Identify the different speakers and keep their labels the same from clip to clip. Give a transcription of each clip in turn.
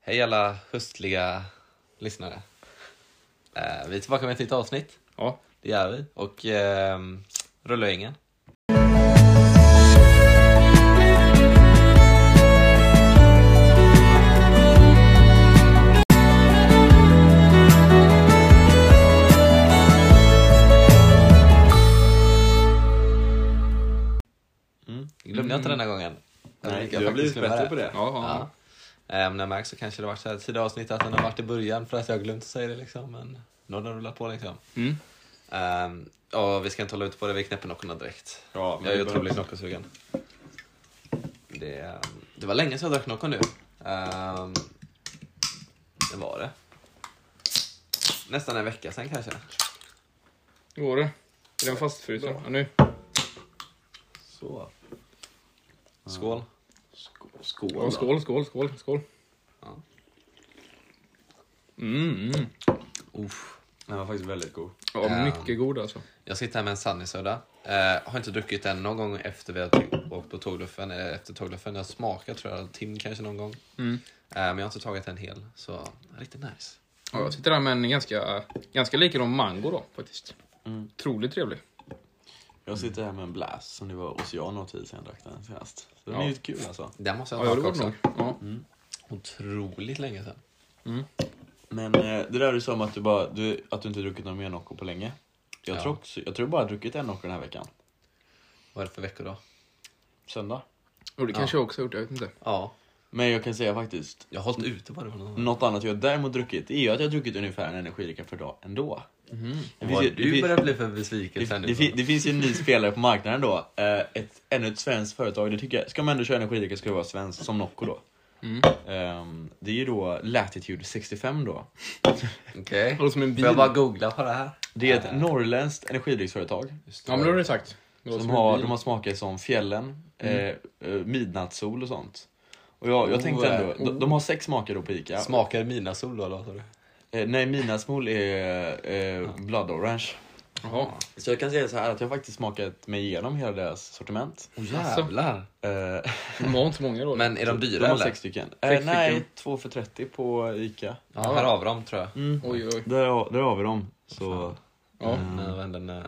Speaker 1: Hej alla höstliga lyssnare. Eh, vi är tillbaka med ett nytt avsnitt.
Speaker 2: Ja.
Speaker 1: Det är vi. Och ehm, rullar ingen. Mm. Glömde jag inte den här gången. Jag
Speaker 3: Nej,
Speaker 1: brukar
Speaker 3: du har
Speaker 1: faktiskt
Speaker 3: blivit
Speaker 1: glömma
Speaker 3: bättre på det.
Speaker 2: Ja,
Speaker 1: Ja.
Speaker 2: ja.
Speaker 1: Äm, när jag märks så kanske det har varit så här tidiga avsnitt att den har varit i början för att jag har glömt att säga det liksom. Men nu har den rullat på liksom.
Speaker 2: Mm.
Speaker 1: Äm, ja, vi ska inte hålla ut på det, vi knäpper knockorna direkt.
Speaker 3: Ja,
Speaker 1: jag är
Speaker 3: det
Speaker 1: otroligt
Speaker 3: behövs.
Speaker 1: knockosugen. Det, äm, det var länge sedan jag drack knockon nu. Äm, det var det. Nästan en vecka sedan kanske.
Speaker 2: Hur går det? Är den fast förutom? Ja, nu.
Speaker 3: Så.
Speaker 1: Skål.
Speaker 3: Sk- Skål.
Speaker 2: Ja,
Speaker 3: då.
Speaker 2: skål, skål, skål, skål.
Speaker 1: Ja.
Speaker 2: Mm, mm.
Speaker 3: Uff, den var faktiskt väldigt god.
Speaker 2: Ja,
Speaker 1: Ehm.
Speaker 2: mycket god alltså.
Speaker 1: Jag sitter här med en Sunny-soda. Eh, har inte druckit den någon gång efter vi har åkt på tågluffen. Eller efter tågluffen. Jag har smakat tror jag, en timme kanske någon gång.
Speaker 2: Mm.
Speaker 1: Eh, men jag har inte tagit en hel, så ja, riktigt nice.
Speaker 2: Ja,
Speaker 3: Mm.
Speaker 2: jag sitter där med en ganska, ganska likadan mango då faktiskt.
Speaker 3: Mm.
Speaker 2: Otroligt trevlig.
Speaker 3: Jag sitter här med en Blast som det var Ocean och tid sedan jag drack den senast. Så den
Speaker 2: Ja.
Speaker 3: är ju kul alltså.
Speaker 1: Den måste jag
Speaker 2: Ja, ja
Speaker 1: ha
Speaker 2: det var
Speaker 1: tagit
Speaker 2: det nog.
Speaker 1: också.
Speaker 2: Ja.
Speaker 1: Otroligt länge sedan.
Speaker 3: Men eh, det där du sa om att du, bara, du, att du inte druckit någon mer Nocco på länge. Jag,
Speaker 1: Ja.
Speaker 3: tror också, jag tror bara jag har druckit en Nocco den här veckan.
Speaker 1: Vad är det för veckor då?
Speaker 3: Söndag. Mm.
Speaker 2: Och det kanske jag också har gjort, jag vet inte.
Speaker 1: Ja,
Speaker 3: Men jag kan säga faktiskt,
Speaker 1: jag har hållit ute på det. på något sätt.
Speaker 3: något annat jag däremot druckit är ju att jag har druckit ungefär en energidricka per dag ändå. Det finns
Speaker 1: Vad
Speaker 3: ju- det
Speaker 1: du
Speaker 3: finns-
Speaker 1: börjar bli för
Speaker 3: Det,
Speaker 1: besviken
Speaker 3: det, fin- det finns ju en ny spelare på marknaden då. Eh, ett, ännu ett svenskt företag. Det tycker jag, ska man ändå köra energidricka ska det vara svenskt, som Nocco då.
Speaker 2: Mm.
Speaker 3: Ehm, det är ju då Latitude 65 då.
Speaker 1: Okej.
Speaker 2: Det låter som en
Speaker 1: Får
Speaker 2: bil.
Speaker 1: jag bara googla på det här?
Speaker 3: Det är ett norrländskt energidrycksföretag.
Speaker 1: Just
Speaker 2: Ja, men det har du sagt. Det låter
Speaker 3: Som
Speaker 2: som en
Speaker 3: har,
Speaker 2: bil.
Speaker 3: de har smaker som fjällen, eh, eh, midnattssol och sånt. Och jag, jag tänkte ändå, de, de har sex smaker då på Ica.
Speaker 1: Smakar mina sol då, låter du?
Speaker 3: Eh, nej, midnattssol är eh, blood orange.
Speaker 2: Jaha.
Speaker 3: Så jag kan säga så här att jag har faktiskt smakat mig igenom hela deras sortiment.
Speaker 1: Åh
Speaker 2: Alltså.
Speaker 1: jävlar!
Speaker 3: Eh,
Speaker 2: De har inte så många då.
Speaker 1: Men är de
Speaker 3: de
Speaker 1: dyra
Speaker 3: har
Speaker 1: eller?
Speaker 3: sex stycken.
Speaker 2: Sex
Speaker 3: Eh, nej,
Speaker 2: stycken.
Speaker 3: två för 30 på Ica.
Speaker 1: Ja, här har vi dem tror jag.
Speaker 3: Mm.
Speaker 2: Oj, oj.
Speaker 3: Där, har- där har vi dem. Så,
Speaker 2: Ja.
Speaker 3: Mm.
Speaker 1: Nej, men den, eh,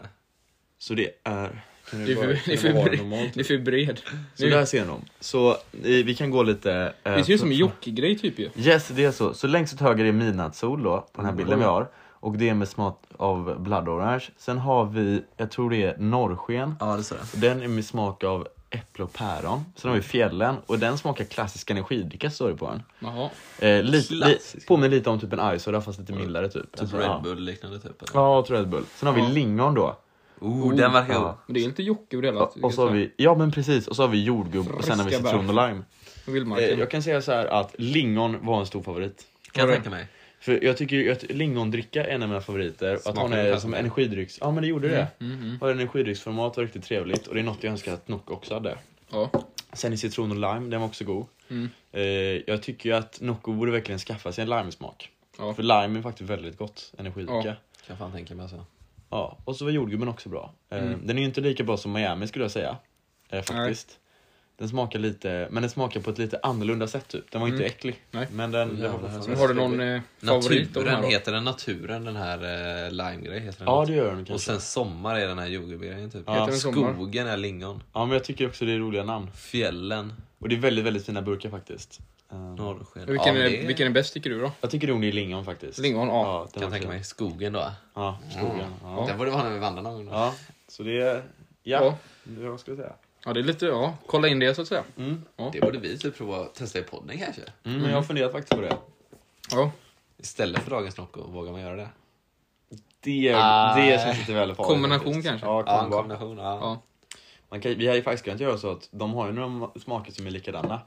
Speaker 3: så det är... Kan
Speaker 2: Det är för,
Speaker 3: bara-
Speaker 2: det är
Speaker 3: kan
Speaker 2: för,
Speaker 3: vara
Speaker 2: bred.
Speaker 3: normalt?
Speaker 2: Det är för bred.
Speaker 3: Så där ser de. Så eh, vi kan gå lite... eh,
Speaker 2: Det ser ju som en Jocke-grej typ ju.
Speaker 3: Yes, det är så. Så längst åt höger är midnattssol då, på den här bilden vi har. Och det är med smak av blood orange. Sen har vi, jag tror det är norrsken.
Speaker 1: Ja, det står det.
Speaker 3: Den är med smak av äpple och päron. Sen har vi fjällen och den smakar klassisk energidricka står det på den.
Speaker 2: Jaha.
Speaker 3: Eh, lite, li,
Speaker 1: Klassisk.
Speaker 3: påminner lite om typ en isoda fast lite mildare typ.
Speaker 1: Typ
Speaker 3: Alltså,
Speaker 1: Red
Speaker 3: ja.
Speaker 1: Bull liknande typ. eller?
Speaker 3: Ja, och Red Bull. Sen har vi
Speaker 2: Ja.
Speaker 3: lingon då.
Speaker 1: Oh, den verkar
Speaker 3: Ja.
Speaker 1: god.
Speaker 2: Men det är inte Jocke över hela.
Speaker 3: Och så har vi, ja men precis, och så har vi jordgubb och sen har vi
Speaker 2: Friska bär.
Speaker 3: citron och lime.
Speaker 2: Och
Speaker 3: Eh,
Speaker 2: Vildmarken.
Speaker 3: jag kan säga så här att lingon var en stor favorit.
Speaker 1: Kan jag
Speaker 2: Har du-
Speaker 1: tänka mig.
Speaker 3: För jag tycker ju att lingondricka är en av mina favoriter. och att
Speaker 1: Smakar
Speaker 3: hon
Speaker 1: ungefär
Speaker 3: är
Speaker 1: som
Speaker 3: som
Speaker 1: det.
Speaker 3: energidrycks... Ja men det gjorde det.
Speaker 2: Mm, mm.
Speaker 3: Har energidrycksformat var riktigt trevligt och det är något jag önskar att Nocco också hade.
Speaker 2: Ja.
Speaker 3: Sen är citron och lime, den var också god.
Speaker 2: Mm.
Speaker 3: Eh, jag tycker ju att Nocco borde verkligen skaffa sig en limesmak.
Speaker 2: Ja.
Speaker 3: För lime är faktiskt väldigt gott energidricka.
Speaker 2: Ja.
Speaker 3: Ja.
Speaker 1: Kan jag fan tänka mig alltså.
Speaker 3: Och så var jordgubben också bra. Eh,
Speaker 2: Mm.
Speaker 3: Den är ju inte lika bra som Miami skulle jag säga. Eh, faktiskt. Den smakar lite, men den smakar på ett lite annorlunda sätt typ. Den var inte
Speaker 2: Mm.
Speaker 3: äcklig.
Speaker 2: Nej.
Speaker 3: Men den,
Speaker 1: Åh,
Speaker 3: den var
Speaker 1: jävlar.
Speaker 3: fortfarande
Speaker 2: Men har du någon
Speaker 3: trevlig.
Speaker 2: eh, favorit av de här
Speaker 1: Naturen,
Speaker 2: då?
Speaker 1: heter den naturen den här eh, lime-grejen? Heter den
Speaker 3: Ja
Speaker 1: något?
Speaker 3: det gör den kanske.
Speaker 1: Och sen sommar är den här jordgubbsgrejen typ.
Speaker 3: Ja. Heter
Speaker 2: den sommar?
Speaker 1: Skogen är lingon.
Speaker 3: Ja men jag tycker också det är roliga namn.
Speaker 1: Fjällen,
Speaker 3: Och det är väldigt, väldigt fina burkar faktiskt. Ehm,
Speaker 1: norrsken.
Speaker 2: Vilken,
Speaker 1: ja,
Speaker 2: är,
Speaker 1: det
Speaker 2: vilken är bäst tycker du då?
Speaker 3: Jag tycker nog det är lingon faktiskt.
Speaker 2: Lingon, ja.
Speaker 3: Ja, den
Speaker 1: kan jag
Speaker 3: var
Speaker 1: tänka
Speaker 3: fin.
Speaker 1: mig. Skogen då.
Speaker 3: Ja, skogen. Ja.
Speaker 1: Den borde vara när vi vandrar någon gång. då.
Speaker 3: ja, så det är... Ja,
Speaker 2: Ja.
Speaker 3: det är vad ska jag säga.
Speaker 2: Ja, det är lite, ja. Kolla in det så att säga.
Speaker 3: Mm.
Speaker 1: Det borde vi typ prova att testa i podden kanske.
Speaker 3: Mm, men jag har funderat faktiskt på det.
Speaker 2: Ja.
Speaker 1: Istället för dagens Nocco, vågar man göra det?
Speaker 3: Det,
Speaker 1: Ah.
Speaker 3: det känns lite väl farligt.
Speaker 2: Kombination
Speaker 3: faktiskt.
Speaker 2: kanske?
Speaker 3: Ja,
Speaker 1: Ja, en
Speaker 3: kombo.
Speaker 1: kombination. Ja.
Speaker 2: Ja.
Speaker 3: Man kan, vi har ju faktiskt kunnat göra så att de har ju några smaker som är likadana.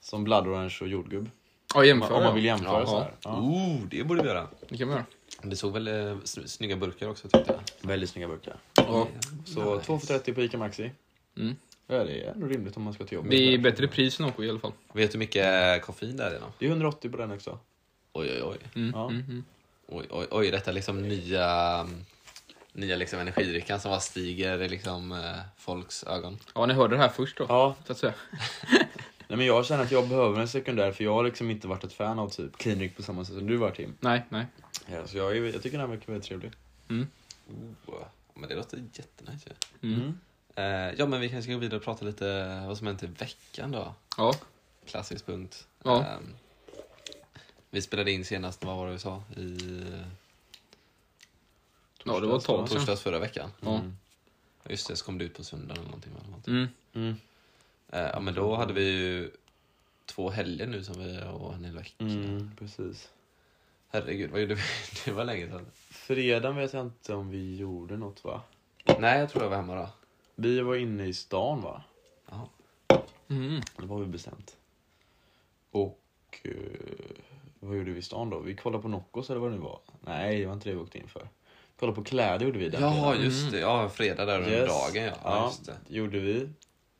Speaker 3: Som blood orange och jordgubb.
Speaker 2: Ja,
Speaker 3: Om
Speaker 2: jämföra.
Speaker 3: man, om man vill
Speaker 2: ja.
Speaker 3: jämföra
Speaker 2: Ja.
Speaker 3: så här. Ja.
Speaker 1: Oh, det borde vi göra.
Speaker 2: Det kan man göra.
Speaker 1: Det såg väl eh, sn- snygga burkar också tyckte jag.
Speaker 3: Väldigt snygga burkar.
Speaker 2: Ja.
Speaker 3: Så 2 för 30 på Ica Maxi.
Speaker 2: Mm.
Speaker 3: Ja, det är ändå rimligt om man ska till jobbet.
Speaker 2: Det är bättre pris än Åko i alla fall.
Speaker 1: Vet du hur mycket eh, koffein det är i dem?
Speaker 3: Det är 180 på den också.
Speaker 1: Oj, oj, oj.
Speaker 2: Mm.
Speaker 3: Ja.
Speaker 2: Mm. Mm.
Speaker 1: Oj, oj, oj, detta är liksom nya, nya liksom energidrickan som bara stiger i liksom eh, folks ögon.
Speaker 2: Ja, ni hörde det här först då.
Speaker 3: Ja,
Speaker 2: Så att säga.
Speaker 3: Nej men jag känner att jag behöver en sekundär för jag har liksom inte varit ett fan av typ Kinrik på samma sätt som du var Tim.
Speaker 2: Nej, nej.
Speaker 3: Ja, så jag, är, jag tycker den här verkar väldigt trevlig.
Speaker 1: Oh, men det låter jättenice ju.
Speaker 2: Mm.
Speaker 1: Eh, ja, men vi kanske ska gå vidare och prata lite vad som hänt i veckan då.
Speaker 2: Ja,
Speaker 1: Klassisk punkt.
Speaker 2: Ja.
Speaker 1: Ehm, vi spelade in senast, vad var det vi sa? I
Speaker 2: ja det var ett tag sedan.
Speaker 1: torsdags förra veckan.
Speaker 2: Ja.
Speaker 3: Mm.
Speaker 1: Just det, så kom det ut på söndagen eller någonting. Eller någonting.
Speaker 2: Mm.
Speaker 3: Mm.
Speaker 1: Eh, ja, men då hade vi ju två helger nu som vi och en hel vecka.
Speaker 3: Mm, precis.
Speaker 1: Herregud, vad gjorde vi? Det var länge sedan.
Speaker 3: Fredagen vet jag inte om vi gjorde något va?
Speaker 1: Nej, jag tror jag var hemma då.
Speaker 3: Vi var inne i stan va?
Speaker 1: Jaha.
Speaker 2: Mm.
Speaker 3: Det var vi bestämt. Och eh, vad gjorde vi i stan då? Vi kollade på Noccos eller vad det nu var. Nej, det var inte det vi åkte in för. Kollade på kläder gjorde vi den
Speaker 1: Ja,
Speaker 3: fredagen.
Speaker 1: just det. Ja, fredag där under
Speaker 3: Yes.
Speaker 1: dagen. Ja. Ja, just det.
Speaker 3: gjorde vi.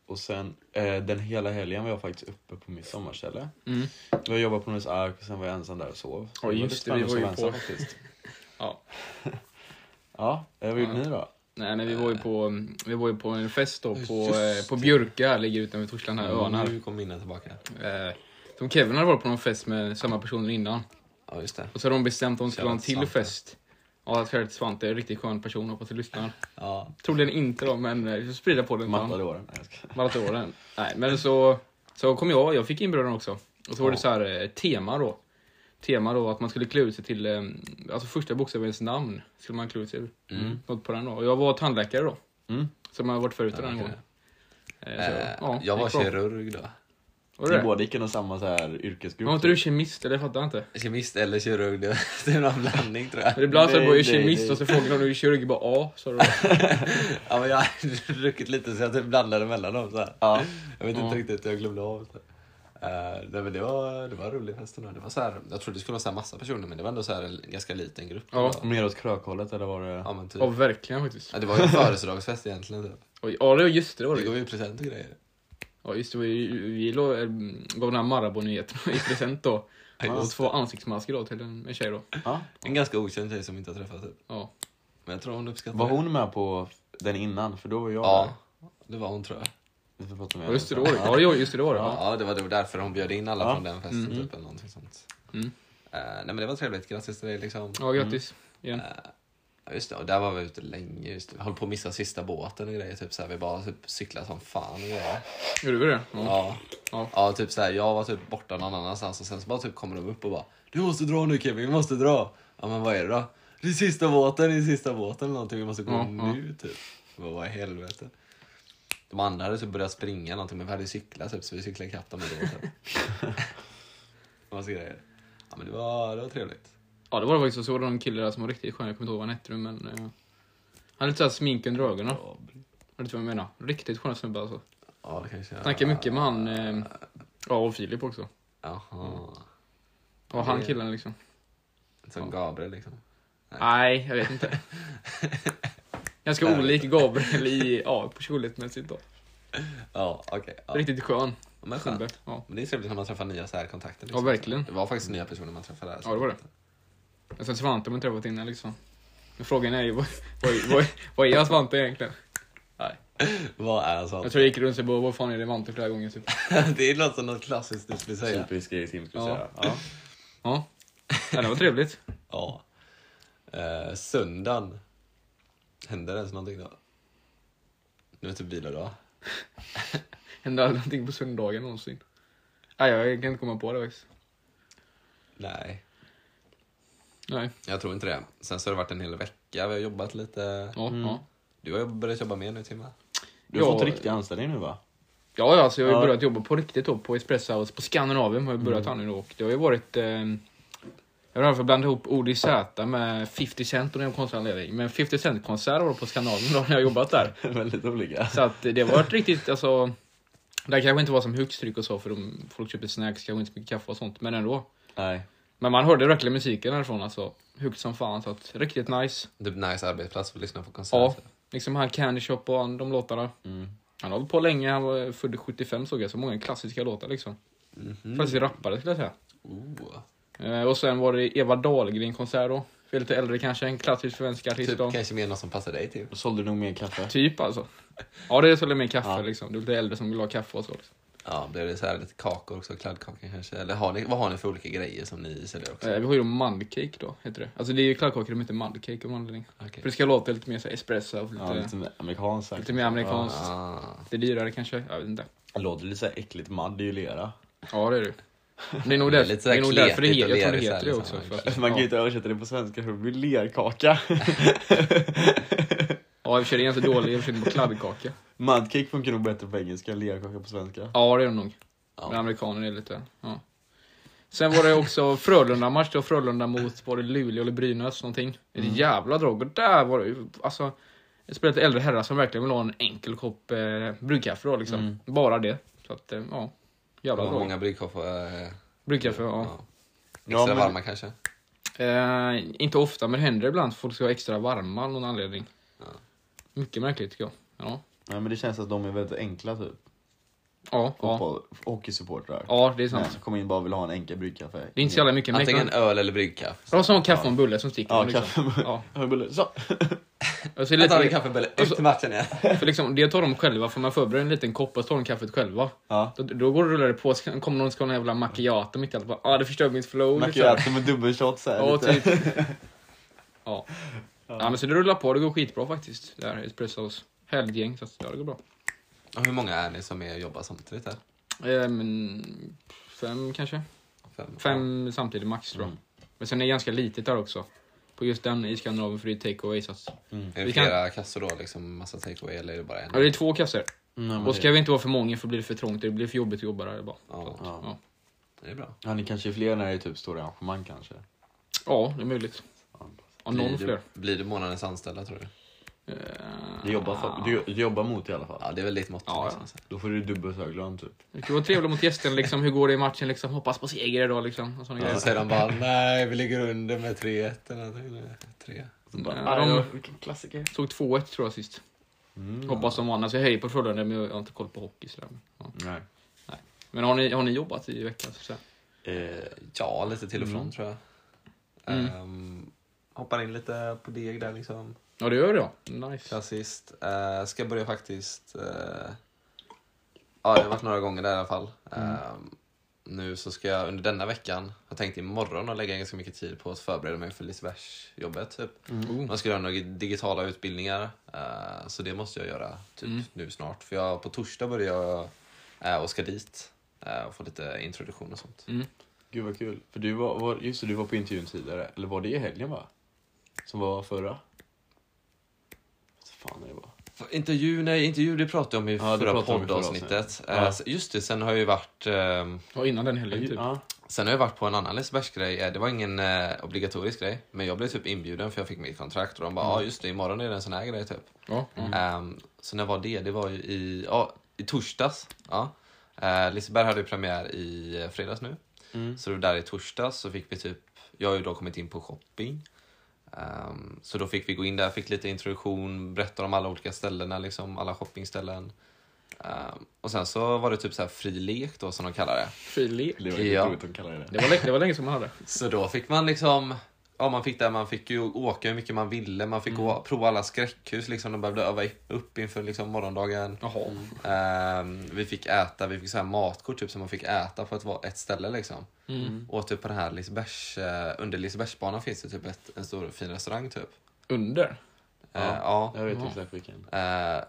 Speaker 3: Och sen eh, den hela helgen var jag faktiskt uppe på mitt sommarställe.
Speaker 2: Mm.
Speaker 3: Jag jobbade på Nordisk Ark och sen var jag ensam där och sov.
Speaker 2: Ja, just det, vi
Speaker 3: spännande
Speaker 2: var
Speaker 3: att
Speaker 2: ju
Speaker 3: sova
Speaker 2: på-
Speaker 3: ensam faktiskt.
Speaker 2: Ja.
Speaker 3: Ja, eh, vad gjorde
Speaker 2: Ja.
Speaker 3: ni då?
Speaker 2: Nej, nej, vi var ju på, vi var ju på en fest då på,
Speaker 1: Just
Speaker 2: eh, på Björka, ligger utanför Torslanda, här, öarna.
Speaker 1: Nu kom minnen tillbaka.
Speaker 2: Eh, som Kevin hade varit på någon fest med samma personer innan.
Speaker 1: Ja, just det.
Speaker 2: Och så hade de bestämt att de skulle ha en
Speaker 1: Shoutout till
Speaker 2: till
Speaker 1: Svante.
Speaker 2: fest. Ja, shoutout till Svante, en riktigt skön person, hoppas du lyssnar.
Speaker 1: Ja.
Speaker 2: Troligen inte då, men eh, vi får sprida på den.
Speaker 3: Mattade åren. Nej, jag ska...
Speaker 2: Maratonen. Nej, men så, så kom jag, jag fick inbjudan också. Och så var det så här eh, tema då. Tema då att man skulle klä ut sig till, eh, alltså första bokstavens namn skulle man klä ut sig ur.
Speaker 1: Mm.
Speaker 2: Något på den då. Och jag var tandläkare då.
Speaker 3: Mm.
Speaker 2: Som jag varit förut
Speaker 1: Ja,
Speaker 2: den
Speaker 1: okej.
Speaker 2: gången. Eh, så,
Speaker 1: Eh,
Speaker 2: ja,
Speaker 1: jag var
Speaker 2: gick bra.
Speaker 1: kirurg då.
Speaker 2: Var det
Speaker 3: Ni
Speaker 2: det?
Speaker 3: båda gick inom samma så här yrkesgrupp. typ.
Speaker 2: Var inte du kemist? Eller jag fattar inte.
Speaker 1: Kemist eller kirurg, det det är någon blandning tror jag.
Speaker 2: Men ibland så
Speaker 3: Nej,
Speaker 2: var jag ju
Speaker 3: nej,
Speaker 2: kemist
Speaker 3: nej.
Speaker 2: och så frågade någon du är kirurg bara ja. Så då,
Speaker 1: Ja, men jag har druckit lite så jag typ blandade mellan dem så här.
Speaker 3: Ja.
Speaker 1: Jag vet inte
Speaker 2: Ja.
Speaker 1: riktigt, jag glömde av. Så. här. Eh, nej, men det var, det var roligt festen. då. Det var så här, jag trodde det skulle vara så här massa personer men det var ändå så här en ganska liten grupp.
Speaker 2: Ja.
Speaker 1: Det var-
Speaker 3: Mer åt krökhållet eller var det?
Speaker 1: ja men typ.
Speaker 2: ja, verkligen faktiskt.
Speaker 1: Ja, det var ju en födelsedagsfest egentligen. Typ.
Speaker 2: Oj, Ja, det var just det. det Var
Speaker 1: Det gav
Speaker 2: det.
Speaker 1: ju present och grejer.
Speaker 2: Ja, just det. Vi, vi lo, eh, gav den här Marabou-nyheten i present då.
Speaker 1: Ja,
Speaker 2: Och
Speaker 1: just
Speaker 2: två ansiktsmasker då till en, en tjej då.
Speaker 3: Ja.
Speaker 1: En ganska okänd tjej som vi inte har träffat typ.
Speaker 2: Ja.
Speaker 1: Men jag tror hon uppskattar
Speaker 3: Var
Speaker 1: det.
Speaker 3: hon med på den innan? För då var jag
Speaker 1: Ja, det var hon tror jag.
Speaker 3: där. Vi får prata med
Speaker 2: Ja, just det, det
Speaker 3: henne
Speaker 2: var
Speaker 3: sen.
Speaker 2: det. Ja, jo, just det, det var det. Ja.
Speaker 1: Ja, det var det var därför hon bjöd in alla
Speaker 3: Ja.
Speaker 1: från den festen
Speaker 2: Mm.
Speaker 1: typ eller någonting sånt.
Speaker 2: Mm.
Speaker 1: Eh, nej men det var trevligt, grattis till dig liksom.
Speaker 2: ja, grattis. Igen.
Speaker 1: Ja, just det, och där var vi ute länge. Just det. Vi höll på att missa sista båten och grejer. Typ så här, vi bara typ cyklade som fan och grejer.
Speaker 2: Gjorde vi det? Ja.
Speaker 1: Ja.
Speaker 2: Ja.
Speaker 1: Ja, typ så här, jag var typ borta någon annanstans och sen så bara typ kommer de upp och bara Du måste dra nu Kevin, vi måste dra. Ja men vad är det då? Det är sista båten, det är sista båten eller någonting. Vi måste gå
Speaker 2: Ja,
Speaker 1: nu typ. Jag Bara, vad i helvete. De andra hade typ börjat springa någonting men vi hade ju cyklat typ så vi cyklade ikapp dem ändå. Typ. Massa grejer. Ja men det var, det var trevligt.
Speaker 2: ja, det var det faktiskt. Och så var det någon kille där som var riktigt skön. Jag kommer inte ihåg vad han hette nu, men... eh, han hade lite såhär smink under ögonen. Vet du vad jag menar? Riktigt skön snubbe alltså.
Speaker 1: Ja, det kanske jag...
Speaker 2: Snackade mycket med han... eh, Ja, och Filip också.
Speaker 1: Jaha.
Speaker 2: Och han killen liksom.
Speaker 1: Som Gabriel liksom.
Speaker 2: Nej, jag vet inte. Ganska olik Gabriel i... Ja, personlighetsmässigt då.
Speaker 1: Ja, okej. ja.
Speaker 2: Riktigt skön
Speaker 1: Men skönt.
Speaker 2: snubbe. Ja.
Speaker 1: Men det är trevligt när man träffar nya så här kontakter.
Speaker 2: Ja, verkligen.
Speaker 1: Det var faktiskt nya personer man träffade där. så-
Speaker 2: Ja, det var det. Men sen Svante har man träffat innan liksom. Men frågan är ju, vad, vad, vad, vad är Svante egentligen?
Speaker 1: Vad är sånt?
Speaker 2: Jag tror jag gick runt och bara, vad fan är det Svante flera gånger typ.
Speaker 1: det låter som något klassiskt du skulle säga.
Speaker 3: Typisk grej Tim skulle
Speaker 2: Ja.
Speaker 3: säga. Ja.
Speaker 2: Ja. ja, det var trevligt.
Speaker 1: Ja. Eh, söndagen. Hände det ens någonting då? Nu är det typ vilodag.
Speaker 2: Hände aldrig någonting på söndagen någonsin. Nej, jag kan inte komma på det faktiskt.
Speaker 1: Nej,
Speaker 2: Nej.
Speaker 1: jag tror inte det. Sen så har det varit en hel vecka. Vi har jobbat lite.
Speaker 2: Ja, ja.
Speaker 1: Du har ju börjat jobba mer nu, Timma.
Speaker 3: Du har
Speaker 2: Ja.
Speaker 3: fått riktig anställning nu va?
Speaker 2: Ja, ja, alltså jag har ju
Speaker 3: Ja.
Speaker 2: börjat jobba på riktigt då, på Espresso House på Skandinavien har jag börjat här nu då. Och det har ju varit... Eh, jag har i alla fall blandat ihop ord i Z med 50 Cent och den konstanledning. Men 50 Cent-konsert var det på Skandinavien då när jag jobbat där.
Speaker 3: Väldigt olika.
Speaker 2: Så att det var ett riktigt, alltså... Det kanske inte var som högst tryck och så, för de, folk köper snacks, kanske inte så mycket kaffe och sånt, men ändå.
Speaker 3: Nej.
Speaker 2: Men man hörde verkligen musiken härifrån, alltså. Högt som fan, så att riktigt nice.
Speaker 1: Typ nice arbetsplats för att lyssna på
Speaker 2: Ja,
Speaker 1: konserter.
Speaker 2: liksom han Candy Shop och han, de låtarna.
Speaker 3: Mm.
Speaker 2: Han har hållit på länge, han var född 75 såg jag, så många klassiska låtar liksom.
Speaker 3: Mhm.
Speaker 2: Faktiskt rappare skulle jag säga.
Speaker 1: Oh.
Speaker 2: Eh, och sen var det Eva Dahlgren-konsert då. För lite äldre kanske, en klassisk svensk artist
Speaker 1: Typ
Speaker 2: då.
Speaker 1: kanske mer något som passar dig, typ.
Speaker 3: Då sålde du nog mer kaffe.
Speaker 2: Typ alltså. Ja, det är så lite mer kaffe
Speaker 3: Ja.
Speaker 2: liksom. Det är lite äldre som vill ha kaffe och så. Liksom.
Speaker 1: Ja, blev det så här lite kakor också? Kladdkaka kanske? Eller har ni, vad har ni för olika grejer som ni säljer också?
Speaker 3: Typ.
Speaker 2: Eh, Vi har ju då mandcake då, heter det. Alltså det är ju kladdkakor, de heter mandcake av någon anledning.
Speaker 1: Okej.
Speaker 2: För det ska låta lite mer så här espresso och lite,
Speaker 3: Ja, lite mer amerikanskt. säkert.
Speaker 2: lite mer amerikanskt.
Speaker 1: Ah,
Speaker 2: Lite dyrare kanske, jag vet inte.
Speaker 3: Ja. Låter lite så här äckligt madd, det är ju lera.
Speaker 2: Ja det är det. Men Det är nog
Speaker 1: Det är
Speaker 2: därför
Speaker 1: lite
Speaker 2: det,
Speaker 1: så här
Speaker 2: är nog därför det,
Speaker 1: kletigt
Speaker 2: heter,
Speaker 1: och
Speaker 2: jag
Speaker 1: lerigt
Speaker 2: tror det heter det
Speaker 1: så här
Speaker 2: också.
Speaker 1: liksom.
Speaker 2: För att,
Speaker 3: Man kan ju
Speaker 2: ja,
Speaker 3: inte översätta det på svenska för det blir lerkaka.
Speaker 2: ja, i och för sig det är ganska dålig översättning på kladdkaka.
Speaker 3: Mudcake funkar nog bättre på engelska, lerkaka på svenska.
Speaker 2: Ja det är det nog.
Speaker 1: Ja.
Speaker 2: Men amerikaner är lite, ja. Sen var det också Frölunda-match, det var Frölunda mot var det Luleå eller Brynäs någonting. Ett
Speaker 1: Mm.
Speaker 2: jävla drag. Och där var det ju, alltså, ett spel till äldre herrar som verkligen vill ha en enkel kopp eh, bryggkaffe då liksom. Bara det. Så att, eh, ja. Jävla
Speaker 1: Vad
Speaker 2: drag.
Speaker 1: Mm. många bryggkoppar? eh,
Speaker 2: Bryggkaffe, ja.
Speaker 1: ja. Extra
Speaker 3: Ja, men-
Speaker 1: varma kanske?
Speaker 2: Eh, inte ofta, men det händer ibland att folk ska vara extra varma av någon anledning.
Speaker 1: Ja.
Speaker 2: Mycket märkligt tycker jag. Ja.
Speaker 3: Nej men det känns att de är väldigt enkla typ.
Speaker 2: Ja, ja.
Speaker 3: Fotboll, hockeysupportrar.
Speaker 2: ja det är
Speaker 3: Nej,
Speaker 2: sant.
Speaker 3: som kommer in och bara vill ha en enkel bryggkaffe.
Speaker 2: Det är inte så jävla mycket mäkt.
Speaker 1: Antingen
Speaker 2: Det
Speaker 1: öl eller bryggkaffe.
Speaker 2: var som kaffe och en bulle som sticker.
Speaker 3: Ja,
Speaker 2: man
Speaker 3: kaffe och en bulle.
Speaker 2: Ja.
Speaker 3: Hörbulle, så!
Speaker 2: Och så är det
Speaker 1: Jag tar en
Speaker 2: lite, Alltså-
Speaker 1: kaffebulle, ut till matchen igen.
Speaker 2: för liksom, det tar de själva, för man förbereder en liten kopp och så tar de kaffet själva.
Speaker 3: Ja.
Speaker 2: Då, då går det och rullar det på, så kommer någon och ska ha en jävla macchiato mitt i allt. Bara, Ah, det förstör mitt flow.
Speaker 3: Man
Speaker 2: lite
Speaker 3: kan
Speaker 2: så
Speaker 3: ju
Speaker 2: här.
Speaker 3: äta med dubbelshot såhär.
Speaker 2: Ja, typ. ja. ja, men så det rullar på. Det går skitbra faktiskt. Det här espressos. Helggäng, så att, ja, det går bra.
Speaker 1: Och Hur många är ni som är, jobbar samtidigt här?
Speaker 2: Eh, men, fem kanske?
Speaker 1: Fem?
Speaker 2: Fem samtidigt max tror jag.
Speaker 3: Mm.
Speaker 2: Men sen är det ganska litet där också. På just den i Skandinavien för det är take away. Så att...
Speaker 1: Är det
Speaker 2: Vi kan-
Speaker 1: flera kassor då? Liksom massa takeaway eller är det bara en?
Speaker 2: ja, det är två kassor.
Speaker 3: Nej, men
Speaker 2: Och ska
Speaker 3: det...
Speaker 2: vi inte vara för många för blir det för trångt. Det blir för jobbigt att jobba där. Bara. Så
Speaker 1: Ja,
Speaker 2: att,
Speaker 3: Ja.
Speaker 2: ja.
Speaker 1: det är bra.
Speaker 3: ja, ni kanske är fler när det är typ stora arrangemang kanske.
Speaker 2: ja, det är möjligt. Ja, någon
Speaker 1: blir
Speaker 2: fler. Eh,
Speaker 1: Du, blir du månadens anställda tror du?
Speaker 3: Du jobbar,
Speaker 2: Ah.
Speaker 3: för... du, du jobbar mot i alla fall.
Speaker 1: Ja, det är väl ditt motto.
Speaker 2: Ja,
Speaker 1: liksom,
Speaker 2: ja.
Speaker 1: så här.
Speaker 3: Då får du dubbelt hög lön typ.
Speaker 2: Det kan vara trevligt mot gästen. Liksom, hur går det i matchen? Liksom, hoppas på seger idag. Liksom, och såna
Speaker 1: Och så
Speaker 2: grejer.
Speaker 1: säger de bara nej, vi ligger under med 3-1 eller någonting, eller 3.
Speaker 3: Så bara,
Speaker 2: Ja, de-
Speaker 3: "Aj, Ah, ja, Vilken klassiker.
Speaker 2: Tog 2-1 tror jag sist.
Speaker 3: Mm.
Speaker 2: Hoppas de vann. Alltså, jag höjer på Frölunda men jag har inte koll på hockey. Sådär. Men, Ja.
Speaker 3: Nej.
Speaker 2: men har, ni, har ni jobbat i veckan? Så att säga?
Speaker 3: Eh,
Speaker 1: Ja, lite till och
Speaker 2: Mm.
Speaker 1: från tror jag. Ehm, hoppar in lite på deg där liksom.
Speaker 2: Ja, det gör jag. Nice.
Speaker 1: Klassiskt. Eh, ska börja faktiskt... eh, ja, det har varit några gånger där i alla fall. Ehm, nu så ska jag under denna veckan, jag tänkte imorgon att lägga ganska mycket tid på att förbereda mig för Lisebergs-jobbet. Typ.
Speaker 2: Oh.
Speaker 1: Man ska göra några digitala utbildningar, eh, så det måste jag göra typ nu snart. För jag, på torsdag börjar jag eh, och ska dit eh, och få lite introduktion och sånt.
Speaker 2: Mm.
Speaker 3: gud vad kul. För du var, var, just det, du var på intervjun tidigare. Eller var det i helgen va? Som var förra? Vad fan är det var?
Speaker 1: F- Intervju, nej, intervju det pratade jag om i
Speaker 3: Ja, det
Speaker 1: förra
Speaker 3: pratade vi om i förra
Speaker 1: poddavsnittet.
Speaker 3: avsnittet. Ja.
Speaker 1: Eh, så- Just det, sen har jag ju varit ehm,
Speaker 2: Ja, innan den helgen typ.
Speaker 3: Ja.
Speaker 1: Sen har jag varit på en annan Lisebergsgrej. Eh, Det var ingen eh, obligatorisk grej, men jag blev typ inbjuden för jag fick mitt kontrakt och de bara ja ah, just det, imorgon är det en sån här grej typ.
Speaker 2: Ja.
Speaker 1: Ehm, så när var det? Det var ju i, ja, i torsdags. Ja. Eh, Liseberg hade ju premiär i eh, fredags nu.
Speaker 3: Mm.
Speaker 1: Så det var där i torsdags så fick vi typ, jag har ju då kommit in på shopping. Ehm, så då fick vi gå in där, fick lite introduktion, berätta om alla olika ställena, liksom, alla shoppingställen. Ehm, och sen så var det typ så här fri lek då som de kallar det.
Speaker 2: Fri lek.
Speaker 3: Det var ju
Speaker 1: Ja.
Speaker 3: roligt att de kallade det
Speaker 2: Det var, länge, det var länge som man hade.
Speaker 1: Så då fick man liksom Ja, man fick, där, man fick ju åka hur mycket man ville, man fick gå, prova alla skräckhus liksom, de behövde öva upp inför liksom, morgondagen.
Speaker 2: Jaha.
Speaker 1: Ehm, vi fick äta, vi fick så här matkort typ, som man fick äta på ett, va- ett ställe. Liksom.
Speaker 3: Mm.
Speaker 2: Mm.
Speaker 1: Och typ på den här Lisebergs, eh, under Lisebergsbanan finns det typ ett, en stor fin restaurang. Typ.
Speaker 2: Under?
Speaker 1: Ja.
Speaker 3: Ja.
Speaker 1: ja.
Speaker 3: Jag vet
Speaker 2: Ja.
Speaker 3: exakt vilken.
Speaker 1: Eh,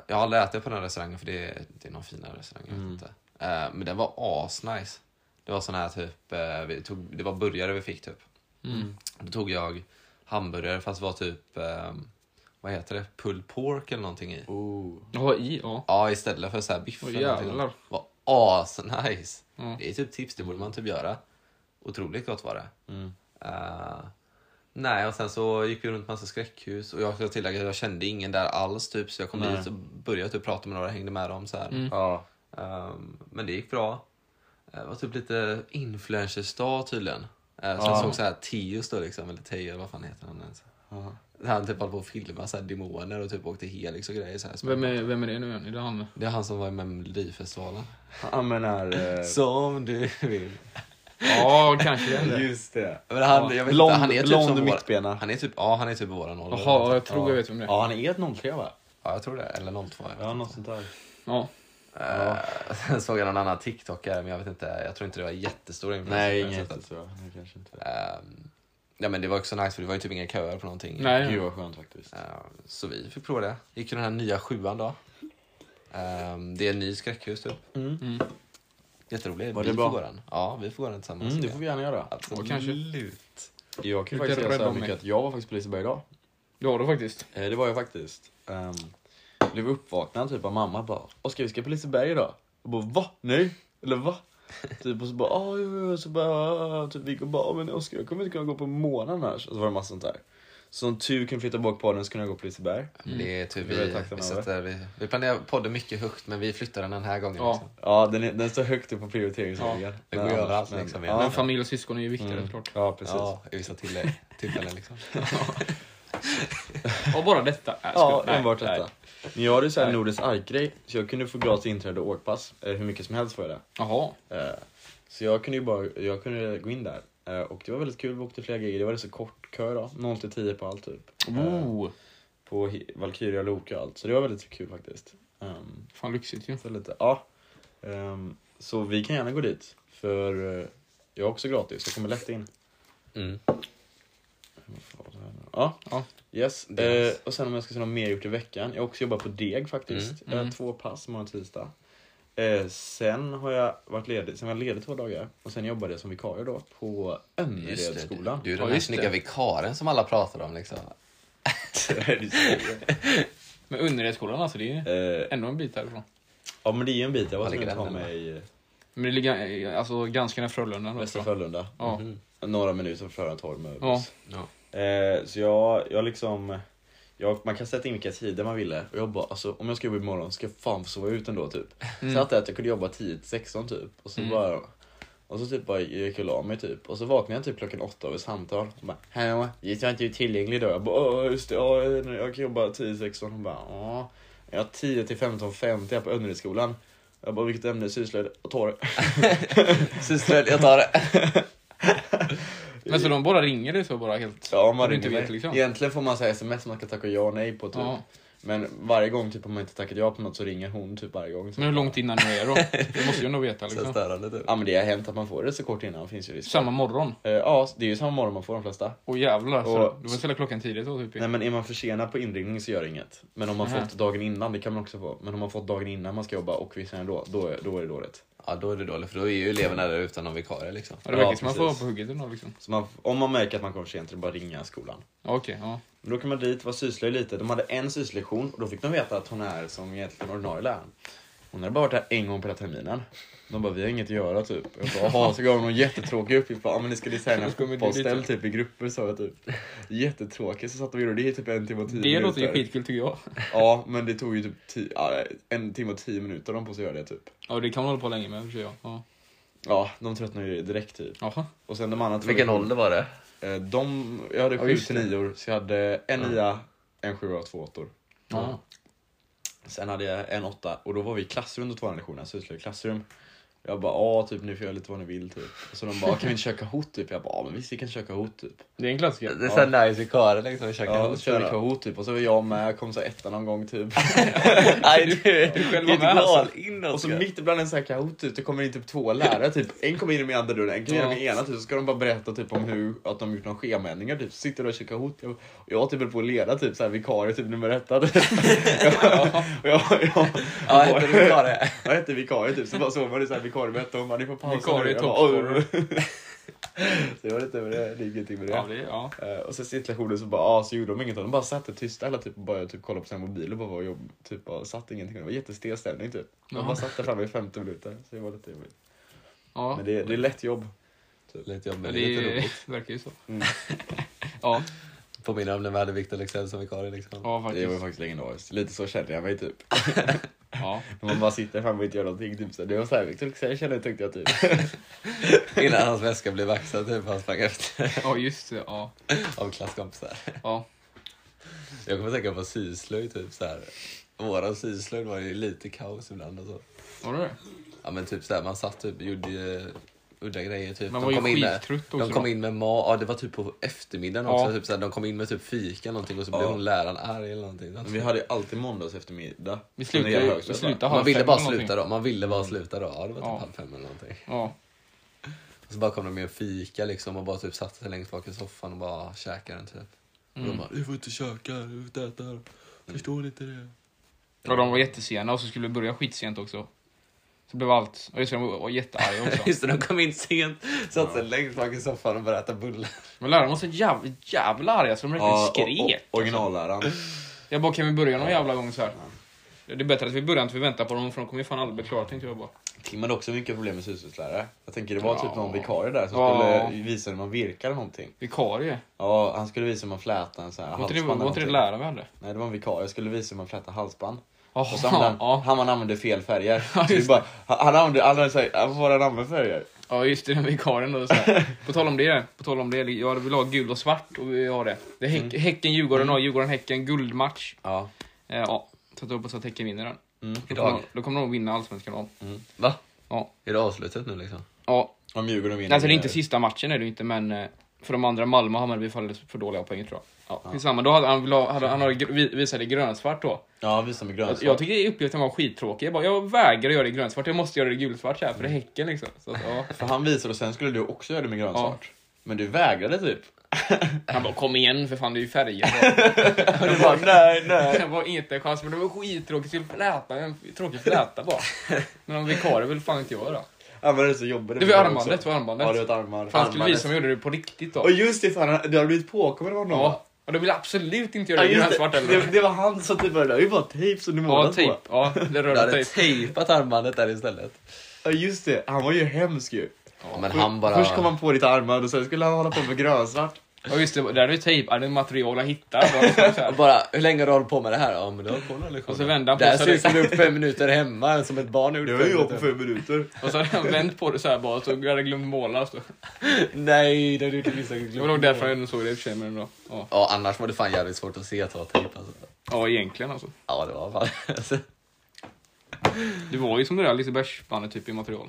Speaker 1: jag har aldrig ätit på den här restaurangen för det är, det är någon finare restaurang. Jag vet inte. Eh, men den var asnice. Det var sån här typ, eh, vi tog, det var burgare vi fick typ. Då tog jag hamburgare fast det var typ, eh, vad heter det, pulled pork eller någonting i.
Speaker 3: Oh.
Speaker 2: Jaha, i? Ja.
Speaker 1: Ja, istället för så här biff.
Speaker 2: Åh,
Speaker 1: eller någonting.
Speaker 2: jävlar.
Speaker 1: Det var asnice.
Speaker 2: Ja.
Speaker 1: Det är typ tips, det borde man typ göra. Otroligt gott var det.
Speaker 3: Mm.
Speaker 1: Eh, nej, och sen så gick vi runt massa skräckhus och jag ska tillägga att jag kände ingen där alls typ så jag kom
Speaker 3: Nej. Mm.
Speaker 1: dit och började typ prata med några, hängde med dem så här.
Speaker 3: Ja.
Speaker 1: Ehm, men det gick bra. Eh, Det var typ lite influencersdag tydligen. Eh, så jag
Speaker 3: Ja.
Speaker 1: såg så här Teos då liksom, eller Teo, vad fan heter han ens?
Speaker 3: Ja.
Speaker 1: Han typ höll på att filma så här demoner och typ åkte helix och grejer så här.
Speaker 2: Vem är, vem är det nu igen? Är det han?
Speaker 1: Det är han som var med i Melodifestivalen.
Speaker 3: Han menar... Eh,
Speaker 1: Som du vill.
Speaker 2: Ja, kanske det. är det.
Speaker 3: eh, just det.
Speaker 1: Men han, jag vet
Speaker 3: Blond-
Speaker 1: inte, han är typ
Speaker 3: blond
Speaker 1: som
Speaker 3: och
Speaker 1: vår-
Speaker 3: mittbena.
Speaker 1: Han är typ, ja han är typ våran ålder.
Speaker 2: Jaha, jag tror jag vet vem det är.
Speaker 3: Ja, han är ett 03 va?
Speaker 1: Ja, jag tror det. Eller 02. Jag vet
Speaker 3: Ja,
Speaker 1: inte.
Speaker 3: något sånt där.
Speaker 2: Ja.
Speaker 1: Ja. Sen såg jag någon annan TikTokare, men jag vet inte, jag tror inte det var jättestora influencer
Speaker 3: Nej,
Speaker 1: på det
Speaker 3: inget
Speaker 1: sättet.
Speaker 3: jättestora. Nej, kanske inte.
Speaker 1: Ehm, Ja men det var också nice för det var ju typ inga köer på någonting.
Speaker 2: Nej.
Speaker 3: Gud vad skönt faktiskt.
Speaker 1: Eh, Så vi fick prova det. Gick ju den här nya sjuan då. Ehm, Det är en ny skräckhus typ.
Speaker 2: Mm.
Speaker 1: Jätterolig.
Speaker 3: Var
Speaker 1: vi
Speaker 3: det bra?
Speaker 1: får gå den. Ja, vi får gå den tillsammans.
Speaker 3: Mm, det får vi gärna göra.
Speaker 1: Absolut.
Speaker 2: Ja, kanske.
Speaker 3: Jag kan
Speaker 2: Du kan
Speaker 3: faktiskt säga så
Speaker 2: rädda
Speaker 3: här mycket
Speaker 2: mig.
Speaker 3: att jag var faktiskt på Liseberg idag.
Speaker 2: Ja, då faktiskt.
Speaker 3: Eh, Det var jag faktiskt. Um, blev uppvaknad typ av mamma bara Oskar vi ska på Liseberg idag. Jag bara va? Nej? Eller va? typ och så bara ah, jo, jo. så bara ah, typ vi går bara "Ah, men Oskar jag kommer inte kunna gå på månaden här. Och så var det massa sånt där. Så om tur kunde flytta bak på den så kunde jag gå på Liseberg.
Speaker 1: Men Det är typ
Speaker 3: Det är väl
Speaker 1: vi,
Speaker 3: tacksam
Speaker 1: vi,
Speaker 3: över.
Speaker 1: sätter, vi, vi planerar podden mycket högt men vi flyttar den den här gången.
Speaker 2: Ja.
Speaker 1: Liksom.
Speaker 3: Ja den, är, den står högt upp på prioriteringslistan.
Speaker 2: Ja,
Speaker 1: det går
Speaker 3: Men,
Speaker 1: ju överallt
Speaker 3: men-
Speaker 1: liksom.
Speaker 3: Ja, Mm.
Speaker 2: Men familj och syskon är ju viktigare såklart.
Speaker 3: ja precis.
Speaker 1: Ja, i vissa till, tillfällen liksom.
Speaker 2: Och bara detta. Äh,
Speaker 3: Ja,
Speaker 2: skulle- nej,
Speaker 3: enbart
Speaker 2: nej.
Speaker 3: detta. Men jag hade ju såhär
Speaker 2: Nej.
Speaker 3: Nordens Ark-grej, så jag kunde få gratis inträde och åkpass. eh, Hur mycket som helst får jag det.
Speaker 2: Jaha.
Speaker 3: Eh, Så jag kunde ju bara jag kunde gå in där. Eh, Och det var väldigt kul, vi åkte flera grejer. Det var så kort kö då, 0 till 10 på allt typ. Eh,
Speaker 2: Oh,
Speaker 3: På Hi- Valkyria, Loke och allt. Så det var väldigt kul faktiskt. Ehm,
Speaker 2: fan lyxigt ju.
Speaker 3: Så lite, ja. Ehm, Så vi kan gärna gå dit. För eh, jag är också gratis, jag kommer lätt in.
Speaker 1: Mm.
Speaker 3: Ja.
Speaker 2: Ja.
Speaker 3: Yes.
Speaker 1: Det är
Speaker 3: Eh,
Speaker 1: nice.
Speaker 3: och sen om jag ska säga något mer gjort i veckan. Jag har också jobbat på deg faktiskt.
Speaker 2: Mm, mm.
Speaker 3: Eh, två pass måndag och tisdag. Eh, sen har jag varit ledig, sen var jag ledig två dagar. Och sen jobbade jag som vikarie då på
Speaker 1: Mm, Just det, du,
Speaker 3: Önneredsskolan.
Speaker 1: du är
Speaker 2: Ja,
Speaker 1: den här
Speaker 2: just
Speaker 1: snygga
Speaker 2: det.
Speaker 1: vikaren som alla pratar om liksom.
Speaker 3: Du skojar.
Speaker 2: Men underrättsskolan alltså, det är ju
Speaker 3: eh,
Speaker 2: ändå en bit härifrån.
Speaker 3: ja men det är ju en bit. Jag var
Speaker 1: Var
Speaker 3: tvungen
Speaker 1: ligger
Speaker 3: att ta
Speaker 1: den då?
Speaker 3: mig i
Speaker 2: Men det ligger eh, alltså ganska nära Frölunda. då,
Speaker 3: Västra
Speaker 2: tror jag.
Speaker 3: Frölunda.
Speaker 2: Ja.
Speaker 1: Mhm.
Speaker 3: Några minuter från Frölunda torg med
Speaker 2: Ja.
Speaker 3: buss.
Speaker 1: Ja.
Speaker 3: Eh, så jag, jag liksom... Jag, man kan sätta in vilka tider man ville. Och jag bara, alltså, om jag ska jobba imorgon ska jag fan få sova ut ändå typ.
Speaker 2: Mm.
Speaker 3: Satt där att jag kunde jobba 10 till 16 typ. Och så
Speaker 2: Mm.
Speaker 3: bara... Och så typ bara gick jag och la mig typ. Och så vaknade jag typ klockan åtta av ett samtal. Hon bara, hallå, just jag är inte tillgänglig då. Jag bara, "Åh, just det, ja, jag kan jobba 10 till 16. Hon bara, ja. Jag har 10 till 15.50 här på Önneredsskolan. Jag bara, vilket ämne? Syslöjd och torr.
Speaker 1: Syströd, jag tar det.
Speaker 2: Men så de bara ringer dig så bara helt?
Speaker 3: Mm. Ja, man
Speaker 2: du inte
Speaker 3: ringer
Speaker 2: vet
Speaker 3: mig.
Speaker 2: liksom.
Speaker 3: Egentligen får man säga sms man kan tacka ja och nej på typ.
Speaker 2: Ja.
Speaker 3: Men varje gång typ om man inte tackat ja på något så ringer hon typ varje gång.
Speaker 2: Men hur långt innan du är då? Det måste ju nog veta
Speaker 1: Så
Speaker 2: liksom.
Speaker 1: störande typ.
Speaker 3: Ja men det har hänt att man får det så kort innan finns ju risk.
Speaker 2: Samma morgon?
Speaker 3: Eh, Ja, det är ju samma morgon man får de flesta.
Speaker 2: Åh jävlar. alltså. Så
Speaker 3: Och-
Speaker 2: du får ställa klockan tidigt då typ.
Speaker 3: Nej men är man försenad på inringning så gör det inget. Men om man
Speaker 2: Mhm.
Speaker 3: fått dagen innan, det kan man också få. Men om man fått dagen innan man ska jobba och visst ändå, då, är- då är det dåligt.
Speaker 1: Ja, då är det dåligt för då är ju eleverna där utan någon vikarie liksom.
Speaker 2: Ja, det verkar
Speaker 3: ja,
Speaker 2: som man får vara
Speaker 3: precis.
Speaker 2: på hugget ändå liksom.
Speaker 3: Så man, om man märker att man kommer för sent, så är det bara att ringa skolan.
Speaker 2: Ja, okej, ja.
Speaker 3: Men då kan man dit, vara syslöjd lite. De hade en syslektion och då fick de veta att hon är som egentligen ordinarie läraren. Hon hade bara varit här en gång på hela terminen. De bara, vi har inget att göra typ. Jag bara, Jaha, så gav hon någon jättetråkig uppgift. Bara, Ja men ni ska designa
Speaker 2: Så kommer du
Speaker 3: fotbollsställ
Speaker 2: dit,
Speaker 3: typ i grupper sa jag typ. Jättetråkigt, så satt de och gjorde det i typ en timme och tio
Speaker 2: Det
Speaker 3: minuter.
Speaker 2: låter ju skitkul tycker jag.
Speaker 3: Ja, men det tog ju typ ti- ja, en timme och tio minuter de på sig att göra det typ.
Speaker 2: Ja, det kan man hålla på länge med i och för sig. ja. Ja.
Speaker 3: Ja, de tröttnade ju direkt typ.
Speaker 2: Jaha.
Speaker 3: Och sen de andra två-
Speaker 1: Vilken ålder var det?
Speaker 3: Eh, De, jag hade
Speaker 2: Ja,
Speaker 3: sju
Speaker 2: just
Speaker 3: till
Speaker 2: det.
Speaker 3: nior, så jag hade en
Speaker 1: Ja.
Speaker 3: nia, en sjua och två åttor.
Speaker 2: Ja.
Speaker 3: Sen hade jag en åtta och då var vi i klassrum under två lektionerna, sysslade i klassrum. Jag bara, ja typ ni får göra lite vad ni vill typ. Och så de bara, kan vi inte köra Kahoot typ? Jag bara, ja men visst vi kan köra Kahoot typ.
Speaker 2: Det är en klassiker.
Speaker 1: Det är så här nice vikarie liksom. Vi käkar
Speaker 3: Ja, och
Speaker 1: hos
Speaker 3: körde
Speaker 1: varandra.
Speaker 3: Kahoot typ och så var jag med, kom så etta någon gång typ.
Speaker 1: Nej, du, du
Speaker 2: själv
Speaker 1: själv
Speaker 2: var
Speaker 1: var
Speaker 2: med, alltså.
Speaker 1: in
Speaker 3: Och så
Speaker 1: Oskar.
Speaker 3: mitt ibland en sån här Kahoot typ, det kommer in typ två lärare typ. En kommer in med andra dörren, en kommer in
Speaker 2: Ja.
Speaker 3: med ena typ. Så ska de bara berätta typ om hur, att de gjort några schemaändringar typ. Så sitter de och kör Kahoot. Jag, och jag typ höll på att leda typ såhär vikarie typ nummer ett. typ. Och jag, jag, jag,
Speaker 1: Ja, hette du vikarie?
Speaker 3: Jag hette vikarie typ, så bara såg man det såhär vikariebett och hon bara ni får pausa
Speaker 2: Vikarie
Speaker 3: nu." Jag
Speaker 2: topp
Speaker 3: bara,
Speaker 2: scorer.
Speaker 3: "Oj." Så jag vet inte med det, det är ingenting med det.
Speaker 2: Ja, det är, ja.
Speaker 3: Eh, och sen situationen så bara, ah, så gjorde de inget. De bara satt tysta alla typ och bara typ kollade på sina mobiler och bara var jobb, typ bara satt ingenting. Det var jättestel stämning typ. De
Speaker 2: Jaha.
Speaker 3: bara satt där framme i 50 minuter. Så det var lite jobbigt.
Speaker 2: ja.
Speaker 3: Men det, det är lätt jobb.
Speaker 1: Lite
Speaker 2: Ja,
Speaker 1: jobbigt, lite
Speaker 2: det
Speaker 1: roligt.
Speaker 2: verkar ju så.
Speaker 3: Mm.
Speaker 2: Ja,
Speaker 1: Påminner om när vi hade Viktor Leksell som vikarie liksom.
Speaker 2: ja
Speaker 3: Det var ju
Speaker 2: faktiskt.
Speaker 3: faktiskt legendariskt. Lite så känner jag mig typ.
Speaker 2: Ja.
Speaker 3: När man bara sitter framme och inte gör någonting. Typ. Så det var såhär, Victor Leksell kände jag tänkte jag typ.
Speaker 1: Innan hans väska blev vaxad typ. Han sprang efter
Speaker 2: ja, just det. Ja.
Speaker 1: av klasskompisar.
Speaker 2: Ja.
Speaker 1: Jag kommer tänka på syslöjd typ så här. Våran syslöjd var ju lite kaos ibland alltså. och så.
Speaker 2: Var det det?
Speaker 1: Ja men typ så här, man satt typ, gjorde ju udda grejer. Typ.
Speaker 2: Man
Speaker 1: de
Speaker 2: var ju
Speaker 1: kom in med,
Speaker 2: skittrött också.
Speaker 1: de kom in med mat, ja, det var typ på eftermiddagen
Speaker 2: Ja.
Speaker 1: också. Typ, såhär, de kom in med typ fika någonting och så blev
Speaker 3: Ja.
Speaker 1: hon läraren arg eller någonting.
Speaker 3: Men vi hade ju alltid måndags eftermiddag.
Speaker 2: Vi slutade,
Speaker 3: När jag
Speaker 2: ju- vi
Speaker 3: högstadiet,
Speaker 2: slutade halv
Speaker 1: man ville
Speaker 2: fem
Speaker 1: bara
Speaker 2: eller någonting. Mm.
Speaker 1: sluta då. Man ville bara sluta då. Ja, det var typ
Speaker 2: Ja.
Speaker 1: halv fem eller någonting.
Speaker 2: Ja.
Speaker 1: Och så bara kom de med en fika liksom och bara typ satte sig längst bak i soffan och bara käkade den typ. Och
Speaker 2: Mm.
Speaker 1: de bara, du får inte käka, du får inte äta. Förstår ni inte det?
Speaker 2: ja, de var jättesena och så skulle vi börja skitsent också. Så blev allt... Och just det, de var jättearga också.
Speaker 1: Just det, de kom in sent, satte sig längst bak i soffan och började äta bullar.
Speaker 2: Men lärarna var så jävla, jävla arga så de
Speaker 3: Ja,
Speaker 2: riktigt
Speaker 3: och- och-
Speaker 2: skrek.
Speaker 3: Originalläraren.
Speaker 2: Jag bara, kan vi börja någon jävla gång så här? Det är bättre att vi börjar inte vi väntar på dem för de kommer ju fan aldrig bli klara tänkte jag bara.
Speaker 3: Tim hade också mycket problem med syslöjdslärare. Jag tänker det var
Speaker 2: Ja.
Speaker 3: typ någon vikarie där som
Speaker 2: Ja.
Speaker 3: skulle visa hur man virkar någonting.
Speaker 2: Vikarie?
Speaker 3: Ja, han skulle visa hur man flätar en sån här
Speaker 2: Var inte
Speaker 3: halsband.
Speaker 2: det-
Speaker 3: eller
Speaker 2: var inte det
Speaker 3: någonting.
Speaker 2: läraren vi hade?
Speaker 3: Nej, det var en vikarie. Jag skulle visa hur man flätar halsband.
Speaker 2: Jaha,
Speaker 3: Och så använde han,
Speaker 2: ja.
Speaker 3: han, han använde fel färger.
Speaker 2: Ja,
Speaker 3: Så vi
Speaker 2: just
Speaker 3: bara, han han använde, han hade sagt, varför var han använde färger?
Speaker 2: ja just det, den vikarien då. Så här. På tal om det, på tal om det, jag vill ha gult och svart och vi har det. Det är häck,
Speaker 3: Mm.
Speaker 2: Häcken-Djurgården har Djurgården-Häcken, guldmatch.
Speaker 3: Ja.
Speaker 2: Eh, ja, så att jag hoppas att Häcken vinner den.
Speaker 3: Mm.
Speaker 2: Då
Speaker 1: Idag?
Speaker 2: kommer, de- då kommer de vinna Allsvenskan om.
Speaker 1: Va?
Speaker 2: Ja.
Speaker 1: Är det avslutat nu liksom?
Speaker 2: ja.
Speaker 3: Om Djurgården vinner.
Speaker 2: Alltså det är inte sista matchen är det ju inte men eh, för de andra, Malmö och Hammarby faller för dåliga poäng tror jag. Ja, skitsamma. Då hade han, vill ha- hade, han hade, gr- vi- visade grönsvart då.
Speaker 3: Ja, visa med grönt.
Speaker 2: Jag tycker uppgiften var skittråkig. Jag, bara, jag vägrar göra det i grönsvart, jag måste göra det i gulsvart så här, för det är Häcken liksom. Så att, ja.
Speaker 3: För han visade och sen skulle du också göra det med grönsvart. Men du vägrade typ.
Speaker 2: Han bara kom igen för fan det är ju färger.
Speaker 3: Och du bara nej, nej.
Speaker 2: Det var inte en chans men det var skittråkigt, jag skulle fläta, en tråkig fläta bara. Men om vikarie vill fan inte jag då.
Speaker 3: Han var så jobbig.
Speaker 2: Det var armbandet, det var
Speaker 3: Ja, det var
Speaker 2: armbandet.
Speaker 3: ett armband.
Speaker 2: Fan skulle vi
Speaker 3: Armbandet.
Speaker 2: som gjorde det på riktigt då.
Speaker 3: Och just det, fan, han- du har blivit påkommen av honom.
Speaker 2: Ja, och då vill jag absolut inte göra
Speaker 3: Ja,
Speaker 2: det i
Speaker 3: just
Speaker 2: grönsvart
Speaker 3: det.
Speaker 2: heller.
Speaker 3: Det, det var han som typ började, det var ju bara tejp som du
Speaker 2: Ja,
Speaker 3: målade
Speaker 2: tejp.
Speaker 3: på.
Speaker 2: Ja, det
Speaker 1: Du
Speaker 2: röda typ.
Speaker 1: hade
Speaker 3: Typ.
Speaker 2: tejp.
Speaker 1: tejpat armbandet där istället.
Speaker 3: Ja just det, han var ju hemsk ju.
Speaker 1: Ja, men han bara...
Speaker 3: Först kom han på ditt armband och sen skulle han hålla på med grönsvart.
Speaker 2: Ja, just det. Där är ju tejp. Ja, Det är material jag hittar. Bara, så
Speaker 1: Och
Speaker 2: här.
Speaker 1: bara, hur länge har du hållit på med det här? Ja, men du har koll lektionen.
Speaker 2: Och så vände han på
Speaker 1: Där
Speaker 2: sig.
Speaker 1: ser ut som du är upp fem minuter hemma, som ett barn
Speaker 3: Det
Speaker 1: gjorde
Speaker 3: var ju
Speaker 1: fem
Speaker 3: jag på
Speaker 1: minuter.
Speaker 3: fem minuter.
Speaker 2: Och så hade han vänt på det så här bara. Så jag hade glömt måla. Så.
Speaker 1: Nej, det har du inte missat.
Speaker 2: Det var nog därför jag såg det i och för sig. Men ändå. Ja.
Speaker 1: Ja, annars var det fan jävligt svårt att se att det var tejp alltså.
Speaker 2: ja, egentligen alltså.
Speaker 1: Ja, det var fan. Alltså,
Speaker 2: Det var ju som det där Lisebergsbandet typ i material.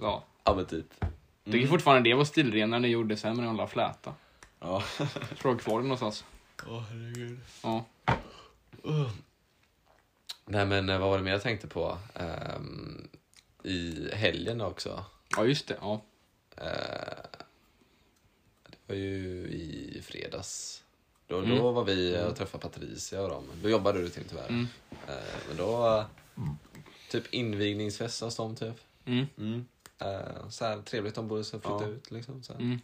Speaker 2: Ja.
Speaker 1: ja, men typ.
Speaker 2: Jag
Speaker 3: Mm.
Speaker 2: tycker fortfarande det var stilrenare när det gjordes sen med den jävla fläta.
Speaker 3: Ja.
Speaker 2: Jag tror jag har kvar det någonstans.
Speaker 3: Åh herregud.
Speaker 2: Ja.
Speaker 1: Nej, men eh, vad var det mer jag tänkte på? Ehm, I helgen också.
Speaker 2: ja, just det. Ja.
Speaker 1: Eh, det var ju i fredags. Då, då var vi eh, och träffade Patricia och dem. Då jobbade du Tim tyvärr.
Speaker 2: Mm.
Speaker 1: Eh, men då, eh, typ invigningsfest hos dem typ.
Speaker 2: Mm.
Speaker 3: Mm.
Speaker 1: Eh, så här, trevligt, de borde så flytta
Speaker 3: Ja.
Speaker 1: ut liksom. Så här.
Speaker 2: Mm.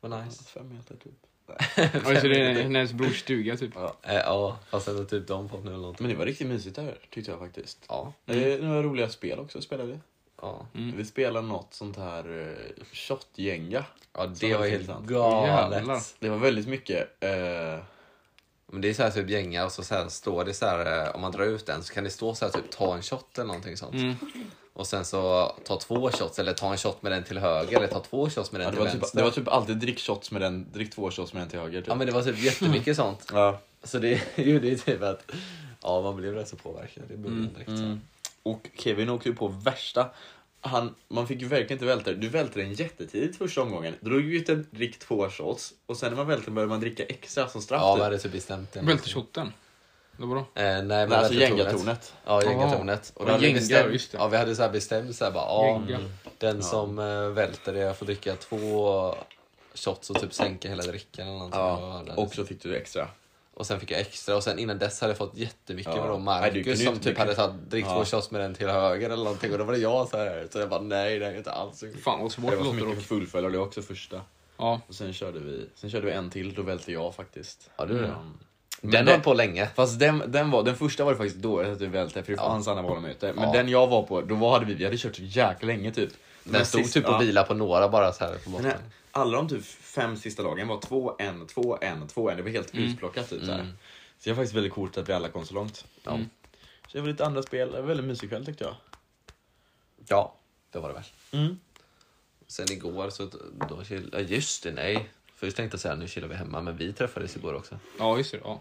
Speaker 1: Vad nice.
Speaker 3: Fem meter typ.
Speaker 2: Ja, just det. Det är hennes brors stuga typ.
Speaker 1: Eh, ja, fast ändå typ de fått nu eller någonting.
Speaker 3: Men det var riktigt mysigt där tyckte jag faktiskt.
Speaker 1: Ja,
Speaker 3: Det är några roliga spel också spelade vi.
Speaker 1: ja.
Speaker 2: Mm.
Speaker 3: Vi spelade något sånt här eh, shotgänga.
Speaker 1: ja
Speaker 3: Så
Speaker 1: det
Speaker 3: var
Speaker 1: var
Speaker 3: det
Speaker 1: helt
Speaker 3: intressant.
Speaker 2: Jävlar.
Speaker 1: galet.
Speaker 3: Det var väldigt mycket. Eh,
Speaker 1: Men det är så här typ gänga och så, så här står det så här, eh, om man drar ut den så kan det stå så här typ ta en shot eller någonting sånt.
Speaker 2: Mm.
Speaker 1: Och sen så ta två shots eller ta en shot med den till höger eller ta två shots med den
Speaker 3: ja, det,
Speaker 1: till
Speaker 3: var typ,
Speaker 1: vänster.
Speaker 3: det var typ alltid drick shots med den, drick två shots med den till höger. Typ.
Speaker 1: Ja men det var typ jättemycket sånt.
Speaker 3: Ja.
Speaker 1: Så det gjorde ju typ att ja, man blev rätt så påverkad i början direkt. så.
Speaker 3: Mm. Och Kevin åkte ju på värsta. Han, man fick ju verkligen inte välta det. Du välte den jättetidigt första omgången. Drog ut en drick två shots och sen när man välte den började man dricka extra som straff.
Speaker 1: Ja,
Speaker 3: typ.
Speaker 1: vi hade typ bestämt det.
Speaker 2: Bälteshoten. Det var bra.
Speaker 1: Eh, nej, men
Speaker 3: Nej, alltså
Speaker 1: Vältetornet.
Speaker 3: gängatornet.
Speaker 1: Ja, gängatornet. Och då
Speaker 2: Ja,
Speaker 1: hade vi
Speaker 2: gänga,
Speaker 1: bestämt,
Speaker 2: just det.
Speaker 1: ja, vi hade så här bestämt så här bara, ja,
Speaker 2: Gänga.
Speaker 1: den som eh, välter det får dricka två shots och typ sänka hela drickan eller någonting.
Speaker 3: Ja,
Speaker 1: Och det-
Speaker 3: och så fick du extra.
Speaker 1: Och sen fick jag extra och sen innan dess hade jag fått jättemycket
Speaker 3: Ja.
Speaker 1: med då
Speaker 3: Nej, du kunde
Speaker 1: Marcus
Speaker 3: ju
Speaker 1: som
Speaker 3: inte-
Speaker 1: typ
Speaker 3: du kunde-
Speaker 1: hade tagit drick två
Speaker 3: Ja.
Speaker 1: shots med den till höger eller någonting och då var det jag så här. Så jag bara nej, det är inte alls så
Speaker 2: Fan vad svårt
Speaker 3: Det
Speaker 2: det
Speaker 3: var så
Speaker 2: låter
Speaker 3: mycket
Speaker 2: dock.
Speaker 3: att fullfölja det också första.
Speaker 2: Ja.
Speaker 3: Och sen körde vi, sen körde vi en till, då välte jag faktiskt.
Speaker 1: Ja, du gjorde det.
Speaker 3: Mm.
Speaker 1: Den höll på länge.
Speaker 3: Fast den, den, var, den första var det faktiskt dåligt att du välte, för det fanns andra valmöte. Men
Speaker 1: Ja.
Speaker 3: den jag var på, då var- hade vi, vi hade kört så jäkla länge typ.
Speaker 1: Den stod typ och
Speaker 3: vila.
Speaker 1: vila på några bara så här på
Speaker 3: Den här,
Speaker 1: botten.
Speaker 3: alla de typ fem sista lagen var 2-1, 2-1, 2-1. Det var helt
Speaker 1: Mm.
Speaker 3: utplockat typ så här. Så jag är faktiskt väldigt coolt att vi alla kom så långt.
Speaker 1: Ja.
Speaker 3: Så det var lite andra spel, det var väldigt mysig kväll tyckte jag.
Speaker 1: ja, det var det väl.
Speaker 3: Mm.
Speaker 1: Sen igår så då chill... ja, just det, nej. Först tänkte jag säga nu chillar vi hemma men vi träffades igår också.
Speaker 2: ja, just det. Ja.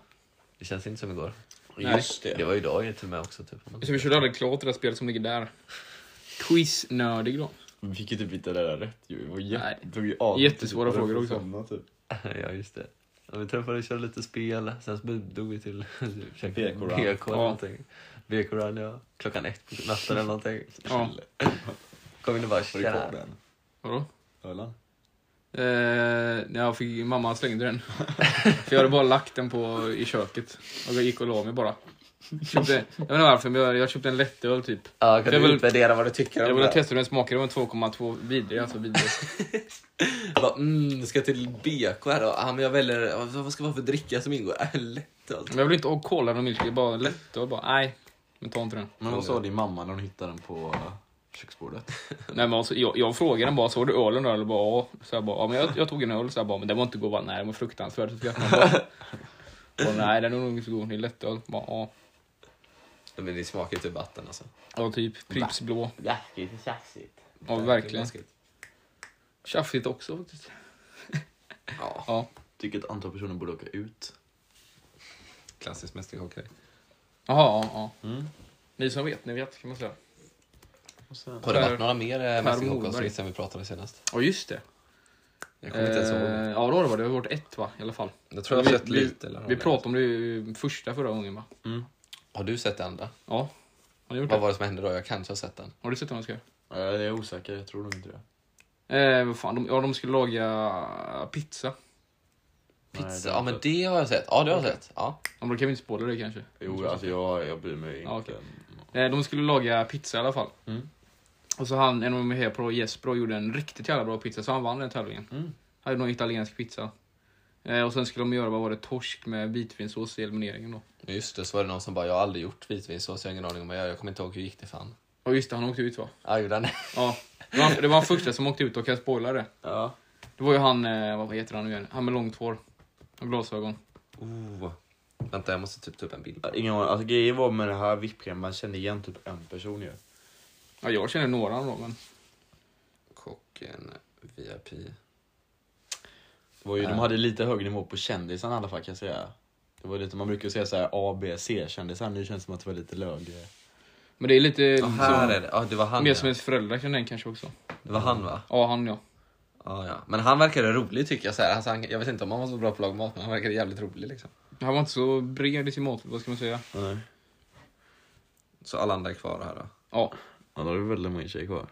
Speaker 1: Det känns inte som igår.
Speaker 2: Nej.
Speaker 3: Just det.
Speaker 1: Det var ju idag till och med också typ.
Speaker 2: Så vi körde aldrig klart det där spelet som ligger där. Quiznördig då.
Speaker 3: Vi fick ju typ inte det där rätt ju. Det var jä-
Speaker 2: Nej.
Speaker 3: det tog ju av-
Speaker 2: Jättesvåra
Speaker 3: typ,
Speaker 2: frågor
Speaker 3: för
Speaker 2: också.
Speaker 3: sådana, typ.
Speaker 1: ja, just det. Ja, vi träffade och körde lite spel, sen så dog vi till käkade
Speaker 3: BK-run.
Speaker 1: BK eller
Speaker 2: Ja.
Speaker 1: någonting. BK-run, ja. Klockan ett på natten eller någonting.
Speaker 2: Ja.
Speaker 1: Kom in och bara
Speaker 3: Var det kvar
Speaker 1: tjena.
Speaker 3: den?
Speaker 2: Vadå?
Speaker 3: Ölan?
Speaker 2: Eh, när jag fick, mamma slängde den. För jag hade bara lagt den på, i köket. Och jag gick och la mig bara. Köpte, jag vet inte varför, men jag, jag köpte en lättöl typ.
Speaker 1: Ja, kan
Speaker 2: Jag
Speaker 1: du
Speaker 2: vill-
Speaker 1: utvärdera vad du tycker
Speaker 2: Jag
Speaker 1: om
Speaker 2: ville
Speaker 1: det?
Speaker 2: testa hur den smakade, det var 2,2 vidrig. Alltså vidrig.
Speaker 1: Bara, mm, ska jag till BK här då? Ja, men jag väljer, ja, vad ska det vara för dricka som ingår? Äh, Lätt alltså.
Speaker 2: Men jag vill inte ha kola och milkshake, bara lättöl bara. Nej, men ta inte den.
Speaker 3: Men vad sa din mamma när hon hittade den på eh, köksbordet?
Speaker 2: Nej, men alltså, jag, jag frågade den bara, såg du ölen då? Eller bara, ja. Så jag bara, ja men jag, jag tog en öl. Så jag bara, men den var inte god. Bara, nej, den var fruktansvärd. Så skrattade hon bara. Och, nej, den är nog inte så god. Det är lättöl. Bara, ja.
Speaker 1: Ja, Men det smakar ju typ vatten alltså.
Speaker 2: Ja, typ Pripps blå.
Speaker 3: Läskigt och tjafsigt.
Speaker 2: Ja,
Speaker 1: Det är
Speaker 2: verkligen.
Speaker 1: läskigt.
Speaker 2: Tjafsigt också faktiskt.
Speaker 1: Ja,
Speaker 2: Ja,
Speaker 3: Tycker ett antal personer borde åka ut.
Speaker 1: klassisk mästerkockgrej.
Speaker 2: jaha, ja. ja.
Speaker 3: Mm.
Speaker 2: Ni som vet, ni vet kan man säga.
Speaker 3: Och sen...
Speaker 1: Har det
Speaker 2: Per-
Speaker 1: varit några mer eh,
Speaker 2: Morberg.
Speaker 1: mästerkockavsnitt sen vi pratade senast?
Speaker 2: Ja, just det.
Speaker 1: Jag kommer inte ens ihåg.
Speaker 2: Eh, Ja, då var det. Det har varit ett va, i alla fall.
Speaker 1: Jag tror jag
Speaker 2: vi-
Speaker 1: har sett
Speaker 2: vi-
Speaker 1: lite. Eller
Speaker 2: Vi
Speaker 1: något.
Speaker 2: pratade om det ju första förra gången va?
Speaker 3: Mm.
Speaker 1: Har du sett det andra?
Speaker 2: Ja. Har ni gjort
Speaker 1: Vad
Speaker 2: det?
Speaker 1: var det som hände då? Jag kanske har sett den.
Speaker 2: Har du sett honom ska?
Speaker 3: Ja, Jag är osäker, jag tror nog inte det.
Speaker 2: Eh, vad fan, de, ja de skulle laga pizza.
Speaker 3: Nej, det har
Speaker 1: Pizza,
Speaker 3: jag
Speaker 1: ja
Speaker 3: inte
Speaker 1: men
Speaker 3: sett.
Speaker 1: det har jag sett. Ja, det har jag
Speaker 2: Okej.
Speaker 1: sett. Ja.
Speaker 2: Ja, men då kan vi inte spoila det kanske.
Speaker 3: Jo, alltså jag, jag bryr mig inte.
Speaker 2: Ja, okej. Eh, de skulle laga pizza i alla fall.
Speaker 3: Mm.
Speaker 2: Och så han, en av dem är här på då, Jesper och gjorde en riktigt jävla bra pizza så han vann den tävlingen.
Speaker 3: Mm.
Speaker 2: Han gjorde någon italiensk pizza. Eh, och sen skulle de göra, vad var det, torsk med vitvinsås i elimineringen då.
Speaker 1: Men Just det, så var det någon som bara, jag har aldrig gjort vitvinsås, jag har ingen aning om vad jag gör. Jag kommer inte ihåg hur gick det fan.
Speaker 2: Och just det, han åkte ut va?
Speaker 1: Ja, gjorde han det?
Speaker 2: Ja. Det var, han- det var han första som åkte ut och kan jag spoila det.
Speaker 3: Ja.
Speaker 2: Det var ju han, eh, vad heter han nu igen? Han med långt hår. Och glasögon.
Speaker 1: Oh. Vänta, jag måste typ ta upp en bild.
Speaker 3: Ingen aning. Alltså grejen var med det här vippgrejen, man kände igen typ en person ju.
Speaker 2: Ja, jag känner några av dem men...
Speaker 1: Kocken VIP.
Speaker 3: Det var ju,
Speaker 1: Ja.
Speaker 3: De hade lite högre nivå på kändisarna i alla fall kan jag säga. Det var lite, man brukar ju säga så här A, B, C-kändisar. Nu känns det som att det var lite lögre.
Speaker 2: Men det är lite...
Speaker 1: Ja,
Speaker 2: så-
Speaker 1: här är det. Ja, det var han
Speaker 2: Mer som
Speaker 1: ja.
Speaker 2: ens föräldrar känner den kanske också.
Speaker 1: Det var han va?
Speaker 2: Ja, han ja.
Speaker 1: Ja, ja. Men han verkade rolig tycker jag. Så här. Alltså, han, jag vet inte om han var så bra på att laga mat, men han verkade jävligt rolig liksom.
Speaker 2: Han var inte så bred i sin mat, vad ska man säga?
Speaker 3: Nej.
Speaker 1: Så alla andra är kvar här då.
Speaker 2: Ja.
Speaker 3: Ja, då har vi väldigt många tjejer kvar.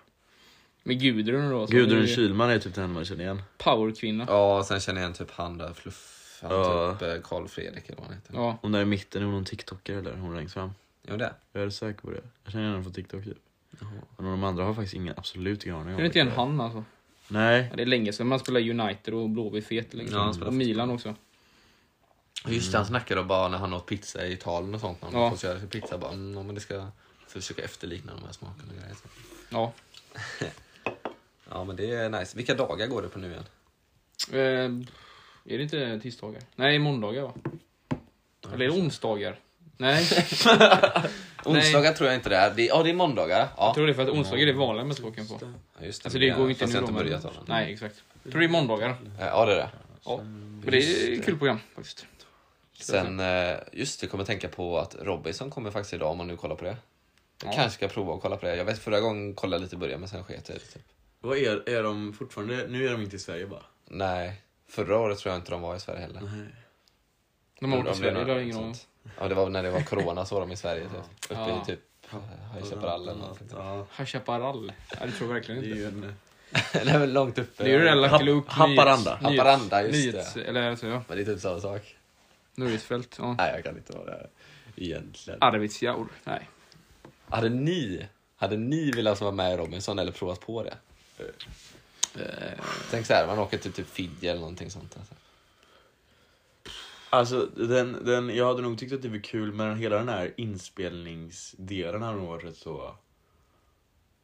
Speaker 2: Med Gudrun då. som är
Speaker 3: Gudrun Kylman är typ den man känner igen.
Speaker 2: Powerkvinna. Ja.
Speaker 1: Ja, och sen känner jag en typ han där, Fluff. Han
Speaker 3: Ja.
Speaker 1: typ eh, Karl Fredrik eller vad han heter.
Speaker 2: ja.
Speaker 3: Hon där i mitten, är hon någon TikToker eller? Hon längst fram.
Speaker 1: Jo, det.
Speaker 3: Jag är säker på det. Jag känner igen henne från TikTok typ. Men de andra har faktiskt ingen, absolut ingen aning
Speaker 2: Jag
Speaker 3: om
Speaker 2: känner inte igen
Speaker 3: vilka det är.
Speaker 2: han alltså.
Speaker 3: Nej.
Speaker 2: Ja, det är länge sedan man spelade United och Blåvitt för jättelänge
Speaker 1: Ja, han
Speaker 2: sedan.
Speaker 1: spelade
Speaker 2: och Milan också.
Speaker 1: Och Just det, han snackade om bara när han åt pizza i Italien och sånt. När han
Speaker 2: Ja.
Speaker 1: ja. fått göra sin pizza. Bara, mm, ja, men det ska försöka efterlikna de här smakerna och grejer. Så.
Speaker 2: Ja.
Speaker 1: Ja, men det är nice. Vilka dagar går det på nu igen?
Speaker 2: Eh, är det inte tisdagar? Nej, måndagar va? Eller är det onsdagar? Nej,
Speaker 1: Onsdagar tror jag inte det är. Det, ja, det är måndagar. Ja,
Speaker 2: jag tror det är för att onsdagar är det vanliga med skåken på.
Speaker 1: ja just det.
Speaker 2: Alltså det går ju inte
Speaker 1: Fast
Speaker 2: nu
Speaker 1: jag har
Speaker 2: då,
Speaker 1: inte
Speaker 2: men-
Speaker 1: börjat av den.
Speaker 2: Nej, exakt. Jag tror det är måndagar.
Speaker 1: Eh, Ja, det är det.
Speaker 2: Ja. Men det är ett kul program faktiskt.
Speaker 1: Sen, eh, just det, kommer tänka på att Robinson kommer faktiskt idag om man nu kollar på det. Jag
Speaker 2: Ja.
Speaker 1: kanske ska prova att kolla på det. Jag vet förra gången kollade jag lite i början men sen sket jag i det, typ.
Speaker 3: Vad är, är de fortfarande, nu är de inte i Sverige bara.
Speaker 1: Nej, förra året tror jag inte de var i Sverige heller.
Speaker 3: Nej.
Speaker 2: De
Speaker 1: Undrar
Speaker 2: har åkt till
Speaker 1: om det är
Speaker 2: Sverige, det
Speaker 1: något
Speaker 2: har jag ingen aning om.
Speaker 1: sånt. Ja, det var väl när det var corona så var de i Sverige typ. Uppe
Speaker 2: Ja.
Speaker 1: i typ eh, High Chaparral eller något. sånt.
Speaker 3: Ja,
Speaker 2: High Chaparral? Ja, det tror jag verkligen
Speaker 3: det
Speaker 2: inte.
Speaker 3: är ju en...
Speaker 1: Det är väl långt uppe.
Speaker 2: Det är ju det där Lucky
Speaker 3: Happ-
Speaker 2: Luke
Speaker 3: Haparanda.
Speaker 2: nyhets-
Speaker 1: Haparanda, just det.
Speaker 2: nyhets, Eller alltså, ja,
Speaker 1: Men det är typ samma sak.
Speaker 2: Nöjesfält. Ja.
Speaker 1: Nej, jag kan inte vara där egentligen.
Speaker 2: Arvidsjaur. Nej.
Speaker 1: Hade ni, hade ni velat vara med i Robinson eller provat på det? Tänk så här, man åker till typ Fiji eller någonting sånt. Alltså.
Speaker 3: Alltså, den, den, jag hade nog tyckt att det var kul men hela den här inspelningsdelen hade nog varit rätt så...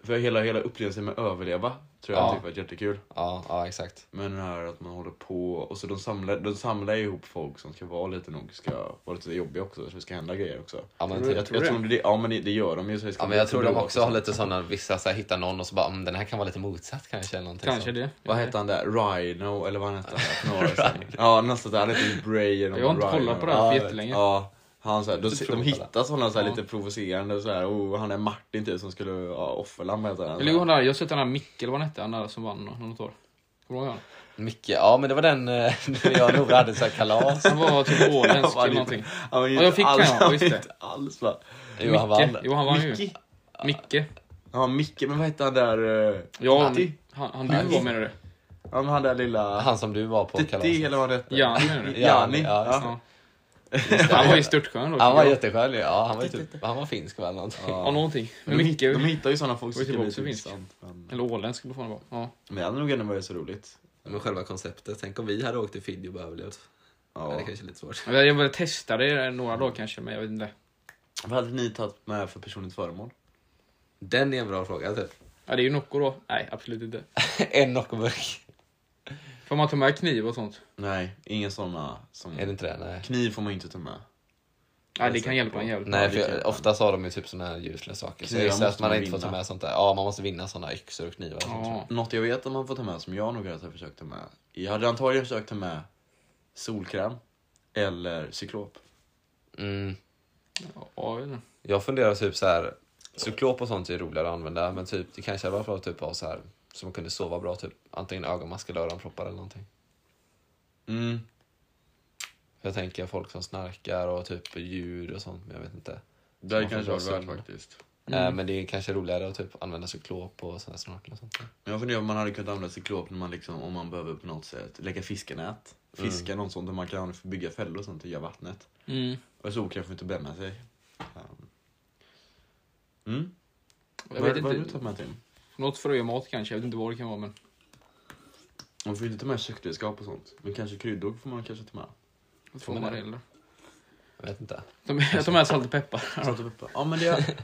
Speaker 3: För hela, hela upplevelsen med att överleva tror
Speaker 1: Ja.
Speaker 3: jag hade tyckt varit jättekul.
Speaker 1: Ja, ja, exakt.
Speaker 3: Men den här att man håller på och så de samlar, de samlar ihop folk som ska vara lite nog, ska vara lite jobbiga också, så det ska hända grejer också.
Speaker 1: Ja, men
Speaker 2: Tror du-
Speaker 1: typ.
Speaker 3: Jag, jag tror det, ja men det, det gör de ju. Så det ska
Speaker 1: Ja, men
Speaker 3: bli
Speaker 1: jag tror
Speaker 3: bra
Speaker 1: de också
Speaker 3: och
Speaker 1: har
Speaker 3: så.
Speaker 1: lite sådana, vissa så här, hittar någon och så bara, mm, den här kan vara lite motsatt kanske. Eller någonting
Speaker 2: Kanske
Speaker 1: sånt.
Speaker 2: det.
Speaker 3: Vad hette han där? Rhino eller vad han hette? För några år sedan. Ja, nästan där. Han hette ju Bray eller
Speaker 2: Jag har inte
Speaker 3: Rhino.
Speaker 2: kollat på det här för
Speaker 3: Ja, jag vet.
Speaker 2: jättelänge.
Speaker 3: Ja. Han så här, de,
Speaker 1: Lite
Speaker 3: de
Speaker 1: provocerande.
Speaker 3: hittar sådana så här
Speaker 2: Ja.
Speaker 3: lite provocerande så här. Och han är Martin typ som skulle, ja, offerlamm heter han.
Speaker 2: Eller hur han där, jag har sett den här Micke, eller vad han hette, han där som vann något år. Kommer du ihåg honom?
Speaker 1: Mycket, ja men det var den eh, när jag och Nora hade så här kalas.
Speaker 2: Han var typ åländsk eller någonting.
Speaker 3: Han var ju
Speaker 2: Ja, jag
Speaker 3: inte
Speaker 2: fick
Speaker 3: alls,
Speaker 2: han,
Speaker 3: han var
Speaker 2: just
Speaker 3: ju
Speaker 2: det.
Speaker 3: inte alls va.
Speaker 1: Jo, han
Speaker 2: Micke.
Speaker 1: vann.
Speaker 2: Jo, han vann ju.
Speaker 3: Micke?
Speaker 2: Micke.
Speaker 3: Ja, Micke, men vad hette han där? eh,
Speaker 2: Ja,
Speaker 3: Titti?
Speaker 2: han, han du var menar du?
Speaker 3: Ja, men han där lilla...
Speaker 1: Han som du var på
Speaker 3: Titti
Speaker 1: kalaset.
Speaker 3: eller vad han hette?
Speaker 2: Ja, menar du?
Speaker 3: Jani.
Speaker 1: Ja, just det.
Speaker 2: Ja. Han var ju störtskön då.
Speaker 1: Han var jätteskön ju. ja, han var, ju typ, han var finsk va, eller någonting.
Speaker 2: Ja, någonting. Men
Speaker 3: De, hitt-
Speaker 2: Micke,
Speaker 3: de hittar ju sådana folk som
Speaker 2: Och typ
Speaker 3: ska bli
Speaker 2: också
Speaker 3: typ
Speaker 2: finsk.
Speaker 3: sant, men-
Speaker 2: eller åländsk eller vad fan det var. Ja.
Speaker 3: Men det hade nog ändå varit så roligt.
Speaker 1: Men själva konceptet, tänk om vi hade åkt till Fidji och överlevt. Ja. Det
Speaker 3: Ja.
Speaker 1: är kanske är lite svårt.
Speaker 2: Jag jag testade det några dagar kanske, men jag vet inte.
Speaker 3: Vad hade ni tagit med för personligt föremål?
Speaker 1: Den är en bra fråga typ.
Speaker 2: Ja, det är ju Nocco då. Nej, absolut inte.
Speaker 1: en Noccoburk.
Speaker 2: Får man ta med kniv och sånt?
Speaker 3: Nej, inga sådana. Som...
Speaker 1: Är det inte det? Nej.
Speaker 3: Kniv får man ju inte ta med.
Speaker 2: Nej, det kan hjälpa en jävligt
Speaker 1: Nej,
Speaker 2: mycket.
Speaker 1: för jag, ofta sa de ju typ såna här ljusliga saker. Så jag
Speaker 3: Knivar
Speaker 1: gissar att
Speaker 3: måste
Speaker 1: man
Speaker 3: man
Speaker 1: inte får ta
Speaker 3: vinna.
Speaker 1: med sånt där. Ja, man måste vinna såna yxor och knivar och sånt. tror jag.
Speaker 2: Ja.
Speaker 3: Något jag vet att man får ta med som jag nog hade försökt ta med. Jag hade antagligen försökt ta med solkräm eller cyklop.
Speaker 1: Mm.
Speaker 2: Ja, jag vet inte.
Speaker 1: Jag funderar typ så här. Cyklop och sånt är roligare att använda, men typ, det kanske hade varit bra att typ ha så här som man kunde sova bra, typ antingen ögonmask eller öronproppar eller någonting.
Speaker 3: Mm.
Speaker 1: För jag tänker folk som snarkar och typ djur och sånt, men jag vet inte.
Speaker 3: Det hade
Speaker 1: Man får
Speaker 3: kanske
Speaker 1: dra
Speaker 3: varit värt
Speaker 1: sömn.
Speaker 3: faktiskt.
Speaker 2: Mm.
Speaker 1: Eh, men det är kanske roligare att typ använda cyklop och såna här snorkel och sånt.
Speaker 3: Men Jag funderar om man hade kunnat använda cyklop när man liksom, om man behöver på något sätt lägga fiskenät. Fiska något sånt där man kan bygga fällor och sånt i vattnet.
Speaker 2: Mm.
Speaker 3: Och solkräm får inte bränna sig. Um. Mm.
Speaker 2: Jag vet
Speaker 3: vad vad har du
Speaker 2: inte.
Speaker 3: tagit med Tim?
Speaker 2: Något frömat kanske, jag vet inte vad det kan vara men.
Speaker 3: Man får ju inte ta med köksredskap och sånt. Men kanske kryddor får man kanske ta med.
Speaker 2: Vad får man det eller?
Speaker 1: Jag vet inte.
Speaker 2: De- Jag tar med salt och peppar.
Speaker 3: Salt och peppar. Ja men det...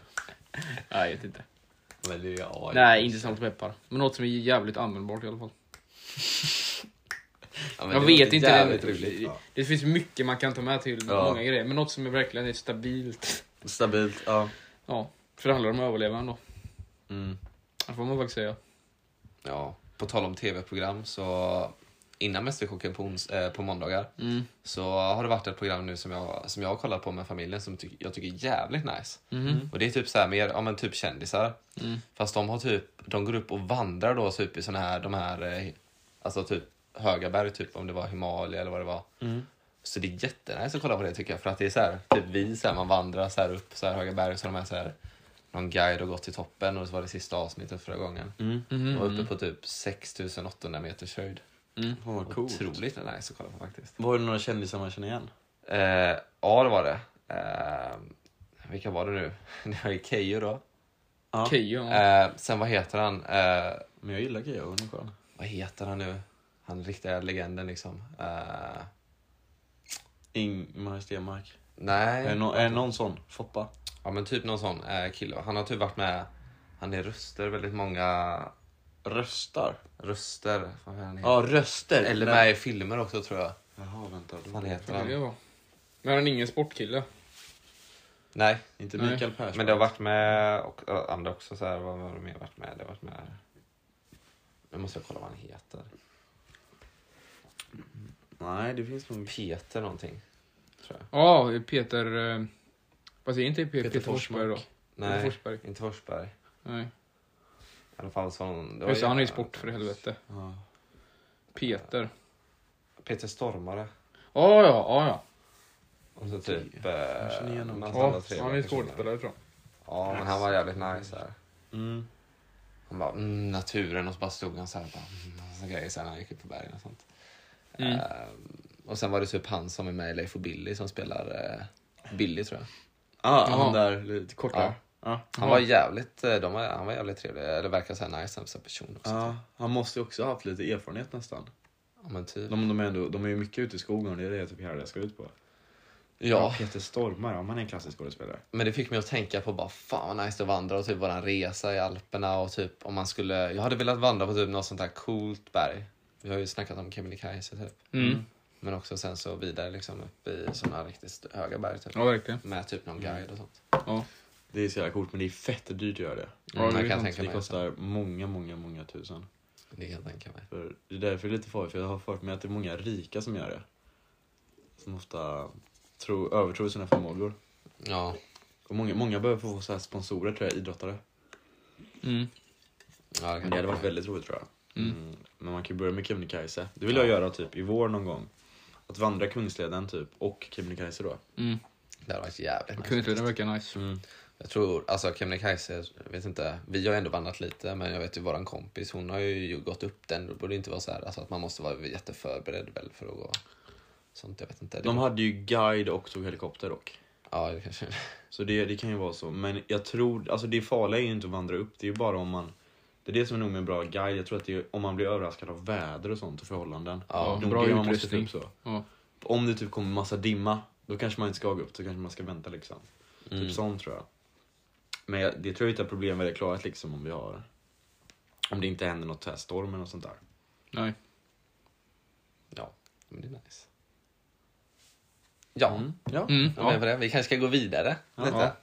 Speaker 2: Nej, jag vet inte.
Speaker 1: Men det är ju AI.
Speaker 2: Nej, inte salt och peppar. Men något som är jävligt användbart i alla fall.
Speaker 1: Ja, men
Speaker 2: Jag
Speaker 1: det
Speaker 2: vet
Speaker 1: låter
Speaker 2: inte.
Speaker 1: Jävligt
Speaker 2: det,
Speaker 1: roligt.
Speaker 2: det finns mycket man kan ta med till
Speaker 3: Ja.
Speaker 2: många grejer. Men något som är verkligen är stabilt.
Speaker 3: Stabilt, ja.
Speaker 2: Ja, för det handlar om överlevnad då.
Speaker 3: Mm.
Speaker 2: Det får man faktiskt säga.
Speaker 1: Ja, på tal om tv-program så innan Mästerkocken på, ons- eh, på måndagar
Speaker 2: Mm.
Speaker 1: så har det varit ett program nu som jag, som jag har kollat på med familjen som ty- jag tycker är jävligt nice.
Speaker 2: Mhm.
Speaker 1: Och det är typ så här mer, ja men typ kändisar.
Speaker 2: Mm.
Speaker 1: Fast de har typ, de går upp och vandrar då typ i såna här, de här, eh, alltså typ höga berg typ om det var Himalaya eller vad det var.
Speaker 3: Mm.
Speaker 1: Så det är jättenice att kolla på det tycker jag för att det är så här, typ vi så här, man vandrar så här upp så här höga berg så de är så här, någon guide har gått till toppen och så var det sista avsnittet förra gången.
Speaker 3: Mm.
Speaker 1: De var uppe på typ 6800 meters höjd.
Speaker 3: Mm. Fan vad coolt.
Speaker 1: Otroligt nice att kolla på faktiskt.
Speaker 3: Var det några kändisar man känner igen?
Speaker 1: Eh, ja, det var det. Eh, vilka var det nu? Det var ju Keyyo då.
Speaker 3: Ja.
Speaker 2: Keyyo, ja.
Speaker 1: Eh, sen vad heter han? Eh,
Speaker 3: Men jag gillar Keyyo, hon är skön.
Speaker 1: vad heter han nu? Han riktiga legenden liksom. Eh,
Speaker 3: Ingmar Stenmark. Är det
Speaker 1: nej,
Speaker 3: nå- är det någon sån? Foppa?
Speaker 1: ja, men typ någon sån eh, kille. Han har typ varit med, han är röster, väldigt många
Speaker 3: Röstar?
Speaker 1: röster. Vad är han heter?
Speaker 3: Ja, röster.
Speaker 1: Mm. Eller med i filmer också tror jag.
Speaker 3: Jaha, vänta. då-
Speaker 1: Vad fan heter
Speaker 2: Det är
Speaker 1: han?
Speaker 2: bra. Men han är ingen sportkille.
Speaker 1: Nej,
Speaker 3: Inte
Speaker 2: Nej.
Speaker 3: Mikael Persson.
Speaker 1: Men det har varit med och, och andra också. Så här, vad har det mer varit med? Det har varit med... Nu måste jag kolla vad han heter.
Speaker 3: Nej, det finns nog...
Speaker 1: Peter någonting. Tror jag.
Speaker 2: Ja, Peter... eh, Vad säger inte Peter,
Speaker 3: Peter
Speaker 2: Peter Forsberg då?
Speaker 3: Forsmark.
Speaker 1: Nej,
Speaker 2: Forsberg.
Speaker 1: inte Forsberg.
Speaker 2: Nej.
Speaker 1: I alla fall så hon, det var
Speaker 2: Just det, han är ju
Speaker 1: eh,
Speaker 2: sport för helvete.
Speaker 3: Ja.
Speaker 2: Peter.
Speaker 1: Peter Stormare.
Speaker 2: Ja, ja, ja. ja.
Speaker 1: Och så typ...
Speaker 3: Jag känner igen
Speaker 1: Eh,
Speaker 3: honom.
Speaker 1: någon annan
Speaker 2: ja
Speaker 1: trevlig
Speaker 2: han är ju
Speaker 1: person.
Speaker 2: skådespelare tror
Speaker 1: Ja, men han var jävligt nice där.
Speaker 3: Mm.
Speaker 1: Han bara, mm, naturen och så bara stod han så här bara, mm, massa grejer sen när han gick upp på bergen och sånt.
Speaker 2: jag. Mm.
Speaker 1: Eh, och sen var det typ han som är med i Leif och Billy som spelar eh, Billy tror jag.
Speaker 3: Ah,
Speaker 2: Jaha.
Speaker 3: han där lite kortare. Ja.
Speaker 1: Han var jävligt, eh, de var, han var jävligt trevlig. Eller verkar så här nice som person också.
Speaker 3: Ja, han måste ju också ha haft lite erfarenhet nästan.
Speaker 1: Ja, men typ.
Speaker 3: De, de, är, ändå, de är ju mycket ute i skogen och det är det typ här jag ska ut på.
Speaker 1: Ja,
Speaker 3: Peter Stormare, om han är en klassisk skådespelare.
Speaker 1: men det fick mig att tänka på bara fan vad nice det var att vandra och typ våran resa i Alperna och typ om man skulle, jag hade velat vandra på typ något sånt här coolt berg. Vi har ju snackat om Kebnekaise typ.
Speaker 2: Mm.
Speaker 1: Men också sen så vidare liksom upp i sådana riktigt höga berg typ.
Speaker 2: Ja, verkligen.
Speaker 1: Med typ någon guide och sånt.
Speaker 2: Ja.
Speaker 3: Det är så jävla coolt men det är fett dyrt att göra det.
Speaker 2: Ja,
Speaker 1: Mm,
Speaker 2: det
Speaker 1: det kan
Speaker 2: är
Speaker 1: jag
Speaker 2: sant.
Speaker 1: tänka
Speaker 3: Det
Speaker 1: mig.
Speaker 3: kostar många, många, många tusen.
Speaker 1: Det kan jag tänka mig.
Speaker 3: För det är därför det är lite farligt, för jag har fört mig att det är många rika som gör det. Som ofta tror, övertror sina förmågor.
Speaker 1: Ja.
Speaker 3: Och många, många behöver få så här sponsorer tror jag, idrottare.
Speaker 2: Mm.
Speaker 1: ja det,
Speaker 3: Men
Speaker 1: kan
Speaker 3: det hade
Speaker 1: jag.
Speaker 3: varit väldigt roligt tror jag. Mm. Men man kan ju börja med Kebnekaise. Det vill jag göra typ i vår någon gång. Att vandra Kungsleden typ och Kebnekaise då.
Speaker 2: Mm.
Speaker 1: det hade varit jävligt nice.
Speaker 2: Kungsleden verkar nice.
Speaker 1: Jag tror, alltså Kebnekaise, jag vet inte, vi har ju ändå vandrat lite men jag vet ju våran kompis, hon har ju gått upp den. Det borde inte vara så här, alltså att man måste vara jätteförberedd väl för att gå. Sånt, jag vet inte. Det,
Speaker 3: De hade ju guide och tog helikopter dock.
Speaker 1: Ja, det kanske
Speaker 3: Så det, det kan ju vara så. Men jag tror, alltså det farliga är ju inte att vandra upp. Det är ju bara om man, det är det som är nog med en bra guide. Jag tror att det är om man blir överraskad av väder och sånt och förhållanden.
Speaker 1: Ja,
Speaker 3: Det är nog
Speaker 2: bra
Speaker 3: det man måste
Speaker 2: utrustning.
Speaker 3: ta upp så.
Speaker 2: Ja.
Speaker 3: Om det typ kommer massa dimma, då kanske man inte ska gå upp. Då kanske man ska vänta liksom.
Speaker 1: Mm.
Speaker 3: Typ sånt tror jag. Men jag, det tror jag inte är problem med det klarat liksom om vi har, om det inte händer något här storm eller något sånt där.
Speaker 2: Nej.
Speaker 1: Ja, men det är nice. Ja,
Speaker 3: Ja.
Speaker 2: Mm.
Speaker 1: ja. Men
Speaker 2: Ja.
Speaker 1: för det, vi kanske ska gå vidare lite.
Speaker 3: ja.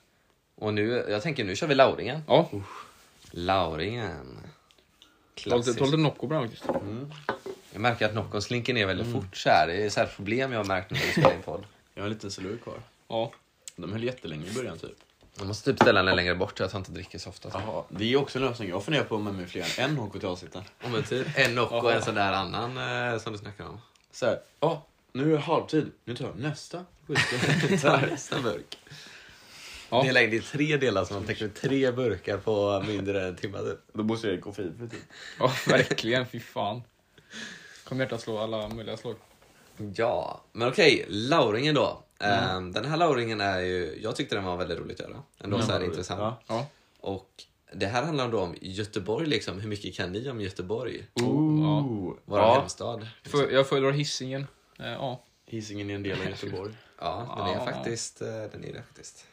Speaker 1: Och nu, jag tänker nu kör vi Lauringen.
Speaker 2: ja.
Speaker 1: Lauringen.
Speaker 2: Klassiskt.
Speaker 1: Klassisk.
Speaker 2: Ta lite Nocco bra faktiskt.
Speaker 1: Jag märker att Noccon slinker ner väldigt fort så här. Det är så här problem jag har märkt när vi spelar in podd.
Speaker 3: Jag har en liten silur kvar.
Speaker 2: Ja.
Speaker 3: De höll jättelänge i början typ.
Speaker 1: Jag måste typ ställa den längre bort så att jag inte dricker så ofta.
Speaker 3: Jaha, det är också en lösning. Jag funderar på om med fler än en HK till avsnitten.
Speaker 1: Ja, men typ en Nocco och en sån där annan eh, som du snackar om.
Speaker 3: Så här, ja, nu är det halvtid. Nu tar jag nästa burk. Så här, nästa burk.
Speaker 2: Ja.
Speaker 1: Dela in det i tre delar så man täcker tre burkar på mindre än en timme typ.
Speaker 3: Då måste jag ge koffein för typ.
Speaker 2: ja, verkligen. Fy fan. Kommer hjärtat slå alla möjliga slag.
Speaker 1: Ja, men okej, Lauringen då. Ehm, Den här Lauringen är ju, jag tyckte den var väldigt roligt att göra. Ändå så här intressant.
Speaker 3: Ja.
Speaker 2: Ja.
Speaker 1: Och det här handlar då om Göteborg liksom. Hur mycket kan ni om Göteborg?
Speaker 3: Ooh.
Speaker 1: Vår
Speaker 2: Ja.
Speaker 1: hemstad.
Speaker 2: För, jag föredrar Hisingen. Eh, Ja.
Speaker 3: Hisingen är en del av Göteborg.
Speaker 1: Ja, den är
Speaker 2: Ja.
Speaker 1: faktiskt, eh, den är det faktiskt.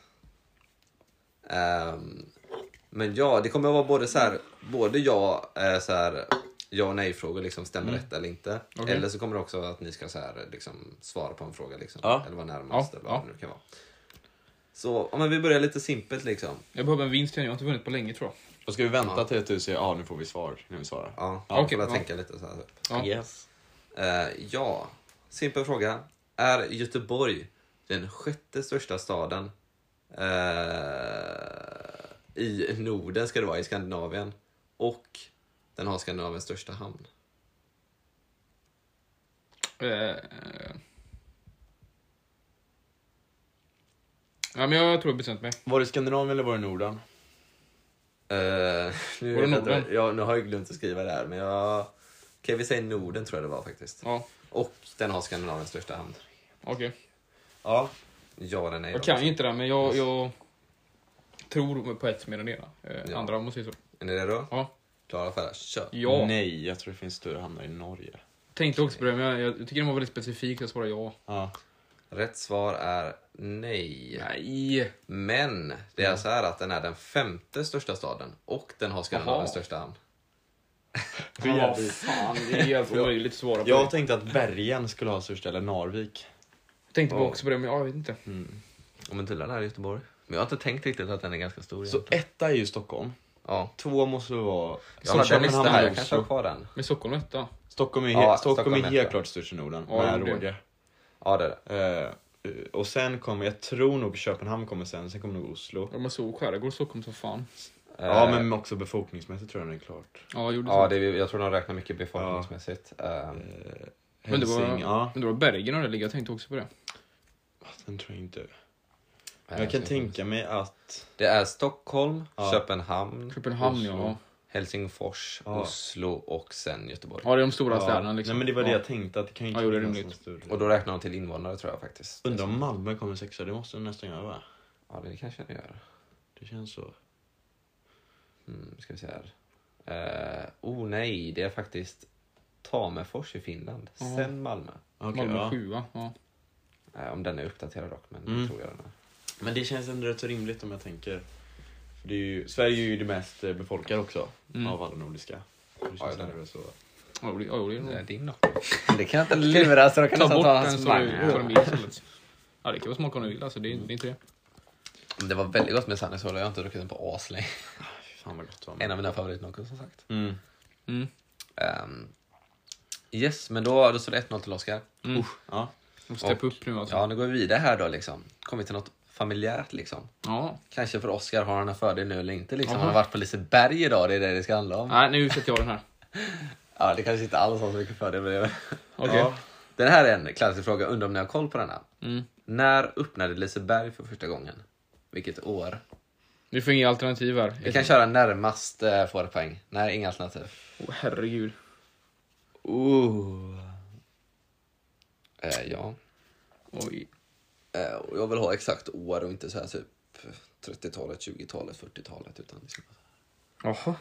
Speaker 1: Ehm, men ja, det kommer att vara både så här, både ja, eh, så här, ja och nej-frågor, liksom, stämmer rätt eller inte.
Speaker 2: Mm. Okej.
Speaker 1: Eller så kommer det också att ni ska så här, liksom, svara på en fråga, liksom,
Speaker 3: Ja.
Speaker 1: eller vara närmast,
Speaker 2: Ja,
Speaker 1: eller vad
Speaker 2: ja.
Speaker 1: det nu kan vara. Så ja, men vi börjar lite simpelt liksom.
Speaker 2: Jag behöver en vinst igen. Jag har inte vunnit på länge tror jag.
Speaker 3: Och ska vi vänta till att du säger ja, nu får vi svar när vi svarar.
Speaker 1: Ja,
Speaker 2: Ja,
Speaker 1: man
Speaker 2: okej,
Speaker 1: får väl
Speaker 2: ja.
Speaker 1: tänka lite så här. Typ.
Speaker 2: Ja.
Speaker 3: Yes.
Speaker 1: Eh, ja, simpel fråga. Är Göteborg den sjätte största staden eh, i Norden, ska det vara, i Skandinavien? Och den har Skandinaviens största hamn.
Speaker 2: Eh, eh. Ja, men jag tror jag bestämt mig.
Speaker 3: Var det Skandinavien eller var det Norden?
Speaker 1: Eh, nu, vet
Speaker 2: Var det
Speaker 1: jag inte-
Speaker 2: Norden?
Speaker 1: ja, nu har jag glömt att skriva det här, men jag... Okej, vi säger Norden tror jag det var faktiskt.
Speaker 2: Ja,
Speaker 1: Och den har Skandinaviens största hamn.
Speaker 2: okej.
Speaker 3: Ja.
Speaker 1: Ja eller nej?
Speaker 2: Jag
Speaker 1: då,
Speaker 2: kan
Speaker 1: liksom.
Speaker 2: ju inte det, men jag, jag tror på ett mer än det ena. Eh,
Speaker 1: Ja.
Speaker 2: Andra, om man säger så.
Speaker 1: Är ni redo?
Speaker 2: Ja.
Speaker 1: Klara, färdiga, kör.
Speaker 2: Ja.
Speaker 3: Nej, jag tror det finns större hamnar i Norge.
Speaker 2: Tänkte också på det, men jag, jag tycker den var väldigt specifik. så Jag svarar ja.
Speaker 3: Ja.
Speaker 1: Rätt svar är nej.
Speaker 2: Nej.
Speaker 1: Men det är så här att den är den femte största staden och den har Skandinaviens största hamn.
Speaker 3: Hur jävligt.
Speaker 2: fan, det är helt omöjligt att svara på.
Speaker 3: Jag
Speaker 2: Jag
Speaker 3: tänkte att Bergen skulle ha störst, eller Narvik.
Speaker 2: tänkte på också på det, men jag vet inte.
Speaker 3: Mm.
Speaker 1: Ja, men tydligen är det Göteborg. Men jag har inte tänkt riktigt att den är ganska stor.
Speaker 3: Så
Speaker 1: egentligen.
Speaker 3: etta är ju Stockholm.
Speaker 1: ja.
Speaker 3: Två måste vara...
Speaker 1: Jag hade en
Speaker 3: Köpenhamn
Speaker 1: lista här,
Speaker 3: och
Speaker 1: jag kanske har
Speaker 3: Oslo.
Speaker 1: kvar den.
Speaker 2: Men Stockholm var etta.
Speaker 3: Stockholm är,
Speaker 1: Ja,
Speaker 3: he-
Speaker 1: Stockholm
Speaker 3: Stockholm är
Speaker 1: är
Speaker 3: helt
Speaker 1: etta.
Speaker 3: klart störst i Norden,
Speaker 2: Ja,
Speaker 3: med
Speaker 2: det-
Speaker 3: råge.
Speaker 1: Ja, det är det.
Speaker 3: Eh, eh, och sen kommer, jag tror nog Köpenhamn kommer sen, sen kommer nog Oslo.
Speaker 2: De har så skärgård i Stockholm som fan.
Speaker 3: Ja,
Speaker 1: Eh,
Speaker 3: men också befolkningsmässigt tror jag den är klart.
Speaker 2: Ja, jag gjorde
Speaker 1: ja
Speaker 2: så.
Speaker 1: det är, jag tror de räknar mycket befolkningsmässigt. Eh,
Speaker 2: Men det var-
Speaker 3: Helsing- ja,
Speaker 2: Men då var Bergen och det ligger. Jag tänkte också på det.
Speaker 3: den tror jag inte.
Speaker 1: eh,
Speaker 3: jag kan
Speaker 1: så-
Speaker 3: tänka mig att...
Speaker 1: Det är Stockholm,
Speaker 3: Ja.
Speaker 1: Köpenhamn,
Speaker 2: Köpenhamn,
Speaker 3: Oslo.
Speaker 2: ja.
Speaker 1: Helsingfors,
Speaker 3: Ja.
Speaker 1: Oslo och sen Göteborg.
Speaker 2: Ja, det är de stora städerna
Speaker 3: ja,
Speaker 2: liksom.
Speaker 3: Nej men det var det
Speaker 2: ja.
Speaker 3: jag tänkte, att det kan ju
Speaker 2: Ja,
Speaker 3: inte
Speaker 2: jo, det är
Speaker 3: finnas
Speaker 2: rimligt.
Speaker 3: någon större.
Speaker 1: Och då räknar de till invånare tror jag faktiskt.
Speaker 3: Undrar om Malmö kommer sexa, det måste den nästan göra va?
Speaker 1: Ja, det kanske det gör.
Speaker 3: Det känns så.
Speaker 1: Mm, ska vi se här. Eh, oh nej, det är faktiskt Tammerfors i Finland,
Speaker 2: Ja.
Speaker 1: sen Malmö.
Speaker 3: Okej,
Speaker 2: Malmö
Speaker 3: ja.
Speaker 2: sjua. Ja.
Speaker 1: Eh, om den är uppdaterad dock, men
Speaker 3: Mm.
Speaker 1: det tror jag den är.
Speaker 3: Men det känns ändå rätt så rimligt om jag tänker. För det är ju, Sverige är ju det mest eh, befolkade också
Speaker 2: Mm.
Speaker 3: av alla nordiska. Det känns
Speaker 1: Ja, det är det.
Speaker 3: ändå så.
Speaker 2: Ja, jo, det- ja, jo, det är
Speaker 1: Det är
Speaker 2: nog.
Speaker 1: din dock. Det kan jag inte lura så då kan
Speaker 2: Ta
Speaker 1: nästan
Speaker 2: bort den
Speaker 1: hans
Speaker 2: så du
Speaker 1: manga.
Speaker 2: får en bild istället. Ja, det kan vara smaka om du vill. Alltså, det, är, det är inte det.
Speaker 1: Det var väldigt gott med sanningshåla, jag har inte druckit den på aslänge.
Speaker 3: Fy fan vad gott det var.
Speaker 1: En av mina favoritnockor som sagt.
Speaker 3: Mm.
Speaker 2: Mm.
Speaker 1: Ehm, yes, men då, då står det 1-0 till Oskar.
Speaker 2: Mm.
Speaker 3: Ja.
Speaker 2: Måste steppa upp nu alltså.
Speaker 1: Ja, nu går vi vidare här då liksom. Kommer vi till något familjärt liksom.
Speaker 2: Ja.
Speaker 1: Kanske för Oscar har han en fördel nu eller inte liksom.
Speaker 2: Jaha.
Speaker 1: Han har varit på Liseberg idag, det är det det ska handla om.
Speaker 2: Nej, nu sätter jag den här.
Speaker 1: Ja, det kanske inte alls har så mycket fördel med det.
Speaker 2: Okej.
Speaker 3: Ja.
Speaker 1: Den här är en klassisk fråga, undrar om ni har koll på denna.
Speaker 2: Mm.
Speaker 1: När öppnade Liseberg för första gången? Vilket år?
Speaker 2: Vi får inga alternativ här.
Speaker 1: Vi kan köra närmast eh, får ett poäng. Nej, inga alternativ.
Speaker 2: Åh, herregud.
Speaker 1: Ooh. Eh, ja.
Speaker 2: Oj.
Speaker 1: Eh, och jag vill ha exakt år och inte så här typ 30-talet, 20-talet, 40-talet. Utan det ska,
Speaker 2: Jaha.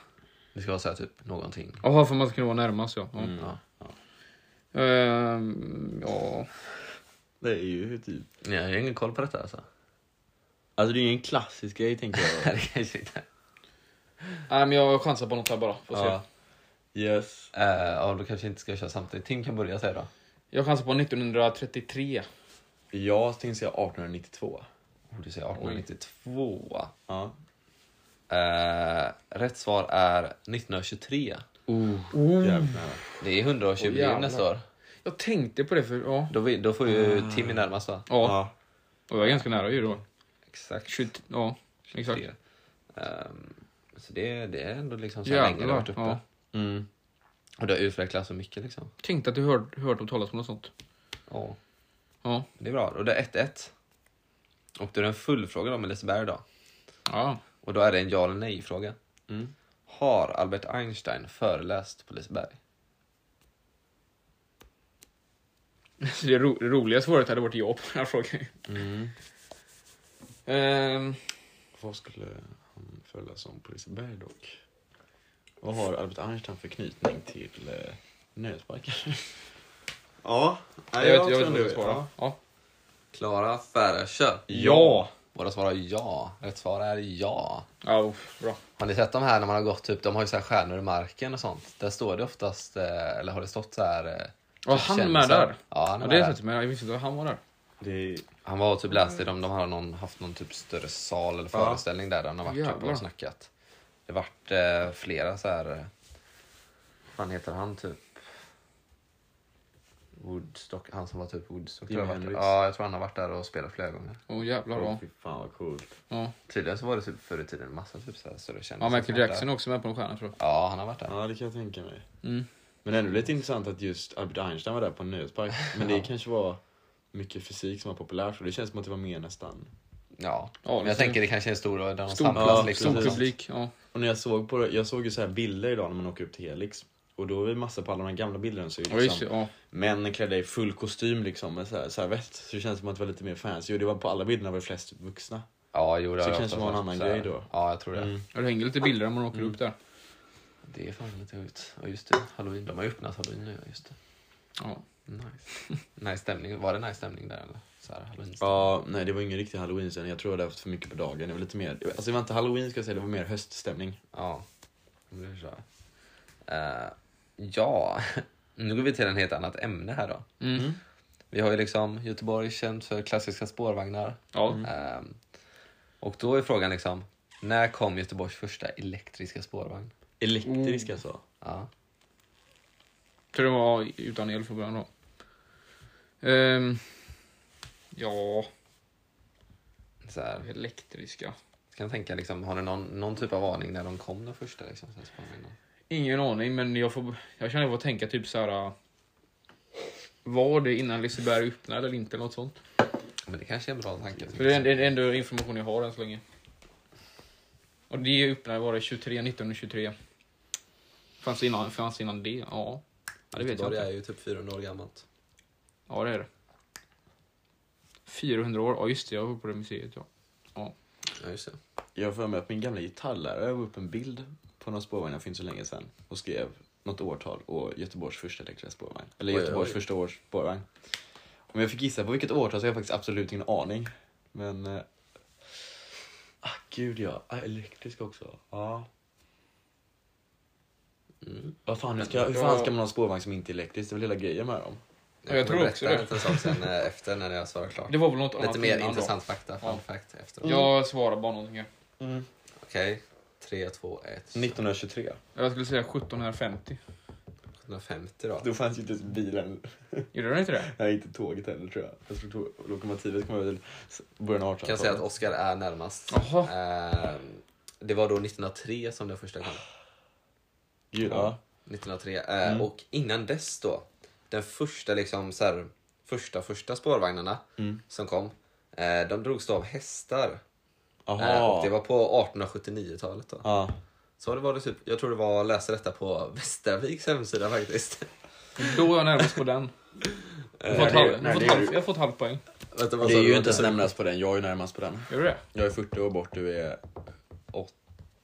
Speaker 1: det ska vara så här typ någonting.
Speaker 2: Jaha, för man ska kunna vara närmast ja. Ja.
Speaker 3: Mm.
Speaker 1: Ja, ja.
Speaker 2: Ehm, ja.
Speaker 3: Det är ju typ...
Speaker 1: Nej, Jag har ingen koll på detta alltså.
Speaker 3: Alltså det är ju en klassisk grej tänker jag.
Speaker 1: Nej, det kanske inte.
Speaker 2: Nej, men jag chansar på något här bara. Får se.
Speaker 1: Ja.
Speaker 3: Yes.
Speaker 1: Eh, ja, då kanske jag inte ska köra samtidigt. Tim kan börja säga då.
Speaker 2: Jag chansar på 1933.
Speaker 3: Jag tänkte säga 1892.
Speaker 1: Oh, du säger 1892.
Speaker 3: Ja.
Speaker 1: Eh, rätt svar är 1923.
Speaker 3: Oh, jävlar.
Speaker 1: Det är 120
Speaker 2: Åh, jävlar.
Speaker 1: nästa år.
Speaker 2: Jag tänkte på det för... Ja.
Speaker 1: Då, vi, då får ju
Speaker 2: Ah.
Speaker 1: Timmy närmast va?
Speaker 2: Ja.
Speaker 3: Ja.
Speaker 2: Och jag var ganska nära ju då.
Speaker 1: Exakt.
Speaker 2: 20, ja, exakt.
Speaker 1: Det. Ehm, så det, det är ändå liksom så här länge det har
Speaker 2: Jävlar.
Speaker 1: varit uppe.
Speaker 2: Ja.
Speaker 3: Mm.
Speaker 1: Och det har utvecklats så mycket liksom.
Speaker 2: Tänkte att du hört, hört om talas om något sånt.
Speaker 1: Ja,
Speaker 2: Ja.
Speaker 1: det är bra. Och det är 1-1. Och då är det en fullfråga då med Liseberg idag.
Speaker 2: Ja.
Speaker 1: Och då är det en ja eller nej fråga.
Speaker 3: Mm.
Speaker 1: Har Albert Einstein föreläst på Liseberg?
Speaker 2: Så det, ro, det roliga svaret hade varit ja på den här frågan.
Speaker 3: Mm.
Speaker 2: Ehm,
Speaker 3: Vad skulle han föreläsa om på Liseberg dock? Vad har Albert Einstein för knytning till eh, nöjesparker? ja,
Speaker 2: jag, vet, jag vet inte vad jag ska svara. Ja.
Speaker 1: Klara Färökö.
Speaker 2: Ja.
Speaker 1: Båda svarar ja. Rätt svar är ja.
Speaker 2: Ja, uff, bra.
Speaker 1: Har ni sett de här när man har gått typ, de har ju så här stjärnor i marken och sånt. Där står det oftast, eh, eller har det stått så här... eh,
Speaker 2: Var
Speaker 1: typ
Speaker 2: han
Speaker 1: kändisar.
Speaker 2: med där?
Speaker 1: Ja, han
Speaker 2: Ja,
Speaker 1: är med
Speaker 2: det är typ-
Speaker 1: där.
Speaker 2: faktiskt med. Jag visste inte att han var där.
Speaker 3: Det är...
Speaker 1: Han var och typ läste i dem, de har någon, haft någon typ större sal eller
Speaker 3: Ja.
Speaker 1: föreställning där han har varit typ
Speaker 2: Jävlar.
Speaker 1: och snackat. Det vart eh, flera så här... eh, Vad heter han typ? Woodstock, han som var typ Woodstock. tror jag
Speaker 3: Jimi
Speaker 1: har varit-
Speaker 3: Hendrix.
Speaker 1: Ja, jag tror han har varit där och spelat flera gånger.
Speaker 2: Åh oh, jävlar.
Speaker 3: Åh,
Speaker 2: Ja.
Speaker 3: fy fan vad coolt.
Speaker 2: Ja.
Speaker 1: Tydligen så var det typ förr i tiden massa typ så här större kändisar.
Speaker 2: ja,
Speaker 1: som
Speaker 2: Michael
Speaker 1: var
Speaker 2: Jackson
Speaker 1: där.
Speaker 2: är också med på någon stjärna tror jag.
Speaker 1: Ja, han har varit där.
Speaker 3: Ja, det kan jag tänka mig.
Speaker 2: Mm.
Speaker 3: Men ändå lite intressant att just Albert Einstein var där på en nöjespark. Men det kanske var mycket fysik som var populärt så det känns som att det var mer nästan.
Speaker 1: Ja,
Speaker 2: Ja,
Speaker 1: men jag
Speaker 2: så-
Speaker 1: tänker det kanske är en stor där de
Speaker 2: Stor,
Speaker 1: samlas
Speaker 3: ja,
Speaker 1: liksom.
Speaker 2: Stor
Speaker 3: precis.
Speaker 2: publik. Ja.
Speaker 3: Och när jag såg på det, jag såg ju så här bilder idag när man åker upp till Helix. Och då är det massa på alla de gamla bilderna så är
Speaker 2: Ja,
Speaker 3: det
Speaker 2: just,
Speaker 3: liksom
Speaker 2: det, ja.
Speaker 3: män klädda i full kostym liksom med så här, så här väst. Så det känns som att det var lite mer fancy. Och det var på alla bilderna var det flest vuxna.
Speaker 1: Ja, jo, det
Speaker 3: Så
Speaker 1: har jag
Speaker 3: kanske
Speaker 1: oftast
Speaker 3: det var
Speaker 1: varit
Speaker 3: en annan
Speaker 1: så här.
Speaker 3: grej då.
Speaker 1: Ja, jag tror det.
Speaker 3: Mm.
Speaker 2: Ja, Mm. Det hänger lite bilder när man åker upp där.
Speaker 1: Det är fan lite ut. Ja, just det. Halloween. De har ju öppnat halloween nu. ja, Just det.
Speaker 2: Ja.
Speaker 1: Nice. nice stämning. Var det nice stämning där eller? Så här, halloween
Speaker 3: Ja, nej det var ingen riktig halloween sen. Jag tror jag hade haft för mycket på dagen. Det var lite mer, alltså det var inte halloween ska jag säga, det var mer höststämning.
Speaker 1: Ja. Det blir så. Eh, ja, nu går vi till ett helt annat ämne här då.
Speaker 2: Mm.
Speaker 1: Vi har ju liksom Göteborg känt för klassiska spårvagnar.
Speaker 2: Ja.
Speaker 1: Ehm, och då är frågan liksom, när kom Göteborgs första elektriska spårvagn?
Speaker 3: Elektrisk alltså.
Speaker 1: Ja.
Speaker 2: Tror det var utan el från början då. Ehm, ja,
Speaker 1: Så här,
Speaker 2: elektriska.
Speaker 1: Kan jag tänka, liksom, har du någon, någon typ av aning när de kom de första? Liksom, så här spårvagnarna?
Speaker 2: Ingen aning, men jag, får, jag känner att jag får tänka typ så här. äh, Var det innan Liseberg öppnade eller inte? Något sånt.
Speaker 1: Men det kanske är en bra tanke.
Speaker 2: För det är det är ändå information jag har än så länge. Och det öppnade var det 23, 1923. Fanns det innan, fanns det innan det? Ja. ja, det vet jag
Speaker 1: Göteborg är
Speaker 2: inte.
Speaker 1: ju typ 400 år gammalt.
Speaker 2: Ja, det är det. 400 år, ja just det, jag var på det museet ja.
Speaker 1: Ja, just det.
Speaker 3: Jag har för mig att min gamla gitarrlärare la upp en bild på några spårvagnar för inte så länge sedan och skrev något årtal och Göteborgs första elektriska spårvagn. Eller
Speaker 1: Oj, oj,
Speaker 3: Göteborgs
Speaker 1: oj.
Speaker 3: första års spårvagn. Om jag fick gissa på vilket årtal så har jag faktiskt absolut ingen aning. Men... Eh, ah, gud ja. Ah, elektrisk också. Ja.
Speaker 1: Mm.
Speaker 3: Vad fan, hur, ska, hur fan
Speaker 2: Ja.
Speaker 3: ska man ha en spårvagn som inte är elektrisk? Det är väl hela grejen med dem?
Speaker 2: Ja, jag
Speaker 1: kommer
Speaker 2: tror också
Speaker 1: berätta
Speaker 2: det.
Speaker 1: en sak sen eh, efter när jag svarar klart.
Speaker 2: Det var väl något annat
Speaker 1: Lite mer
Speaker 2: innan då.
Speaker 1: intressant fakta, fun
Speaker 2: Ja.
Speaker 1: fact, efteråt.
Speaker 2: Jag svarar bara någonting här.
Speaker 1: Okej, 3, 2, 1.
Speaker 3: 1923.
Speaker 2: Jag skulle säga 1750.
Speaker 1: 150 då.
Speaker 3: Då fanns ju inte ens bilen.
Speaker 2: Gjorde den inte det?
Speaker 3: Nej, inte tåget heller tror jag. Jag tror tåg, lokomotivet kom väl början av 1800-talet.
Speaker 1: kan jag säga att Oscar är närmast.
Speaker 2: Jaha.
Speaker 1: Eh, det var då 1903 som den första kom.
Speaker 3: Gud, ja.
Speaker 1: 1903. Eh,
Speaker 3: Mm.
Speaker 1: Och innan dess då, den första liksom så här, första första spårvagnarna
Speaker 3: Mm.
Speaker 1: som kom, eh, de drogs då av hästar. Eh,
Speaker 3: Jaha.
Speaker 1: och det var på 1879-talet då.
Speaker 3: Ja.
Speaker 1: Så det var det typ, jag tror det var, jag läste detta på Västerviks hemsida faktiskt.
Speaker 2: Då var jag närmast på den. Jag
Speaker 1: Eh,
Speaker 2: har fått halv- jag har fått halv- jag har fått halv poäng.
Speaker 1: Vänta, vad
Speaker 3: Det
Speaker 1: sa
Speaker 3: är
Speaker 1: du?
Speaker 3: ju inte ens
Speaker 1: Så-
Speaker 3: närmast på den, jag är ju närmast på den.
Speaker 2: Gör du det?
Speaker 3: Jag är 40 år bort, du är...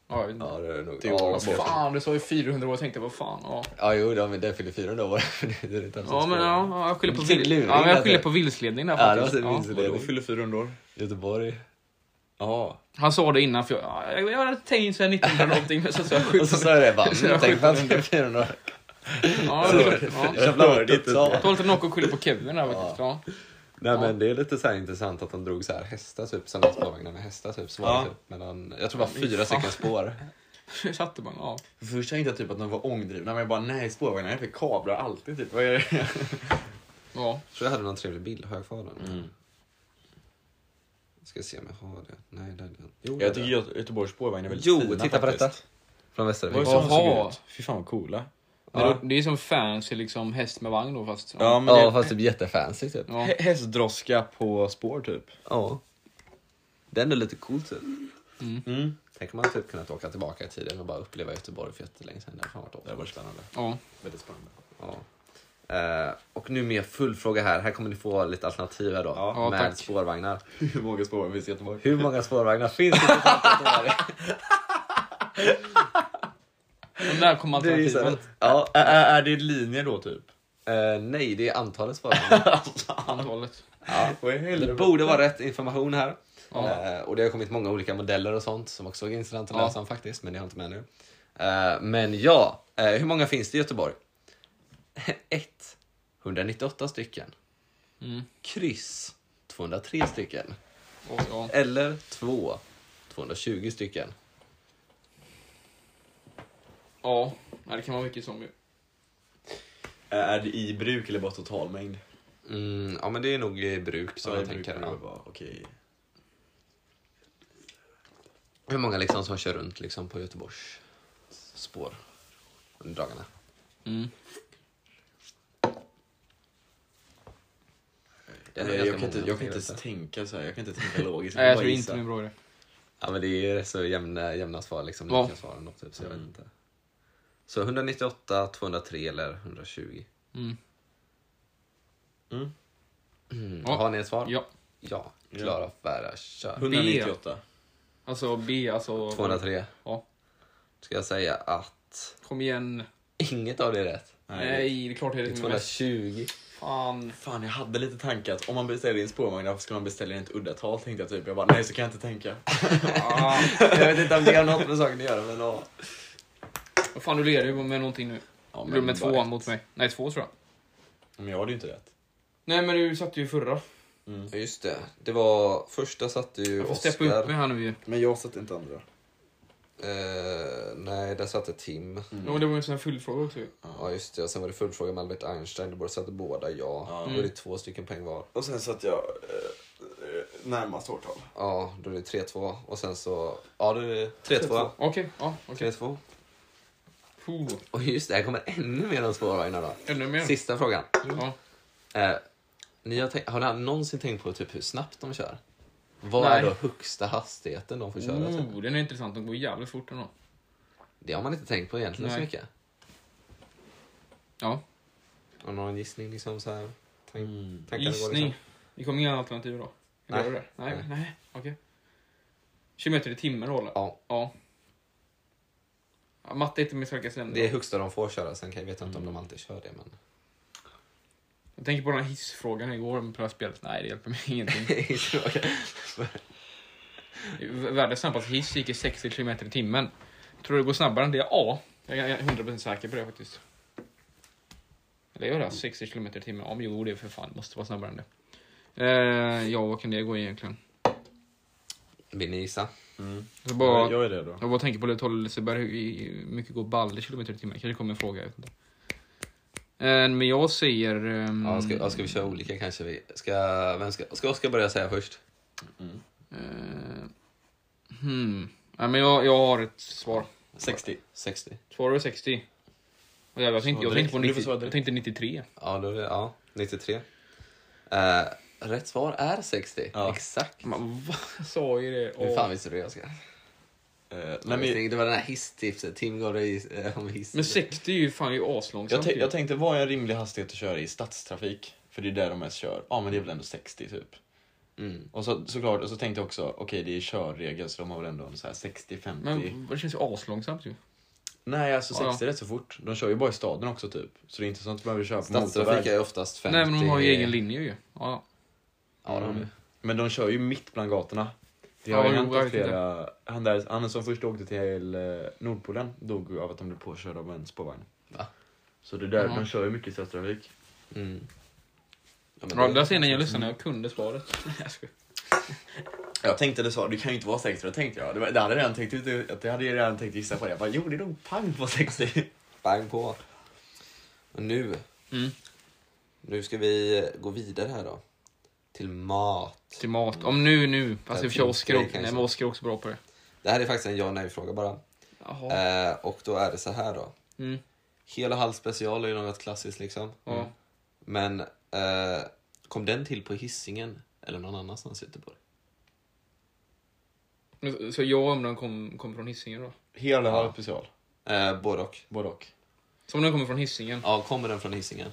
Speaker 2: Ja, jag vet inte.
Speaker 1: Ja, det är nog.
Speaker 3: Det är
Speaker 1: Ja,
Speaker 3: ju-
Speaker 1: så-
Speaker 2: Fan, du sa ju 400 år och tänkte vad fan. Ja,
Speaker 1: Ja, jo, det, det fyller 400 år. Det är inte alls
Speaker 2: ja
Speaker 1: ett
Speaker 2: men
Speaker 1: spår.
Speaker 2: ja, ja, jag skyller på,
Speaker 1: Till
Speaker 2: vil-
Speaker 1: luring,
Speaker 2: ja, men jag skyller
Speaker 1: alltså.
Speaker 2: på vilseledning där
Speaker 1: Ja, det
Speaker 2: faktiskt.
Speaker 1: var så vilseledning.
Speaker 3: Vadå, fyller 400 år?
Speaker 1: Göteborg.
Speaker 3: Jaha.
Speaker 2: Han sa det innan för jag, ja, jag, jag hade tänkt såhär 1900 någonting men så sa jag sjukt.
Speaker 1: Och så sa jag det bara, mm,
Speaker 2: Jag
Speaker 1: tänk på att det fyller 400 år.
Speaker 2: Ja, det var- ja.
Speaker 1: Jag hörde inte
Speaker 2: Jag tål inte något att skylla på Kevin där faktiskt. Ja.
Speaker 1: Nej men det är lite så här intressant att de drog så här hästar typ, samma spårvagnar med hästar typ. Så var
Speaker 3: Ja.
Speaker 1: det typ mellan, jag tror det var fyra
Speaker 2: Fan.
Speaker 1: stycken spår.
Speaker 2: Hur satte man? Ja.
Speaker 3: Först tänkte jag typ att de var ångdrivna, men jag bara nej, spårvagnar är för kablar alltid typ. Vad är det?
Speaker 2: ja.
Speaker 1: Jag tror jag hade någon trevlig bild, har jag kvar den?
Speaker 3: Mm.
Speaker 1: Ska se om jag har det. Nej, det är den. Jo, det är
Speaker 3: Jag tycker
Speaker 1: den.
Speaker 3: Gö- Göteborgs spårvagnar är väldigt
Speaker 1: Jo,
Speaker 3: fina
Speaker 1: titta på
Speaker 3: faktiskt.
Speaker 1: detta. Från
Speaker 3: Det var ju
Speaker 1: Västervik.
Speaker 3: sådana som
Speaker 2: Jaha.
Speaker 3: såg ut. Fy fan vad coola.
Speaker 2: Det, är, det är som fancy liksom häst med vagn då fast. Ja.
Speaker 3: men
Speaker 1: Ja,
Speaker 3: det...
Speaker 1: fast typ jättefancy typ.
Speaker 2: Ja.
Speaker 3: Hä- Hästdroska på spår typ.
Speaker 1: Ja. Det är ändå lite coolt typ.
Speaker 3: Mm.
Speaker 1: Tänk om man typ kunnat åka tillbaka i tiden och bara uppleva Göteborg för jättelänge sedan. Det hade fan varit
Speaker 3: Det var spännande.
Speaker 2: ja.
Speaker 3: Väldigt spännande.
Speaker 1: Ja. Eh, och nu mer fullfråga här. Här kommer ni få lite alternativ här då.
Speaker 3: Ja,
Speaker 1: med
Speaker 2: tack.
Speaker 1: spårvagnar.
Speaker 3: Hur många spårvagnar finns i Göteborg?
Speaker 1: Hur många spårvagnar finns det totalt i Göteborg?
Speaker 2: Och där kom
Speaker 1: Du gissar
Speaker 2: alternativen.
Speaker 1: rätt.
Speaker 3: Ja, ä- ä- är det linjer då typ?
Speaker 1: Eh, nej, det är antalet spårvagnar.
Speaker 2: Antalet.
Speaker 3: Vad
Speaker 1: Det
Speaker 3: i helvete?
Speaker 1: borde vara rätt information här.
Speaker 2: Ja.
Speaker 1: Eh, och det har kommit många olika modeller och sånt som också är intressant att
Speaker 2: Ja.
Speaker 1: läsa om faktiskt, men det har jag inte med nu. Eh, men ja, eh, hur många finns det i Göteborg? 1. 198 stycken.
Speaker 2: Mm.
Speaker 1: Kryss. 203 stycken.
Speaker 2: Och, ja.
Speaker 1: Eller 2. 220 stycken.
Speaker 2: ja. Nej, det kan vara mycket som ju.
Speaker 3: Ä- Är det i bruk eller bara totalmängd?
Speaker 1: Mm, ja men det är nog i bruk som
Speaker 3: Ja, i
Speaker 1: jag
Speaker 3: bruk
Speaker 1: tänker.
Speaker 3: borde det
Speaker 1: Ja.
Speaker 3: vara, Okej.
Speaker 1: Hur många liksom som kör runt liksom på Göteborgs spår under dagarna?
Speaker 2: Mm.
Speaker 1: Det är nog
Speaker 3: Nej,
Speaker 1: ganska
Speaker 3: Jag kan inte,
Speaker 1: många,
Speaker 3: jag kan
Speaker 1: jag
Speaker 3: inte
Speaker 1: vet
Speaker 3: ens tänka så här. Jag kan inte tänka logiskt.
Speaker 2: Nej, jag
Speaker 3: bara
Speaker 2: tror
Speaker 3: gissa.
Speaker 2: inte det är en bra idé.
Speaker 1: Ja men det är rätt så jämna, jämna svar liksom.
Speaker 2: Ja. Mm.
Speaker 1: Lika svar ändå, typ, så jag vet inte. Så 198, 203 eller 120.
Speaker 2: Mm.
Speaker 1: Mm.
Speaker 2: Ja.
Speaker 1: Har ni ett svar?
Speaker 2: Ja.
Speaker 1: Ja. Klara Färra kör.
Speaker 3: 198.
Speaker 2: Alltså B, alltså.
Speaker 1: 203.
Speaker 2: Ja.
Speaker 1: Ska jag säga att
Speaker 2: Kom igen.
Speaker 1: inget av det är rätt.
Speaker 2: Nej, det är klart det är
Speaker 1: Det
Speaker 2: det
Speaker 1: är
Speaker 2: som är bäst.
Speaker 1: 220.
Speaker 2: Fan.
Speaker 3: Fan, jag hade lite tankar att om man beställer in spårvagn, varför ska man beställa in ett uddatal? Tänkte jag typ. Jag bara, nej så kan jag inte tänka.
Speaker 2: Ah.
Speaker 1: jag vet inte om det har något med saken att göra men ja.
Speaker 2: Vad fan, du leder ju med någonting nu.
Speaker 3: Ja,
Speaker 2: Gjorde du med
Speaker 3: bara
Speaker 2: två
Speaker 3: ett.
Speaker 2: mot mig? Nej, två tror jag.
Speaker 3: Men jag hade ju inte rätt.
Speaker 2: Nej, men du satte ju förra.
Speaker 1: Ja, Just det. Det var första satte ju
Speaker 2: Jag får steppa upp mig
Speaker 1: Oscar.
Speaker 2: här nu ju.
Speaker 3: Men jag satt inte andra.
Speaker 1: Eh, nej, där satte Tim.
Speaker 2: Ja, men det var ju en sån här fullfråga också ju.
Speaker 1: Ja, just det. Och sen var det fullfråga med Albert Einstein. Det borde satte båda ja. Då är det två stycken poäng var.
Speaker 3: Och sen satt jag eh, närmast årtal.
Speaker 1: Ja, då är det 3-2. Och sen så... Ja, då är det 3-2.
Speaker 2: Okej, ja. Okej.
Speaker 1: 3-2.
Speaker 2: Okay.
Speaker 1: Och just det, här kommer ännu mer än spårvagnar då.
Speaker 2: Ännu mer.
Speaker 1: Sista frågan.
Speaker 2: Ja.
Speaker 1: Eh, ni har, tänkt, har ni någonsin tänkt på typ hur snabbt de kör? Vad
Speaker 2: Nej.
Speaker 1: är då högsta hastigheten de får köra? Typ?
Speaker 2: Oh, den är intressant. De går jävligt fort ändå.
Speaker 1: Det har man inte tänkt på egentligen så
Speaker 2: Nej.
Speaker 1: mycket.
Speaker 2: Ja. Mm.
Speaker 1: Har någon gissning? Liksom, så här, tank,
Speaker 3: Mm.
Speaker 1: tankar går,
Speaker 2: Gissning.
Speaker 1: Liksom?
Speaker 2: Det kommer inga alternativ då?
Speaker 1: Nej.
Speaker 2: Eller gör det? Nej, nej. Okej. Kilometer i timmen då eller?
Speaker 1: Ja,
Speaker 2: Ja. ja. Matte är inte min starka sida.
Speaker 1: det är högsta de får köra. Sen kan jag vet jag inte om de alltid kör det. Men...
Speaker 2: Jag tänker på den här hissfrågan igår på det här spelet. Nej, det hjälper mig ingenting. Världens snabbaste hiss gick i 60 km i timmen. Tror du det går snabbare än det? Ja. Jag är jag är 100% säker på det faktiskt. Eller gör det? här, 60 km i timmen? Ja, men jo, det är för fan. Måste vara snabbare än det. Eh, ja, vad kan det gå egentligen?
Speaker 1: Vill ni gissa?
Speaker 3: Mm.
Speaker 2: Jag bara,
Speaker 3: Jag är redo.
Speaker 2: Jag bara tänker på Lill-Tolle Liseberg, hur hur mycket går baller kilometer i timmen? Kanske kommer en fråga. Jag vet inte. Eh, Men jag säger... ehm,
Speaker 1: Ja, ska, ja, ska vi köra olika kanske? Vi, ska, vem ska, ska Oskar börja säga först?
Speaker 2: eh, hmm. Nej, men jag, jag har ett svar.
Speaker 3: 60.
Speaker 1: 60?
Speaker 2: Svarar du 60? Och Jag, jag, tänkte, jag,
Speaker 3: Svara
Speaker 2: tänkte på
Speaker 3: direkt. Du får
Speaker 2: 90,
Speaker 3: svara direkt.
Speaker 2: jag tänkte 93.
Speaker 1: Ja, då är det, ja 93. Eh, rätt svar är 60.
Speaker 3: Ja.
Speaker 1: Exakt.
Speaker 2: Man, vad sa ju det?
Speaker 1: Hur
Speaker 2: Och-
Speaker 1: fan visste du det Oskar?
Speaker 3: Eh,
Speaker 1: Nej,
Speaker 3: nej, men,
Speaker 1: Det var den här hisstipset. Tim gav dig eh, om hiss.
Speaker 2: Men 60 är ju fan ju aslångsamt.
Speaker 3: jag, tän-
Speaker 2: ju.
Speaker 3: jag tänkte, vad är en rimlig hastighet att köra i stadstrafik? För det är där de mest kör. Ja, men det är väl ändå 60 typ.
Speaker 1: Mm.
Speaker 3: Och så, såklart, och så tänkte jag också, okej det är körregel så de har väl ändå en så här 60-50.
Speaker 2: Men det känns ju aslångsamt ju.
Speaker 3: Nej, alltså
Speaker 2: Ja,
Speaker 3: 60 är rätt så fort. De kör ju bara i staden också typ. Så det är inte sånt att man behöver köra på
Speaker 1: Stadstrafik
Speaker 3: motorväg.
Speaker 1: är oftast 50.
Speaker 2: Nej men de har ju egen linje ju. Ja.
Speaker 1: Ja, de har
Speaker 3: Mm.
Speaker 1: det.
Speaker 3: Men de kör ju mitt bland gatorna. Det
Speaker 2: Ja,
Speaker 3: har ju
Speaker 2: jo,
Speaker 3: hänt
Speaker 2: jag
Speaker 3: att
Speaker 2: vet inte.
Speaker 3: flera... Han, där, han som först åkte till eh, Nordpolen dog ju av att de blev påkörda av en spårvagn.
Speaker 1: Va?
Speaker 3: Så det där,
Speaker 2: Ja.
Speaker 3: de kör ju mycket i stadstrafik.
Speaker 1: Mm. Ja, men
Speaker 2: Ja,
Speaker 1: det-
Speaker 2: där ser ni, jag lyssnade när jag kunde svaret. Jag skojar.
Speaker 3: Jag tänkte det så, det kan ju inte vara 60, det tänkte jag. Det, var, det hade jag redan tänkt ut, att jag hade redan tänkt gissa på det. Jag bara, jo det är nog pang på 60.
Speaker 1: Bang på. Och nu,
Speaker 2: Mm.
Speaker 1: nu ska vi gå vidare här då. Till mat.
Speaker 2: Till mat. Om nu, nu. Alltså, Fast i och för sig
Speaker 1: finns
Speaker 2: Oskar
Speaker 1: det
Speaker 2: också. Nej
Speaker 1: kanske.
Speaker 2: men Oskar är också bra på det.
Speaker 1: Det här är faktiskt en ja nej fråga bara.
Speaker 2: Jaha.
Speaker 1: Eh, och då är det så här då.
Speaker 2: Mm.
Speaker 1: Hel och halv special är ju något klassiskt liksom.
Speaker 2: Ja.
Speaker 1: Men eh, kom den till på hissingen eller någon annanstans i Göteborg?
Speaker 2: Men, Så jag undrar om den kom, kom från Hisingen då?
Speaker 3: Hel eller halv special?
Speaker 1: Eh, både och.
Speaker 3: Både och.
Speaker 2: Så om den kommer från Hisingen?
Speaker 1: Ja, kommer den från hissingen?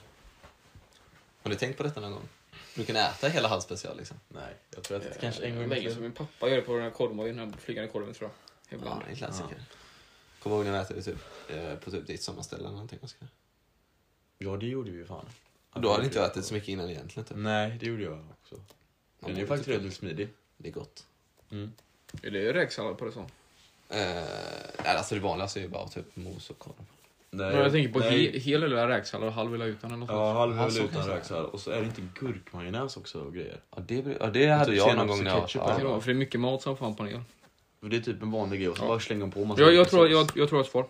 Speaker 1: Har ni tänkt på detta någon gång? Du kan äta hela halv special liksom.
Speaker 3: Nej, jag tror att det
Speaker 2: Eh,
Speaker 3: kanske en gång i
Speaker 2: länge
Speaker 3: mitt
Speaker 2: som
Speaker 3: liv.
Speaker 2: min pappa gör det på den här korvmojen, den här flygande korven tror jag.
Speaker 1: Ja,
Speaker 2: Ibland.
Speaker 1: det är en klassiker. Kommer ihåg när vi äter det typ, eh, på typ ditt sommarställe eller någonting Oskar?
Speaker 3: Ja, det gjorde vi ju fan.
Speaker 1: Då hade inte jag ätit så mycket innan egentligen typ.
Speaker 3: Nej, det gjorde jag också. Den är ju faktiskt relativt smidig.
Speaker 1: Det är gott.
Speaker 2: Är det räksallad på det så?
Speaker 1: Eh, nej, alltså det vanligaste är ju bara typ mos och korv.
Speaker 3: Nej,
Speaker 2: Men jag tänker på
Speaker 3: nej.
Speaker 2: he, hel eller räksallad och halv eller utan eller något
Speaker 3: Ja,
Speaker 2: sånt.
Speaker 3: halv
Speaker 1: Ja,
Speaker 3: är
Speaker 1: så
Speaker 3: väl utan
Speaker 1: kanske.
Speaker 3: röksallad. Och så är det inte gurkmajonnäs också och grejer.
Speaker 1: Ja, det, blir- ja, det hade
Speaker 3: typ
Speaker 1: jag någon
Speaker 3: senaps
Speaker 1: gång
Speaker 3: och
Speaker 1: när jag
Speaker 3: ketchup
Speaker 2: Det
Speaker 1: ja.
Speaker 2: kan det vara, för det är mycket mat som fan på den.
Speaker 3: För det är typ en vanlig grej och så
Speaker 2: Ja.
Speaker 3: bara slänger de på massa
Speaker 2: Jag, jag,
Speaker 3: olika
Speaker 2: tror,
Speaker 3: sås.
Speaker 2: jag, jag tror jag har ett svar.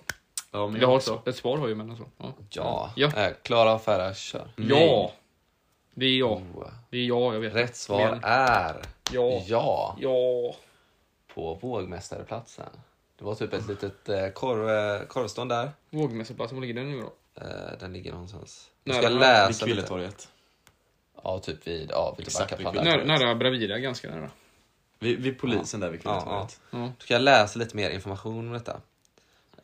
Speaker 3: Ja, men
Speaker 2: Jag har
Speaker 3: också.
Speaker 2: ett, ett svar har jag men alltså. Mm. Ja.
Speaker 1: Ja.
Speaker 2: Ja. Mm.
Speaker 1: Eh, Klara och Ferra, kör.
Speaker 2: ja! Det är jag.
Speaker 1: Oh.
Speaker 2: Det är jag, jag vet.
Speaker 1: Rätt svar
Speaker 2: Men-
Speaker 1: är
Speaker 2: Ja.
Speaker 1: ja
Speaker 2: Ja.
Speaker 1: på vågmästareplatsen. Det var typ
Speaker 2: Mm.
Speaker 1: ett litet eh, korv, eh, korvstånd där.
Speaker 2: Vågmästarplatsen, var ligger den nu då?
Speaker 1: Eh, den ligger någonstans. Jag
Speaker 2: Nej,
Speaker 1: ska
Speaker 2: den-
Speaker 1: läsa
Speaker 3: Vid
Speaker 1: lite.
Speaker 3: Kvilletorget.
Speaker 1: Ja, typ vid, ja, vid
Speaker 3: Exakt, vid
Speaker 1: Backapallar.
Speaker 2: Nära, nära Bravida, ganska nära.
Speaker 3: Vid, vid polisen där vid
Speaker 1: Ja,
Speaker 3: Kvilletorget.
Speaker 2: Ja.
Speaker 1: Då ska jag läsa lite mer information om detta.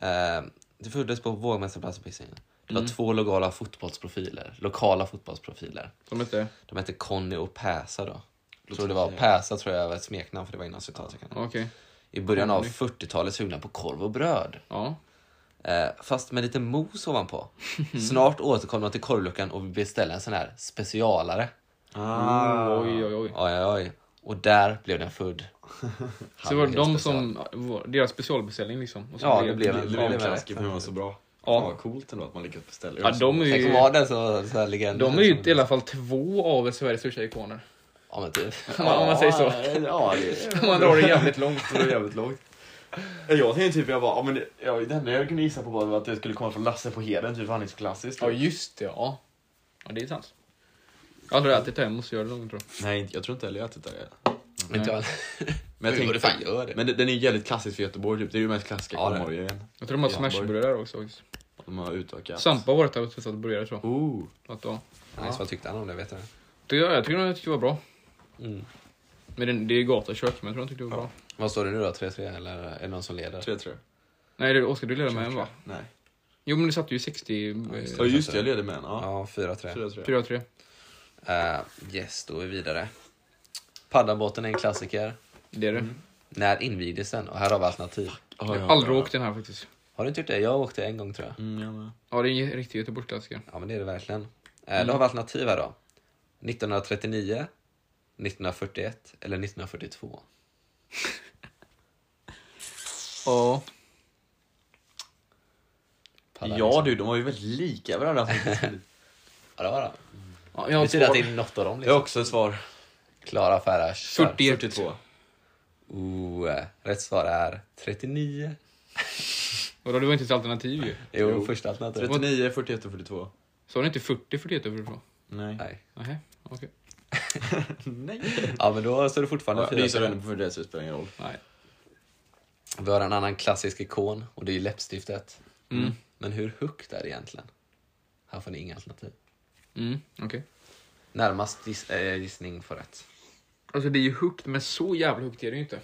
Speaker 1: Eh, det föddes på Vågmästarplatsen på Hisingen. Det
Speaker 2: Mm.
Speaker 1: var två lokala fotbollsprofiler. Lokala fotbollsprofiler.
Speaker 2: Som hette...
Speaker 1: De hette Conny och Päsa då. Jag tror det var Päsa tror jag var ett smeknamn för det var innan citattecknen.
Speaker 2: Ja, Okej.
Speaker 1: I början av
Speaker 2: Mm.
Speaker 1: 40-talet sugna på korv och bröd.
Speaker 2: Ja.
Speaker 1: Eh, fast med lite mos ovanpå. Snart återkom de till korvluckan och beställde en sån här specialare.
Speaker 3: Ah.
Speaker 2: Mm, Oj, oj, oj.
Speaker 1: Oj, oj, oj. Och där blev den född.
Speaker 2: Så det var de som... var- Deras specialbeställning liksom. Och så
Speaker 1: Ja, det blev
Speaker 3: Det
Speaker 1: en
Speaker 3: blev en
Speaker 1: sån.
Speaker 3: klassiker för hur man var så bra.
Speaker 2: Ja.
Speaker 3: Ja. Fan vad coolt ändå att man lyckats beställa.
Speaker 2: Ja, de är
Speaker 1: Tänk
Speaker 2: ju...
Speaker 1: om vara den som så här legenden.
Speaker 2: De är ju i alla fall två av Sveriges största ikoner.
Speaker 1: Ja, men typ.
Speaker 2: Om man, om man säger så.
Speaker 3: Ja, det är...
Speaker 2: Om man drar det jävligt långt.
Speaker 3: långt. Det är jävligt långt. Jag tänkte typ, jag bara, ja, men det, ja, det enda jag kunde gissa på var att det skulle komma från Lasse på Heden, typ, för han är så klassisk.
Speaker 2: Ja, just det. Ja. Ja, det är sant. Jag har aldrig ätit det hemma, så gör det någon tror jag.
Speaker 3: Nej, inte- jag tror inte heller jag har ätit det.
Speaker 1: Men inte jag.
Speaker 3: Men jag
Speaker 1: Jo, det
Speaker 3: tänkte,
Speaker 1: fan gör det.
Speaker 3: Men den är ju jävligt klassisk för Göteborg typ. Det är ju den mest klassiska
Speaker 1: Ja, det är.
Speaker 3: korvmorgon.
Speaker 2: Jag tror de har
Speaker 3: Ja,
Speaker 2: smashburgare också. faktiskt.
Speaker 3: De har utökat.
Speaker 2: Sampa har varit där och testat burgare tror jag.
Speaker 3: Oh.
Speaker 2: Att, ja.
Speaker 1: Nej, så vad tyckte han om det? Vet du?
Speaker 2: Det, jag tycker de tyckte det var bra.
Speaker 1: Mm.
Speaker 2: Men det, det är gatukök, men jag tror de tyckte det var bra.
Speaker 1: Vad står det nu då? 3-3 eller är det någon som leder?
Speaker 3: 3-3.
Speaker 2: Nej, det- Oskar du leder med en va?
Speaker 3: Nej.
Speaker 2: Jo, men du satte ju 60...
Speaker 1: just
Speaker 2: eh,
Speaker 3: Ja just det, jag leder med en. Ja.
Speaker 1: Ja, 4-3.
Speaker 3: 4-3.
Speaker 2: 4-3.
Speaker 1: Eh, yes, då är vi vidare. Paddanbåten är en klassiker.
Speaker 2: Det är det.
Speaker 1: När invigdes den? Och här har vi alternativ.
Speaker 3: Ja,
Speaker 2: Jag
Speaker 3: ja,
Speaker 2: har aldrig
Speaker 3: ja.
Speaker 2: åkt den här faktiskt.
Speaker 1: Har du inte gjort det? Jag åkte en gång tror jag.
Speaker 3: Mm, jag med.
Speaker 2: Ja, det är en riktig Göteborgsklassiker.
Speaker 1: Ja, men det är det verkligen. Eh,
Speaker 3: Mm.
Speaker 1: Då har vi alternativ här då. 1939, 1941 eller 1942.
Speaker 2: Ja.
Speaker 1: Pallar
Speaker 3: Ja
Speaker 1: liksom.
Speaker 3: du, de var ju väldigt lika varandra. faktiskt.
Speaker 1: Ja, det var det.
Speaker 2: ja jag
Speaker 1: Det
Speaker 2: har ett
Speaker 1: betyder att det
Speaker 2: svar.
Speaker 1: är något av dem.
Speaker 3: jag
Speaker 1: Liksom.
Speaker 3: har också ett svar.
Speaker 1: Klara Ferrars. kör.
Speaker 2: 40. Det-
Speaker 3: 42.
Speaker 1: Oh, eh, rätt svar är 39.
Speaker 2: Vadå, det var inte ett alternativ ju.
Speaker 1: Jo,
Speaker 3: Jo.
Speaker 1: första alternativet.
Speaker 3: 39, 41 och 42.
Speaker 2: Sa du inte 40 41 över ifrån?
Speaker 3: Nej.
Speaker 1: Nej.
Speaker 2: Nej, okej.
Speaker 3: Nej.
Speaker 1: Ja, men då står det
Speaker 3: Ja,
Speaker 1: fortfarande
Speaker 3: det är
Speaker 1: 4
Speaker 3: så den för det så det spelar ingen roll.
Speaker 2: Nej.
Speaker 1: Vi har en annan klassisk ikon och det är läppstiftet.
Speaker 2: Mm.
Speaker 1: Men hur högt är det egentligen? Här får ni inga alternativ.
Speaker 2: Mm, okej.
Speaker 1: Närmast giss, eh, gissning får rätt.
Speaker 2: Alltså det är ju högt, men så jävla högt är det ju inte.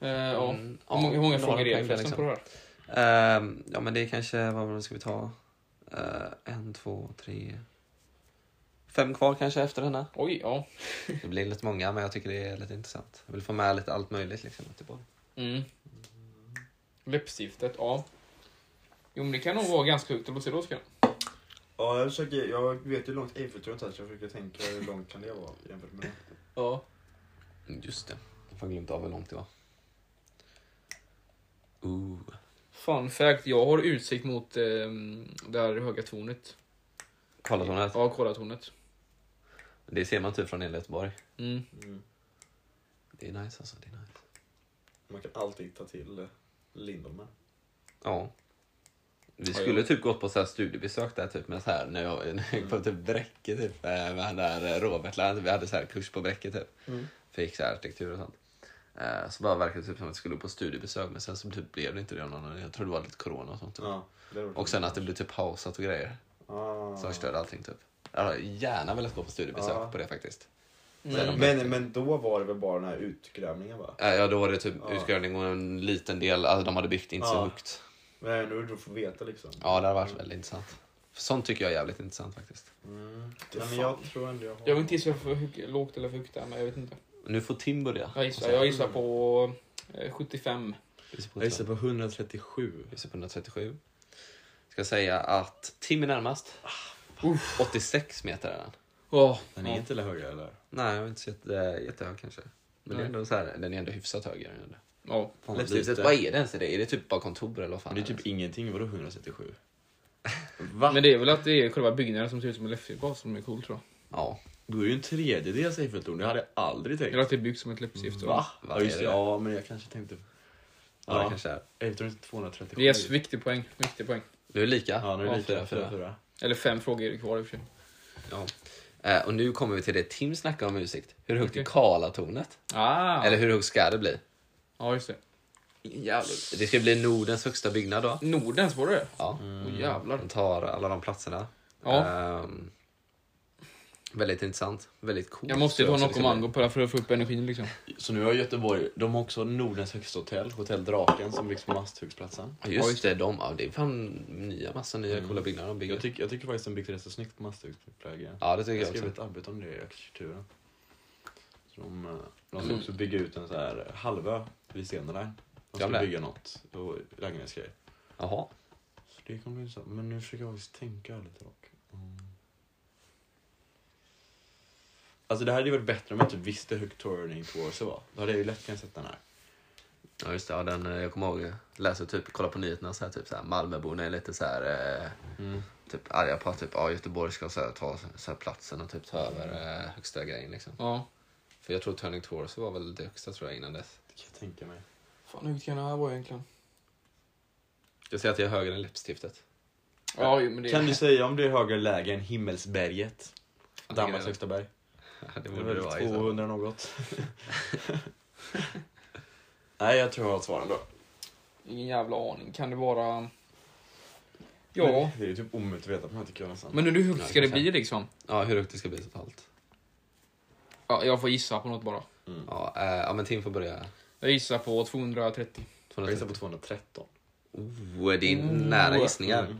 Speaker 2: Eh, ja. liksom.
Speaker 1: Mm,
Speaker 2: Hur många, hur
Speaker 1: några
Speaker 2: många frågor är det
Speaker 1: poäng där,
Speaker 2: förresten på det här?
Speaker 1: Ehm, ja, men det är kanske, vad ska vi ta? Eh, en, två, tre... Fem kvar kanske efter denna.
Speaker 2: Oj, ja.
Speaker 1: Det blir lite många, men jag tycker det är lite intressant. Jag vill få med lite allt möjligt. Liksom, typ.
Speaker 2: Mm. Läppstiftet, ja. Jo, men det kan nog vara ganska högt. Låt se då, Oskar.
Speaker 4: Ja, jag, försöker, jag vet ju hur långt Eiffeltornet är så jag försöker tänka hur långt kan det vara jämfört med det.
Speaker 2: Ja.
Speaker 1: Mm, Just det. Jag har glömt av hur långt det var. Ooh.
Speaker 2: Fun fact, jag har utsikt mot eh, det här höga tornet.
Speaker 1: Karlatornet.
Speaker 2: Ja, Kolatornet.
Speaker 1: Det ser man typ från hela Göteborg.
Speaker 2: Mm.
Speaker 4: Mm.
Speaker 1: Det är nice alltså. Det är nice.
Speaker 4: Man kan alltid ta till eh, Lindholmen.
Speaker 1: Ja. Vi
Speaker 2: Ja,
Speaker 1: skulle typ gått på så här studiebesök där typ med så här när jag, när jag gick på typ Bräcke typ eh, med han där eh, Robert Land. Vi hade så här kurs på Bräcke typ.
Speaker 4: Mm.
Speaker 1: Fick så här arkitektur och sånt. Eh, Så bara verkade det typ som att vi skulle på studiebesök men sen så typ blev det inte det av någon anledning. Jag tror det var lite corona och sånt. Typ.
Speaker 4: Ja, det hade varit
Speaker 1: Och sen att det blev typ pausat och grejer
Speaker 4: Ah.
Speaker 1: som förstörde allting typ. Jag hade gärna velat gå på studiebesök
Speaker 4: Ja.
Speaker 1: på det faktiskt.
Speaker 3: Mm.
Speaker 4: Men, men, men då var det väl bara den här utgrävningen va?
Speaker 1: Eh, Ja då var det typ
Speaker 4: Ja.
Speaker 1: utgrävning och en liten del, alltså de hade byggt inte så
Speaker 4: Ja.
Speaker 1: högt.
Speaker 4: Men nu du får veta liksom.
Speaker 1: Ja det hade varit väldigt intressant. Sånt tycker jag är jävligt intressant faktiskt.
Speaker 4: Mm. Nej, men jag tror ändå jag har...
Speaker 2: Jag vet inte gissa för hög- lågt eller för högt där, men jag vet inte.
Speaker 1: Nu får Tim börja.
Speaker 2: Jag gissar, jag gissar på eh, 75.
Speaker 1: Gissa på
Speaker 3: Jag gissar på 137.
Speaker 1: Gissa på 137. Ska säga att Tim är närmast. 86 meter är den.
Speaker 2: Oh,
Speaker 3: Den är inte högre eller?
Speaker 1: Nej, jag är inte så jätte, jättehög kanske. Men det är
Speaker 2: Nej.
Speaker 1: ändå så här, den är ändå hyfsat hög. är den ändå.
Speaker 2: Ja.
Speaker 1: Fan,
Speaker 3: Lätt
Speaker 1: lite.
Speaker 3: lite.
Speaker 1: Vad är det ens i det? Är det typ bara kontor eller vad fan?
Speaker 3: Men det är
Speaker 1: är
Speaker 3: typ ingenting, vadå 137? Va?
Speaker 2: Men det är väl att det är själva byggnaden som ser ut som en läppstift som är cool tror
Speaker 1: Ja.
Speaker 3: Då är det ju en tredjedels Eiffeltorn, det hade jag aldrig
Speaker 2: jag.
Speaker 3: tänkt.
Speaker 2: Eller att det byggs som ett läppstift.
Speaker 3: Va?
Speaker 1: Vad
Speaker 3: Ja, just
Speaker 1: är
Speaker 3: det.
Speaker 1: det?
Speaker 3: Ja, men jag kanske tänkte...
Speaker 1: Ja, det
Speaker 3: Ja,
Speaker 1: kanske är.
Speaker 3: Eiffeltorn är 237.
Speaker 2: Yes, viktig poäng. Viktig poäng.
Speaker 1: Du är lika?
Speaker 3: Ja, nu är det lika.
Speaker 1: fyra, fyra.
Speaker 3: 4-4.
Speaker 2: Eller fem frågor är det kvar i och för sig.
Speaker 1: Ja. Eh, och nu kommer vi till det Tim snackade om utsikt. Hur högt är
Speaker 2: Okej.
Speaker 1: Karlatornet?
Speaker 2: Ah.
Speaker 1: Eller hur högt ska det bli?
Speaker 2: Ja, just det.
Speaker 1: Jävligt. Det ska bli Nordens högsta byggnad då.
Speaker 2: Nordens var det?
Speaker 1: Ja.
Speaker 2: Åh
Speaker 3: Mm.
Speaker 2: jävlar.
Speaker 3: Eh,
Speaker 1: De tar alla de platserna.
Speaker 2: Ja.
Speaker 1: Ehm, väldigt intressant. Väldigt coolt.
Speaker 2: Jag måste
Speaker 1: tror liksom
Speaker 2: ta
Speaker 1: också
Speaker 2: någon
Speaker 1: det ska bli.
Speaker 2: kommando på det här för att få upp energin liksom.
Speaker 3: Så nu har Göteborg, de har också Nordens högsta hotell, Hotell Draken, som byggs på Masthögsplatsen.
Speaker 1: Ja, Just det, de. Ja, det är fan nya, massa nya coola byggnader de bygger.
Speaker 3: Mm. Jag, tycker jag tycker faktiskt den byggs rätt så snyggt på Masthögsplatsen.
Speaker 1: ja, det tycker
Speaker 3: Jag
Speaker 1: jag
Speaker 3: skrev ett
Speaker 1: också.
Speaker 3: arbete om det i arkitekturen. Så De, eh, de
Speaker 1: Mm.
Speaker 3: ska också bygga ut en så här halvö vid Steneline. De ska
Speaker 1: Gamla.
Speaker 3: bygga något och lägenhetsgrejer.
Speaker 1: Jaha.
Speaker 3: Så det kommer bli så. Men nu försöker jag faktiskt tänka lite dock. Mm. Alltså det här hade ju varit bättre om jag inte visste hur Turning Towards var. Då hade jag ju lätt kunnat sätta den här.
Speaker 1: Ja, just det. Ja, den, eh, jag kommer ihåg, eh, läser typ, kolla på nyheterna så här, typ så här, Malmöborna är lite så här, eh, typ arga på att typ, ja, Göteborg ska så här, ta så här, platsen och typ ta över eh, högsta grejen liksom.
Speaker 2: Ja.
Speaker 1: För jag tror Turning Torso var väl det högsta tror jag innan dess.
Speaker 3: Det kan jag tänka mig.
Speaker 2: Fan, hur kan det här vara egentligen?
Speaker 1: Jag säger att jag är högre än läppstiftet.
Speaker 2: Ja, jo, men det
Speaker 3: Kan du säga om det är högre läge än Himmelsberget?
Speaker 1: Fan,
Speaker 3: Danmarks
Speaker 1: det-
Speaker 3: högsta berg.
Speaker 1: Det
Speaker 3: Det är
Speaker 1: borde det
Speaker 3: väl
Speaker 1: vara. liksom. i så fall.
Speaker 3: 200 något. Nej, jag tror jag har svaren då.
Speaker 2: Ingen jävla aning. Kan det vara...
Speaker 3: Men
Speaker 2: Ja.
Speaker 3: Det är ju typ omöjligt att veta på den här tycker jag nästan.
Speaker 2: Men hur högt ska det bli liksom?
Speaker 1: Ja, hur högt det ska bli totalt.
Speaker 2: Ja, jag får gissa på något bara.
Speaker 1: Ja, eh, ja men Tim får börja.
Speaker 2: Jag gissar på 230.
Speaker 3: jag gissar på
Speaker 1: 230.
Speaker 3: 213.
Speaker 1: Oh, det är
Speaker 2: Mm.
Speaker 1: nära gissningar.
Speaker 3: Mm.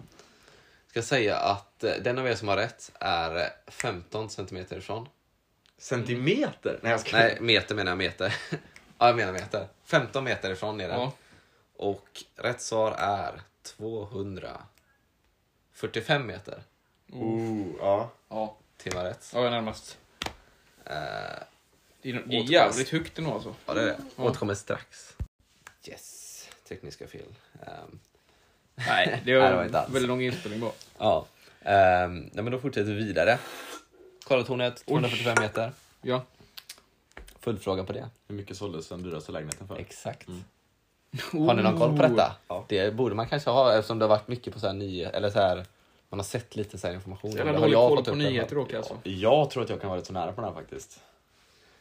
Speaker 1: Ska säga att eh, den av er som har rätt är eh, 15 centimeter ifrån.
Speaker 3: Centimeter? Nej, jag ska...
Speaker 1: Nej, meter menar jag meter. ja, jag menar meter. 15 meter ifrån är den.
Speaker 2: Ja.
Speaker 1: Och rätt svar är 245 meter.
Speaker 4: Oh, ja.
Speaker 2: Ja,
Speaker 1: Tim har rätt.
Speaker 2: ja jag är närmast.
Speaker 1: Eh,
Speaker 2: Det är, det är jävligt högt ändå alltså.
Speaker 1: Ja, det är det.
Speaker 2: Ja.
Speaker 1: Återkommer strax. Yes, tekniska fel. Ehm,
Speaker 2: Nej, det
Speaker 1: Nej, det var
Speaker 2: var
Speaker 1: inte alls.
Speaker 2: väldigt lång inspelning bara.
Speaker 1: Ja. Ehm, nej, men då fortsätter vi vidare. Karlatornet, 245 meter.
Speaker 2: Ja.
Speaker 1: Följdfråga på det.
Speaker 3: Hur mycket såldes den dyraste lägenheten för?
Speaker 1: Exakt. Mm. Har ni någon koll på detta?
Speaker 4: Ja.
Speaker 1: Det borde man kanske ha eftersom det har varit mycket på så här nyhe- eller så här, man har sett lite så här information.
Speaker 2: Jävla
Speaker 1: Eller har
Speaker 2: dålig
Speaker 1: jag
Speaker 2: koll
Speaker 1: fått
Speaker 2: på
Speaker 1: upp den?
Speaker 2: nyheter dock, alltså.
Speaker 1: Jag tror att jag kan vara rätt så nära på den här faktiskt.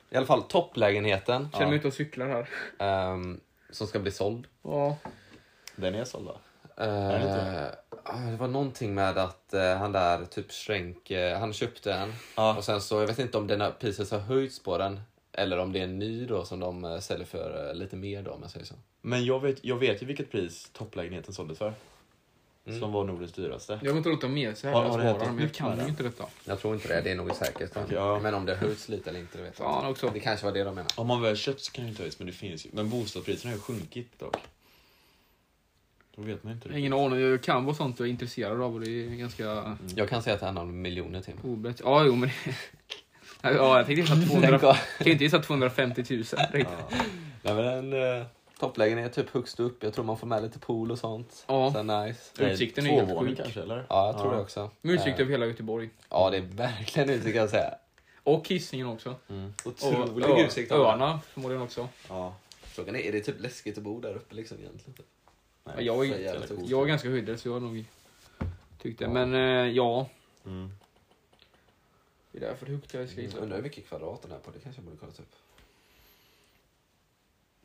Speaker 1: I alla fall topplägenheten
Speaker 2: Känner mig ute och cyklar här.
Speaker 1: ehm, som ska bli såld.
Speaker 2: Ja.
Speaker 3: Den är såld va?
Speaker 1: Eh,
Speaker 3: det
Speaker 1: ah, det var någonting med att eh, han där, typ Schränk, eh, han köpte en.
Speaker 3: Ja.
Speaker 1: Och sen så, jag vet inte om den här priset har höjts på den. Eller om det är en ny då som de eh, säljer för eh, lite mer då om jag säger så.
Speaker 3: Men jag vet, jag vet ju vilket pris topplägenheten såldes för.
Speaker 1: Mm.
Speaker 3: Som var Nordens dyraste.
Speaker 2: Jag har inte roligt att ha med sig här.
Speaker 3: Har-
Speaker 2: jag
Speaker 3: har det
Speaker 2: sparar,
Speaker 3: hänt något
Speaker 2: men jag
Speaker 3: nytt
Speaker 2: kan
Speaker 3: med
Speaker 2: ju
Speaker 3: det?
Speaker 2: inte detta.
Speaker 1: Jag tror inte det, det är nog säkert. va?
Speaker 3: Ja.
Speaker 1: Men om det har höjts lite eller inte, det vet jag
Speaker 2: Fan också.
Speaker 1: inte. Det kanske var det de menade.
Speaker 3: Om man väl köpt så kan det inte höjas, men det finns ju. Men bostadspriserna har ju sjunkit dock. Då vet man inte
Speaker 2: Jag har Ingen aning, jag kan vara sånt jag är intresserad av och det är ganska
Speaker 1: Jag kan säga att det handlar om miljoner timmar.
Speaker 2: obett. Ja, jo men... Ja, jag tänkte gissa 200... jag tänkte gissa 250 000. riktigt.
Speaker 1: Nej, men en eh, topplägenhet typ högst upp. Jag tror man får med lite pool och sånt.
Speaker 2: Ja.
Speaker 1: Så nice.
Speaker 3: Nej,
Speaker 2: Utsikten är helt
Speaker 3: tvåvåning
Speaker 2: sjuk.
Speaker 3: kanske eller?
Speaker 1: Ja, jag tror det också.
Speaker 2: Med utsikt
Speaker 1: Eh,
Speaker 2: över hela Göteborg.
Speaker 1: Ja, det är verkligen utsikt kan jag säga.
Speaker 2: Och Hisingen också.
Speaker 1: Otrolig
Speaker 2: ö-
Speaker 1: utsikt.
Speaker 2: Öarna förmodligen också.
Speaker 3: Ja.
Speaker 1: Frågan är, är det typ läskigt att bo där uppe liksom egentligen?
Speaker 3: Nej,
Speaker 2: Ja, jag,
Speaker 1: så
Speaker 2: är,
Speaker 1: jävla coolt.
Speaker 2: jag är ganska höjdrädd så jag har nog tyckt det. Men eh, ja.
Speaker 3: Mm.
Speaker 2: Det är därför högt jag ska
Speaker 1: Jag
Speaker 2: gissa.
Speaker 1: Mm. undrar hur mycket kvadrat den är på, det kanske jag borde kolla upp.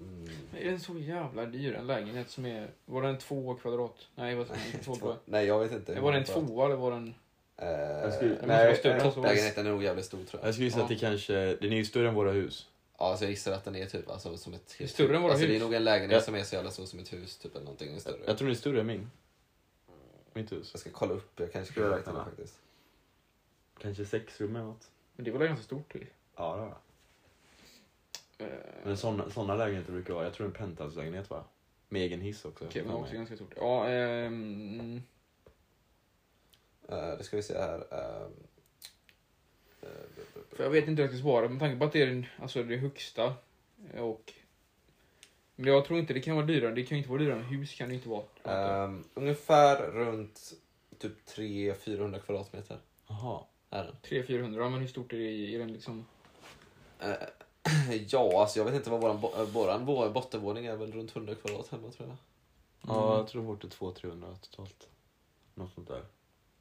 Speaker 1: Mm.
Speaker 2: Är den så jävla dyr? En lägenhet som är... Var den två kvadrat? Nej, vad inte två
Speaker 1: Två.
Speaker 2: kvadrat.
Speaker 1: Nej, jag vet inte.
Speaker 2: Var den två eller var den...
Speaker 1: Eh,
Speaker 3: skulle-
Speaker 1: nej,
Speaker 3: Jag
Speaker 2: måste vara större.
Speaker 1: Topplägenheten är nog jävligt stor tror jag.
Speaker 3: Jag skulle gissa
Speaker 2: Ja.
Speaker 3: att det kanske, den är ju större än våra hus.
Speaker 1: Ja, alltså jag gissar att den är typ alltså, som ett helt
Speaker 2: Större än våra
Speaker 1: alltså, Det är
Speaker 2: hus.
Speaker 1: nog en lägenhet
Speaker 3: Ja.
Speaker 1: som är så jävla stor som ett hus typ eller någonting. den är Större.
Speaker 3: Jag
Speaker 1: Jag,
Speaker 3: tror den är större än min. Mitt hus.
Speaker 1: ska kolla upp, jag kanske skulle räkna det
Speaker 3: Räkna.
Speaker 1: faktiskt.
Speaker 3: Kanske sex rum eller något.
Speaker 2: Men det var väl ganska stort? eh, Till.
Speaker 3: Ja, det har jag. Men såna, såna lägenheter brukar vara, jag tror en penthouse-lägenhet va? Med egen hiss också.
Speaker 2: Okej, men
Speaker 3: För
Speaker 2: också
Speaker 3: mig.
Speaker 2: ganska stort. Ja, ehm...
Speaker 1: Eh, det ska vi se här. ehm, eh,
Speaker 2: För jag vet inte hur jag ska svara med tanke på att det är den, alltså det högsta. eh, Och... Men jag tror inte det kan vara dyrare. Det kan ju inte vara dyrare än hus kan det inte vara.
Speaker 1: ehm, ungefär runt typ 300-400 kvadratmeter
Speaker 3: Jaha.
Speaker 1: är den.
Speaker 2: 300-400, men hur stort är det i i den liksom?
Speaker 1: Eh, ja, alltså jag vet inte vad våran, bo- eh, våran vår bottenvåning är väl runt 100 kvadrat hemma tror jag.
Speaker 3: Ja, jag tror vårt är 200-300 totalt. Något sånt där.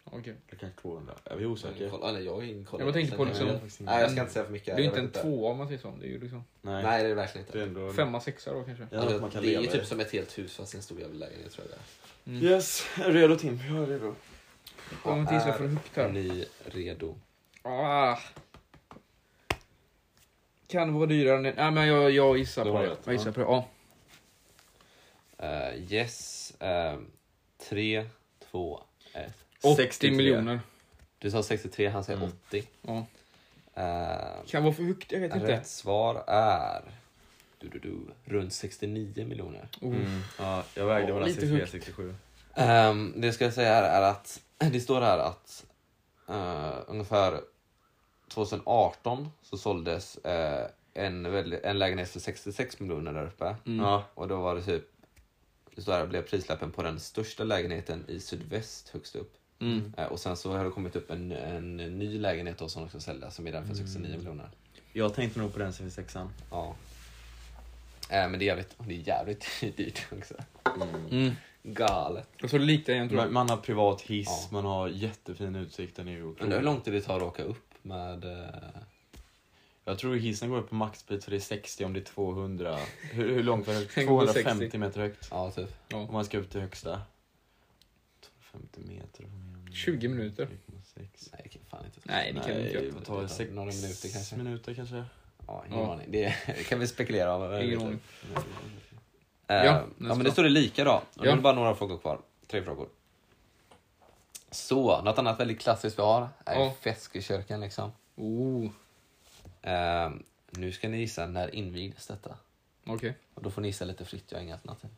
Speaker 2: Okej.
Speaker 3: Eller kanske 200. Jag är
Speaker 1: Jag,
Speaker 3: osäker.
Speaker 1: koll, ah, nej, jag har ingen koll.
Speaker 2: Jag bara tänker på
Speaker 1: Nej,
Speaker 2: liksom-
Speaker 1: jag- Nej, jag ska inte säga för mycket.
Speaker 2: Det är ju
Speaker 1: jag
Speaker 2: inte en
Speaker 1: vet
Speaker 2: tvåa om man säger så. Det är ju liksom
Speaker 3: Nej.
Speaker 1: Nej, det är det verkligen
Speaker 3: Det
Speaker 1: inte.
Speaker 3: är ändå...
Speaker 2: femma, sexa då kanske.
Speaker 3: Ja,
Speaker 1: Alltså,
Speaker 3: att man kan
Speaker 1: det är ju
Speaker 3: leva
Speaker 1: typ som ett helt hus fast i en stor jävla lägenhet tror jag det är.
Speaker 2: Mm.
Speaker 3: Yes, är du redo Tim? Jag är redo.
Speaker 2: Om man gissar för högt
Speaker 1: Är
Speaker 3: Mm.
Speaker 2: här.
Speaker 1: ni redo?
Speaker 2: Ah. Kan vara dyrare än... Nej men jag, jag gissar
Speaker 3: Du
Speaker 2: på
Speaker 3: har
Speaker 2: det.
Speaker 3: rätt,
Speaker 2: Jag gissar
Speaker 3: ja.
Speaker 2: på det. Ja.
Speaker 1: Eh, yes. eh, tre, två, ett.
Speaker 2: 80
Speaker 3: 63.
Speaker 2: miljoner.
Speaker 1: Du sa 63, han säger
Speaker 3: Mm.
Speaker 1: 80.
Speaker 2: Ja.
Speaker 1: Eh,
Speaker 2: Kan vara för högt, jag vet inte.
Speaker 1: rätt svar är du, du, du, runt 69 miljoner.
Speaker 2: Oh.
Speaker 3: Mm. Ja, jag vägde
Speaker 2: Åh,
Speaker 3: mellan
Speaker 2: lite
Speaker 3: 63
Speaker 2: högt.
Speaker 3: 67.
Speaker 1: Ehm, det jag ska säga här är att det står här att eh, ungefär 2018 så såldes eh, en, väldigt- en lägenhet för 66 miljoner där uppe.
Speaker 2: Mm.
Speaker 3: Ja.
Speaker 1: Och då var det typ, det står här, blev prislappen på den största lägenheten i sydväst högst upp.
Speaker 2: Mm.
Speaker 1: Eh, och sen så har det kommit upp en, en ny lägenhet då som också säljas som är
Speaker 2: Mm.
Speaker 1: den för 69 miljoner.
Speaker 3: Jag tänkte nog på den 66an.
Speaker 1: Ja. Eh, men det är jävligt, det är jävligt dyrt också.
Speaker 2: Mm.
Speaker 1: Galet.
Speaker 2: Jag tror det är lite igen tror jag.
Speaker 3: Man, man har privat hiss,
Speaker 1: Ja.
Speaker 3: man har jättefin utsikt. Den är ju
Speaker 1: Undrar
Speaker 2: Mm.
Speaker 3: otrolig.
Speaker 1: hur lång tid det tar att åka upp med eh,
Speaker 3: Jag tror hissen går upp på maxbit så det är 60 om det är 200. Hur, hur långt var det?
Speaker 2: Den går på 60.
Speaker 3: 250 meter högt.
Speaker 1: Ja, typ.
Speaker 3: Om man ska upp till högsta. 250 meter. vad menar jag?
Speaker 2: 20 minuter.
Speaker 3: 3,6.
Speaker 1: Nej, det kan fan inte.
Speaker 2: Nej, det kan vi inte
Speaker 3: Nej,
Speaker 2: göra.
Speaker 3: vad tar det?
Speaker 1: Det tar
Speaker 3: Sex
Speaker 1: några minuter kanske.
Speaker 3: minuter kanske?
Speaker 1: Ja, ingen
Speaker 2: Ja.
Speaker 1: aning. Det kan vi spekulera om. Eh,
Speaker 2: Ingen aning.
Speaker 1: ja,
Speaker 2: Ja, nästa.
Speaker 1: men det står det lika då. Och nu
Speaker 2: Ja.
Speaker 1: är det bara några frågor kvar. Tre frågor. Så, något annat väldigt klassiskt vi har är
Speaker 2: Ja.
Speaker 1: Feskekyrkan liksom.
Speaker 2: Oh,
Speaker 1: Eh, nu ska ni gissa när invigdes detta.
Speaker 2: okej.
Speaker 1: Och då får ni gissa lite fritt, jag har inga alternativ.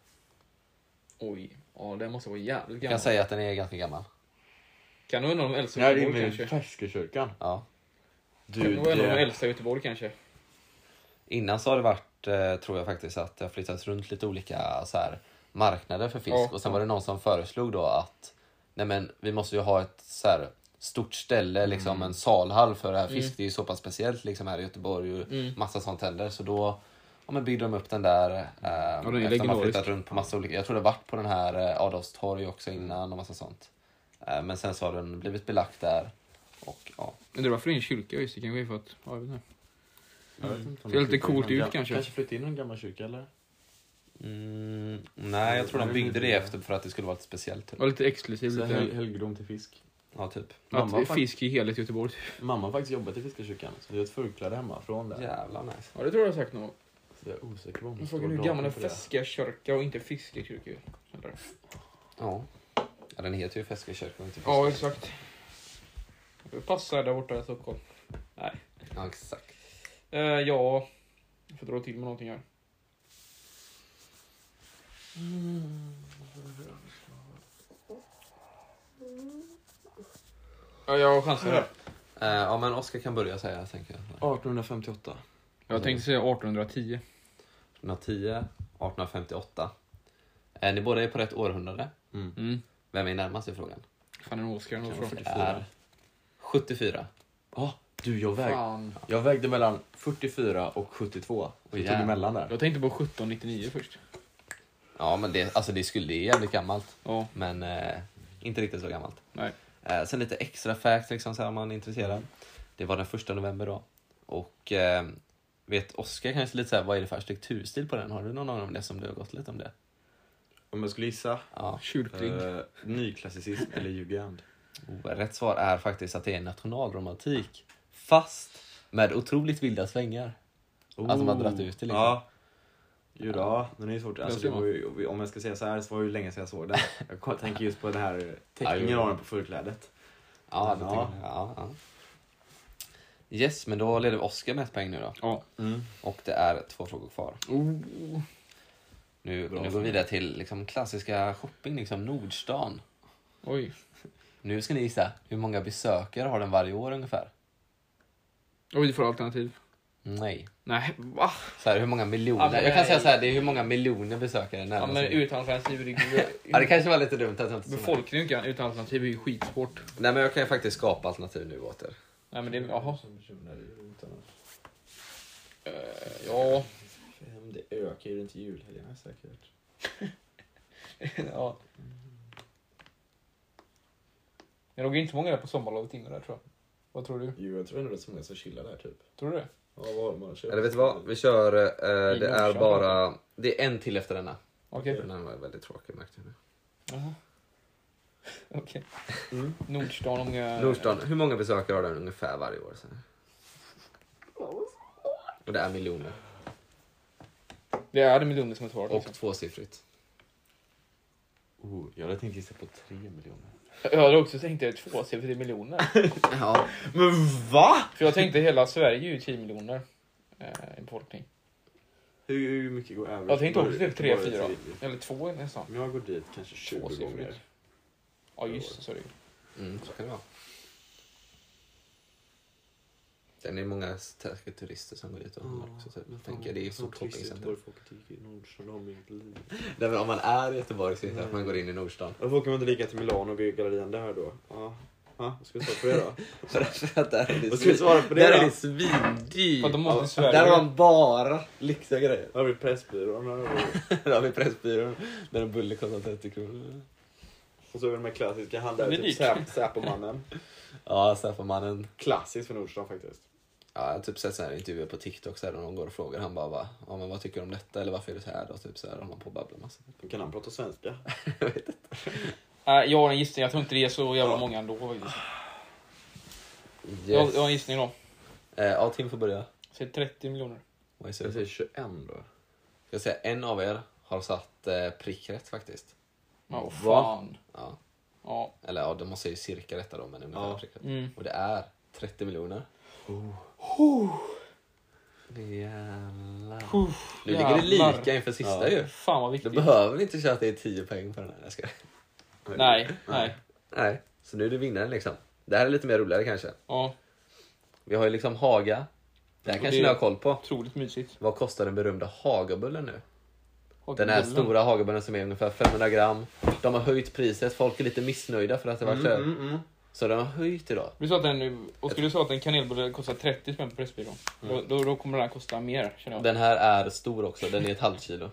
Speaker 2: Oj, ja den måste vara jävligt
Speaker 1: Jag
Speaker 2: gammal.
Speaker 1: kan säga att den är ganska gammal.
Speaker 2: Kan nog vara någon av de äldsta i
Speaker 3: Nej, det är
Speaker 2: Göteborg
Speaker 3: med
Speaker 2: kanske.
Speaker 3: Färskekyrkan.
Speaker 1: Ja.
Speaker 2: Kan
Speaker 3: Du,
Speaker 2: nog vara en av de
Speaker 3: det...
Speaker 2: äldsta i Göteborg kanske.
Speaker 1: Innan så har det varit, eh, tror jag faktiskt, att det har flyttats runt lite olika så här, marknader för fisk.
Speaker 2: Ja.
Speaker 1: Och sen var det någon som föreslog då att nej men, vi måste ju ha ett så här, stort ställe, liksom,
Speaker 2: Mm.
Speaker 1: en
Speaker 2: Mm.
Speaker 1: salhall för det här fisk. Det är ju så pass speciellt liksom, här i Göteborg och massa sånt händer. Så då ja, men byggde de upp den där eh,
Speaker 2: den är
Speaker 1: efter att de har
Speaker 2: legendarisk.
Speaker 1: flyttat runt på massa olika. Jag tror det har varit på den här eh, Adolfs torg också innan och massa sånt. Eh, men sen så har den blivit belagt där. Och, ja.
Speaker 2: Undrar varför det är en kyrka? Just det, kanske är för att... Ja, jag vet inte.
Speaker 3: Jag vet inte om
Speaker 2: Det är lite
Speaker 3: flyttar in
Speaker 2: coolt
Speaker 3: någon
Speaker 2: ut
Speaker 3: gam-
Speaker 2: kanske.
Speaker 3: Kanske flytta in i en gammal kyrka eller?
Speaker 1: Mm, nej, jag tror de byggde det efter för att det skulle vara lite speciellt. Typ.
Speaker 2: Och lite exklusivt.
Speaker 3: Så hel-
Speaker 2: Lite,
Speaker 3: helgedom till fisk.
Speaker 1: Ja, typ.
Speaker 3: Mamma
Speaker 2: att
Speaker 3: fakt-
Speaker 2: fisk i hela Göteborg. typ.
Speaker 3: Mamma har faktiskt jobbat i Fiskekyrkan, så det är ett förkläde hemma från där.
Speaker 1: Jävla nice.
Speaker 2: Ja, det tror jag sagt någon gång.
Speaker 3: Så jag är osäker på om
Speaker 2: Men
Speaker 3: det står
Speaker 2: Frågan är hur
Speaker 3: datum
Speaker 2: gammal en
Speaker 3: på det.
Speaker 2: feskekörka och inte fiskekyrka är. Eller?
Speaker 1: Ja. ja den heter ju Feskekyrkan. inte
Speaker 2: Ja,
Speaker 1: Fiskekyrkan.
Speaker 2: exakt. Det passar där borta i Stockholm. Nej.
Speaker 1: Ja, exakt.
Speaker 2: Eh, ja, jag får dra till med någonting här. Ja, jag har chansen här.
Speaker 1: Eh, ja, men Oskar kan börja säga, tänker jag.
Speaker 3: 1858.
Speaker 2: Jag tänkte säga 1810.
Speaker 1: 1810, 1858. Eh, ni båda är på rätt århundrade.
Speaker 3: Mm.
Speaker 2: Mm.
Speaker 1: Vem är närmast i frågan?
Speaker 2: Fan, en Oscar eller något
Speaker 1: Det är 74.
Speaker 3: Ah, du, jag, väg,
Speaker 2: Fan.
Speaker 3: jag vägde mellan 44 och 72. Och jag tog
Speaker 1: Jävlar.
Speaker 3: emellan där.
Speaker 2: Jag tänkte på 1799 först.
Speaker 1: Ja, men det, alltså, det skulle det är jävligt gammalt.
Speaker 2: Ja,
Speaker 1: Men eh, inte riktigt så gammalt.
Speaker 2: nej.
Speaker 1: Eh, sen lite extra facts liksom, så här, om man är intresserad. Det var den första november då. Och eh, vet Oskar kanske lite så här, vad är det för arkitekturstil på den? Har du någon aning om det som du har gått lite om det?
Speaker 3: Om jag skulle gissa.
Speaker 1: Ja.
Speaker 2: Kyrklig.
Speaker 3: Eh, nyklassicism eller jugend.
Speaker 1: Oh, Rätt svar är faktiskt att det är nationalromantik. Fast med otroligt vilda svängar. Att de har dragit ut det liksom.
Speaker 3: Oh. Ja. Jo då, den är ju svårt. Alltså,
Speaker 2: ser
Speaker 3: det var ju, om jag ska säga så här så var det ju länge sedan jag såg den. Jag kom- tänker just på den här
Speaker 1: Ja,
Speaker 3: teckningen
Speaker 1: jo.
Speaker 3: av den på förklädet.
Speaker 1: Ja, det
Speaker 3: Ja.
Speaker 1: ja. Ja, ja. Yes, men då leder vi Oskar med ett poäng nu då.
Speaker 2: Ja.
Speaker 3: Mm.
Speaker 1: Och det är två frågor kvar.
Speaker 2: Oh.
Speaker 1: Nu,
Speaker 3: Bra.
Speaker 1: nu går vi vidare till liksom, klassiska shopping, liksom Nordstan.
Speaker 2: Oj.
Speaker 1: Nu ska ni gissa, hur många besökare har den varje år ungefär?
Speaker 2: Oj, du får alternativ.
Speaker 1: Nej.
Speaker 2: Nej, va?
Speaker 1: Så här, hur många miljoner?
Speaker 2: Ja, men
Speaker 1: jag kan säga
Speaker 2: nej.
Speaker 1: så här, det är hur många miljoner besökare
Speaker 2: Ja,
Speaker 1: närmast.
Speaker 2: men utan alternativ är det
Speaker 1: ja, det kanske var lite dumt att jag inte sa det.
Speaker 2: Befolkningen utan alternativ är ju skitsport.
Speaker 1: Nej, men jag kan ju faktiskt skapa alternativ nu åter.
Speaker 2: Nej men det, jaha.
Speaker 4: Som personer är ju utan att-
Speaker 2: Eh, Ja.
Speaker 4: Fem, Det ökar ju inte julhelgerna säkert.
Speaker 2: ja. Det låg inte så många där på sommarlovet innan där tror jag. Vad tror du?
Speaker 4: Jo, jag tror ändå det är så många som chillar där typ.
Speaker 2: Tror du det?
Speaker 4: Ja, vad har man? Köper-
Speaker 1: Eller vet du vad,
Speaker 3: Mm.
Speaker 1: vi kör, eh,
Speaker 2: I
Speaker 1: det är
Speaker 2: Nordstan.
Speaker 1: bara, det är en till efter denna.
Speaker 2: Okej.
Speaker 1: Den här var väldigt tråkig märkte jag nu.
Speaker 2: Jaha. Okej.
Speaker 4: Mm.
Speaker 2: Nordstan, hur
Speaker 3: Eh.
Speaker 2: många...
Speaker 1: Nordstan, hur många besökare har den ungefär varje år? Så här? Och det är miljoner.
Speaker 2: Det är det miljoner som är svaret.
Speaker 1: Och
Speaker 2: Liksom.
Speaker 1: tvåsiffrigt.
Speaker 3: Oh, jag hade tänkt gissa på tre miljoner.
Speaker 2: Jag hade också tänkt det tvåsiffrigt i miljoner.
Speaker 1: Ja.
Speaker 3: Men va?
Speaker 2: För jag tänkte hela Sverige är ju 10 miljoner eh, i befolkning.
Speaker 3: Hur, hur mycket går average?
Speaker 2: Jag tänkte också typ tre,
Speaker 3: Bara
Speaker 2: fyra.
Speaker 3: till-
Speaker 2: Eller två nästan.
Speaker 3: Om jag går dit kanske 20 gånger.
Speaker 2: Tvåsiffrigt. Ja just det, så är det ju.
Speaker 1: Mm, så kan det vara. Den är många säkert turister som går dit och
Speaker 3: Mm,
Speaker 1: handlar också. Typ.
Speaker 3: Men fan,
Speaker 1: Tänker, det är ju
Speaker 3: som
Speaker 1: stort
Speaker 3: turist i
Speaker 1: shoppingcenter.
Speaker 3: Göteborg, folk tycker ju Nordstan om mitt liv.
Speaker 1: Nej, men om man är i Göteborg så är det inte
Speaker 3: Nej.
Speaker 1: att man går in i Nordstan.
Speaker 4: Varför åker man inte lika till Milano och går i gallerian där då? Ja. Ja, vad ska vi svara på det då?
Speaker 1: För att där är det
Speaker 4: Vad ska vi
Speaker 1: svin-
Speaker 4: svara på
Speaker 1: där
Speaker 4: det
Speaker 1: är det
Speaker 4: då?
Speaker 2: För att de
Speaker 1: svindyrt.
Speaker 2: måste till Sverige.
Speaker 1: Där har man bara lyxiga grejer.
Speaker 4: Har vi Pressbyrån här och-
Speaker 1: Där har vi Pressbyrån där en bulle kostar 30 kronor.
Speaker 4: och så har vi de här klassiska handlarna,
Speaker 2: Den är
Speaker 4: typ
Speaker 2: dyr.
Speaker 4: Säp- Säpomannen.
Speaker 1: Ja, så här får man en...
Speaker 4: Klassiskt för Nordstan faktiskt.
Speaker 1: Ja, jag har typ sett sådana här intervjuer på TikTok så här, där någon går och frågar. Han bara, va? Ja, men vad tycker du om detta? Eller varför är det så här då? Typ så här håller man på och babblar massa.
Speaker 4: Kan han prata svenska?
Speaker 2: Nej, Äh, jag har en gissning. Jag tror inte det är så jävla många ändå faktiskt. Jag, jag har en gissning då.
Speaker 1: Eh, ja, Tim får börja.
Speaker 2: Säg 30 miljoner.
Speaker 1: Vad
Speaker 3: Jag
Speaker 1: gissar du?
Speaker 3: säger 21 då.
Speaker 1: Jag säger en av er har satt eh, prick rätt faktiskt.
Speaker 2: Ja,
Speaker 3: Va?
Speaker 2: oh, fan.
Speaker 1: Ja.
Speaker 2: Ja.
Speaker 1: Eller ja, de måste ju cirka rätta då, men ungefär
Speaker 3: Ja.
Speaker 1: prick rätt.
Speaker 2: Mm.
Speaker 1: Och det är 30 miljoner. Oh. Jävlar. Nu ligger
Speaker 2: Jävlar.
Speaker 1: det lika inför sista
Speaker 3: Ja.
Speaker 1: ju.
Speaker 2: Fan vad
Speaker 1: Då
Speaker 2: viktigt.
Speaker 1: behöver vi inte köra att det är 10 poäng på den här. Jag ska...
Speaker 2: Nej, nej.
Speaker 1: Nej, så nu är det vinnaren liksom. Det här är lite mer roligare kanske.
Speaker 2: Ja,
Speaker 1: Vi har ju liksom Haga. Det här
Speaker 2: Och
Speaker 1: kanske
Speaker 2: det-
Speaker 1: ni har koll på.
Speaker 2: otroligt mysigt.
Speaker 1: Vad kostar den berömda Hagabullen nu?
Speaker 2: Och
Speaker 1: Den här
Speaker 2: bullen.
Speaker 1: stora
Speaker 2: Mm,
Speaker 4: Mm,
Speaker 1: hagabullen som är ungefär 500 gram. De har höjt priset, folk är lite missnöjda för att det var så, Så den har höjt idag.
Speaker 2: Du sa att en, och skulle du sa att en kanelbulle kostar 30 spänn på Pressbyrån. Då, då, då kommer den här kosta mer, känner jag.
Speaker 1: Den här är stor också, den är ett halvt kilo.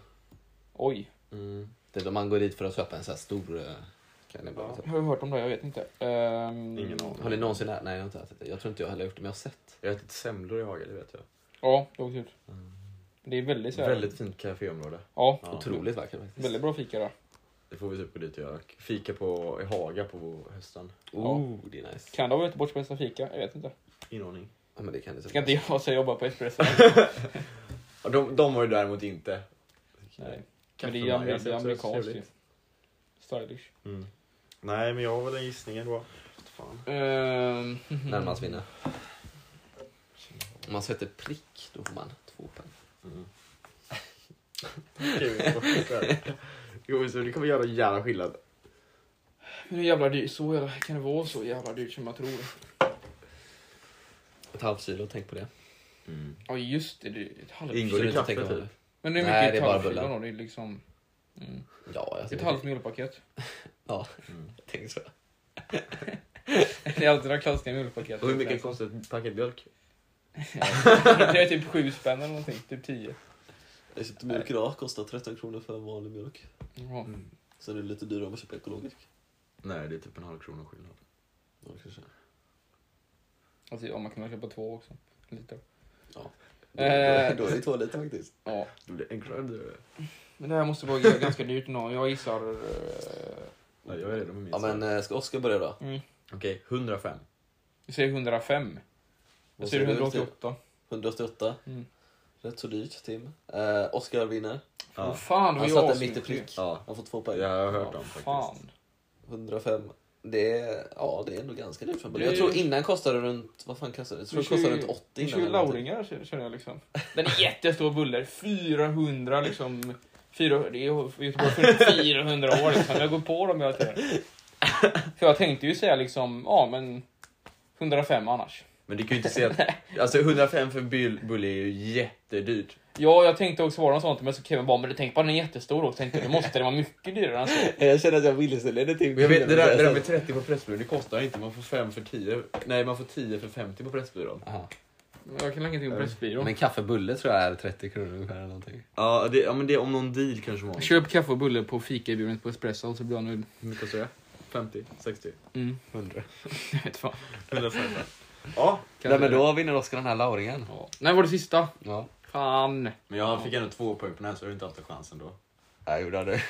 Speaker 2: Oj.
Speaker 3: Mm.
Speaker 1: Det är då man går dit för att köpa en så här stor eh, kanelbulle.
Speaker 2: Jag har ju hört om det, jag vet inte. Ehm,
Speaker 4: Ingen aning.
Speaker 1: Har ni någonsin ätit? Nej, jag har inte ätit det. Jag tror inte jag heller har gjort det, men jag har sett.
Speaker 3: Jag har ätit semlor i Haga, det vet jag.
Speaker 2: Ja, det var kul. Det är väldigt så här,
Speaker 3: Väldigt fint caféområde.
Speaker 2: Ja,
Speaker 3: Ja.
Speaker 1: Otroligt vackert faktiskt.
Speaker 2: väldigt bra fika där.
Speaker 3: Det får vi typ gå dit och göra. Fika på, i Haga på hösten.
Speaker 1: Oh, det är nice.
Speaker 2: Kan det vara Göteborgs bästa fika? Jag vet inte.
Speaker 3: Inordning.
Speaker 1: Ja, men det kan det
Speaker 2: Ska inte jag säga jobba på Espresso?
Speaker 3: Ja, de, de var ju däremot inte.
Speaker 2: Nej. Men det är ju
Speaker 3: Kaffemaja,
Speaker 2: amer- eh, det är
Speaker 3: också
Speaker 2: amerikanskt ju.
Speaker 3: trevligt.
Speaker 2: Stylish.
Speaker 4: Mm. Nej, men jag har väl en gissning ändå. Fan.
Speaker 2: Ehm,
Speaker 1: Närmast vinner. Om man sätter prick, då får man två poäng.
Speaker 3: Mm. Okej, vi får fortsätta. Jo, så det kommer göra en jävla skillnad.
Speaker 2: Men hur jävla dyrt, så jävla, kan det vara så jävla dyrt som jag tror?
Speaker 1: Ett halvt kilo, tänk på det.
Speaker 3: Mm.
Speaker 2: Ja just det, det är ett halvt
Speaker 3: Ingår
Speaker 1: Så
Speaker 3: det
Speaker 1: du inte
Speaker 3: kaffe,
Speaker 1: tänker på
Speaker 3: typ?
Speaker 1: det.
Speaker 2: Men det är
Speaker 1: Nej, det
Speaker 2: mycket
Speaker 1: är bara
Speaker 2: halvkilo
Speaker 1: bullar.
Speaker 2: då, det är liksom... Mm.
Speaker 1: Ja, jag
Speaker 2: Ett
Speaker 1: tänker,
Speaker 2: halvt mjölpaket.
Speaker 1: ja,
Speaker 3: Mm.
Speaker 1: jag tänker så.
Speaker 2: Det är alltid några klassiska mjölpaket.
Speaker 3: Och hur mycket kostar ett paket mjölk?
Speaker 2: Det är typ sju spänn eller någonting, typ tio.
Speaker 5: Jag köpte mjölk idag, kostar 13 kronor för en vanlig mjölk.
Speaker 2: Ja.
Speaker 5: Sen är det lite dyrare om man köper ekologisk.
Speaker 3: Nej, det är typ en halv krona skillnad.
Speaker 5: Ja, kanske.
Speaker 2: Alltså, om man kunde köpa två också. Lite.
Speaker 5: Ja. Då,
Speaker 2: Eh,
Speaker 5: då är det två liter faktiskt.
Speaker 2: ja.
Speaker 3: Det blir en krona dyrare.
Speaker 2: Men det här måste vara ganska dyrt nu. Jag gissar... Eh,
Speaker 3: Nej, jag är redo med min.
Speaker 5: Ja, men eh, ska Oskar börja då?
Speaker 2: mm.
Speaker 3: Okej, 105.
Speaker 2: Vi säger 105. Jag
Speaker 5: Vad
Speaker 2: säger
Speaker 5: säger du,
Speaker 2: 188.
Speaker 5: 188.
Speaker 2: Mm.
Speaker 5: Rätt så dyrt, Tim. Eh, Oskar vinner.
Speaker 2: Åh
Speaker 3: Ja,
Speaker 2: fan, det
Speaker 5: Han
Speaker 2: var ju
Speaker 5: satte mitt i
Speaker 2: asmycket.
Speaker 5: prick.
Speaker 3: ja.
Speaker 5: Han får två
Speaker 3: det
Speaker 5: poäng.
Speaker 3: har jag hört
Speaker 2: Ja,
Speaker 3: om faktiskt.
Speaker 2: Fan.
Speaker 5: 105. Det är, ja, det är ändå ganska dyrt för en bulle.
Speaker 2: Det är-
Speaker 5: Jag tror innan kostade det runt, vad fan kostade det? Jag tror det kostade runt 80 innan.
Speaker 2: innan. 20
Speaker 5: eller någonting.
Speaker 2: lauringar k- känner jag liksom. Den är jättestor buller. 400 liksom. 400, det är ju- Göteborg för 400 år liksom. Jag går på dem hela tiden. För jag tänkte ju säga liksom, ja men 105 annars.
Speaker 3: Men du kan ju inte säga att... Alltså 105 för bull- bulle är ju jättedyrt.
Speaker 2: Ja, jag tänkte också vara något sånt, men så Kevin bara, men tänk på den är jättestor också. Tänkte, det måste det vara mycket dyrare än så.
Speaker 5: Jag känner att jag vilseledde Tim.
Speaker 3: Men Jag vet, det, där, det Alltså- där med 30 på Pressbyrån, det kostar inte. Man får 5 för 10. Nej, man får 10 för 50 på Pressbyrån.
Speaker 1: Aha.
Speaker 2: Jag kan ingenting om Pressbyrån.
Speaker 1: Men kaffebulle tror jag är 30 kronor ungefär eller någonting.
Speaker 3: Ja, det, ja men det är om någon deal kanske man.
Speaker 2: Köp kaffe och bulle på fikaerbjudandet på Espresso och så blir han nöjd.
Speaker 3: Hur mycket kostar det? 50? 60?
Speaker 2: Mm.
Speaker 1: 100.
Speaker 2: Jag vet fan.
Speaker 3: 105? Ja.
Speaker 1: Nej, men då vinner Oskar den här lauringen.
Speaker 2: Ja. Nej, var det sista?
Speaker 1: Ja.
Speaker 2: Fan.
Speaker 3: Men jag fick ändå två poäng på den här så jag har inte haft en chans ändå.
Speaker 1: Jag gjorde det.
Speaker 2: Är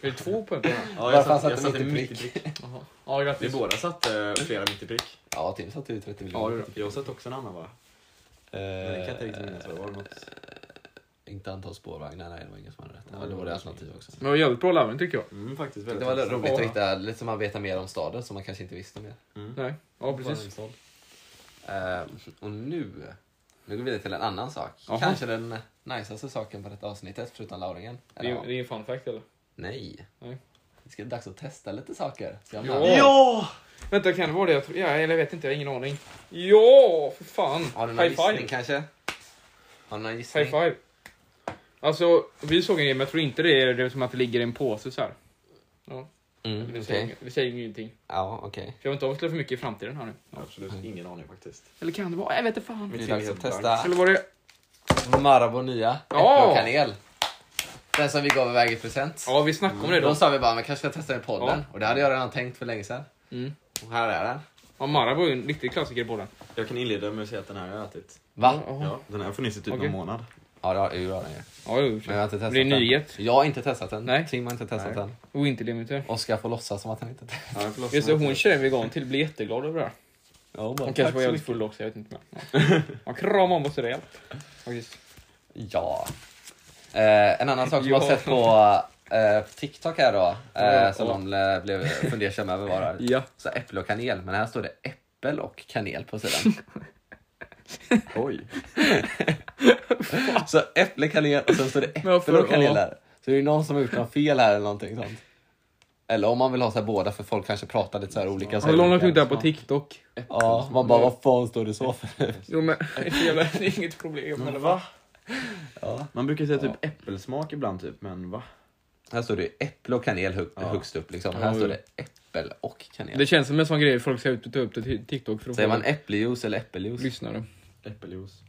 Speaker 2: det två poäng på den här?
Speaker 3: Ja,
Speaker 1: Varför
Speaker 3: jag satte,
Speaker 1: satte
Speaker 3: jag
Speaker 1: man
Speaker 3: satte
Speaker 1: inte
Speaker 3: mitt i
Speaker 1: prick?
Speaker 3: prick.
Speaker 2: Jaha. Ja,
Speaker 3: Vi
Speaker 2: grattis.
Speaker 3: båda satte flera mitt i prick.
Speaker 1: Ja, Tim satte ju 30
Speaker 2: Ja,
Speaker 1: miljoner. Eh,
Speaker 2: det är bra.
Speaker 3: Jag satte också en annan va? Men det kan jag inte riktigt minnas vad det var. Något.
Speaker 1: Inte antal spårvagnar, nej det var ingen som hade rätt. Ja, det var det alternativ också.
Speaker 2: Men det var jävligt bra larvning tycker jag.
Speaker 3: Mm, faktiskt väldigt
Speaker 1: Det var
Speaker 3: intressant.
Speaker 1: roligt att hitta, lite som man vet mer om staden som man kanske inte visste mer.
Speaker 2: Nej, ja precis.
Speaker 1: Eh, och nu, nu går vi vidare till en annan sak.
Speaker 2: Jaha.
Speaker 1: Kanske den najsaste saken på detta avsnittet, förutom lauringen.
Speaker 2: Det
Speaker 1: Eller,
Speaker 2: är, det
Speaker 1: ja.
Speaker 2: är en fun fact eller?
Speaker 1: Nej.
Speaker 2: Nej.
Speaker 1: Det ska dags att testa lite saker. Ska jag
Speaker 2: Ja.
Speaker 1: med?
Speaker 3: Ja!
Speaker 2: Vänta, kan det vara det? Jag tror, ja, eller jag vet inte, jag har ingen aning. Ja, för fan!
Speaker 1: Har du någon
Speaker 2: High
Speaker 1: gissning
Speaker 2: five!
Speaker 1: kanske? Har du någon
Speaker 2: High
Speaker 1: gissning?
Speaker 2: five! Alltså, vi såg en grej, men jag tror inte det är det som att det ligger i en påse så här. Ja,
Speaker 1: Mm,
Speaker 2: vi,
Speaker 1: okej.
Speaker 2: säger, vi säger ingenting.
Speaker 1: Ja, okej.
Speaker 2: För jag vill inte avslöja för mycket i framtiden här nu.
Speaker 3: Absolut, ingen aning faktiskt.
Speaker 2: Eller kan det vara? Jag vet inte fan.
Speaker 1: Det är dags att testa
Speaker 2: Eller var det?
Speaker 1: Marabou nya, äpple
Speaker 2: Ja.
Speaker 1: och kanel. Den som vi gav iväg i present.
Speaker 2: Ja, vi snackade om det
Speaker 1: Då
Speaker 2: då.
Speaker 1: sa vi bara, man kanske ska testa den i podden.
Speaker 2: Ja.
Speaker 1: Och det hade jag redan tänkt för länge sedan.
Speaker 2: Mm.
Speaker 1: Och här är den.
Speaker 2: Ja, Marabou är en riktig klassiker på den.
Speaker 3: Jag kan inleda med att säga att den här har jag ätit.
Speaker 1: Va?
Speaker 3: Ja, den här har funnits i typ
Speaker 2: Okej.
Speaker 3: någon månad.
Speaker 1: Ja, det har det har den ju.
Speaker 2: Ja, jo, i och för
Speaker 1: Men jag har
Speaker 2: sig.
Speaker 1: inte testat
Speaker 2: det är
Speaker 1: den.
Speaker 2: nyhet.
Speaker 1: Jag har inte testat den.
Speaker 2: Nej.
Speaker 1: Tim har inte testat
Speaker 3: Nej.
Speaker 1: den.
Speaker 2: Och inte limiter.
Speaker 1: Oskar får låtsas som att han inte testat.
Speaker 3: Ja, jag får låtsas
Speaker 2: Just det,
Speaker 3: att jag
Speaker 2: hon
Speaker 3: ätit.
Speaker 2: tjejen vegan till blir jätteglad över det här.
Speaker 1: Ja,
Speaker 2: Hon kanske var jävligt full också, jag vet inte. Men, ja. Man kramar om oss rejält. Faktiskt.
Speaker 1: Ja. Eh, en annan sak som jag har
Speaker 2: Ja.
Speaker 1: sett på eh, TikTok här då, eh,
Speaker 2: Ja,
Speaker 1: som
Speaker 2: ja.
Speaker 1: de eh, blev fundersamma över var det.
Speaker 2: Ja.
Speaker 1: Så äpple och kanel, men här står det äppel och kanel på sidan.
Speaker 3: Oj.
Speaker 1: så äpple, kanel och sen står det
Speaker 2: Men varför-
Speaker 1: äpple och kanel
Speaker 2: ja.
Speaker 1: där. Så det är någon som har gjort något fel här eller någonting sånt. Eller om man vill ha så här båda för folk kanske pratar lite så här olika. så
Speaker 2: Har
Speaker 1: är
Speaker 2: du
Speaker 1: det
Speaker 2: lånat
Speaker 1: olika.
Speaker 2: ut det här på TikTok?
Speaker 1: Ja, man bara vad fan står Alltså, det så för?
Speaker 2: Jo men, det är så jävla- det är inget problem.
Speaker 3: Men
Speaker 2: Eller
Speaker 3: va?
Speaker 1: Ja.
Speaker 3: Man brukar säga typ äppelsmak ibland typ, men va?
Speaker 1: Här står det äpple och kanel hög,
Speaker 3: Ja.
Speaker 1: högst upp liksom. Här står det äppel och kanel.
Speaker 2: Det känns som en sån grej folk ska ut och ta upp det till TikTok för att
Speaker 1: Säger
Speaker 2: få
Speaker 1: man äppeljuice eller äppeljuice?
Speaker 2: lyssnare.
Speaker 3: Äppeljuice.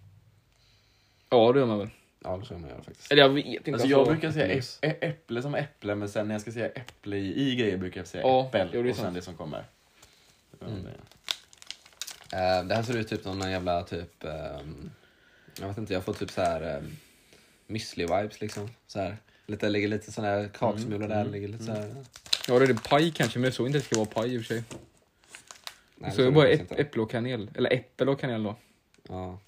Speaker 2: Ja, det gör man väl.
Speaker 1: Ja, det ska man göra faktiskt.
Speaker 2: Eller jag vet inte.
Speaker 3: Alltså jag brukar säga
Speaker 1: äppeljuice.
Speaker 3: äpp- ä- äpple som äpple men sen när jag ska säga äpple i, i grejer brukar jag säga
Speaker 2: Ja,
Speaker 3: äppel
Speaker 2: jo, det är
Speaker 3: och sen
Speaker 2: sant.
Speaker 3: det som kommer.
Speaker 1: Mm. Eh, det här ser ut typ som någon jävla typ... ehm, jag vet inte, jag får typ så här um, müsli-vibes liksom. Så här. Lite, ligger lite sån här kaksmulor där, ligger lite så här.
Speaker 2: Ja, det är det paj kanske, men jag såg inte att det ska vara paj i och för sig.
Speaker 1: Nej,
Speaker 2: så
Speaker 1: tror
Speaker 2: är
Speaker 1: jag
Speaker 2: det bara
Speaker 1: faktiskt
Speaker 2: äpp-
Speaker 1: inte.
Speaker 2: äpple och kanel. Eller äppel och kanel då.
Speaker 1: Ja.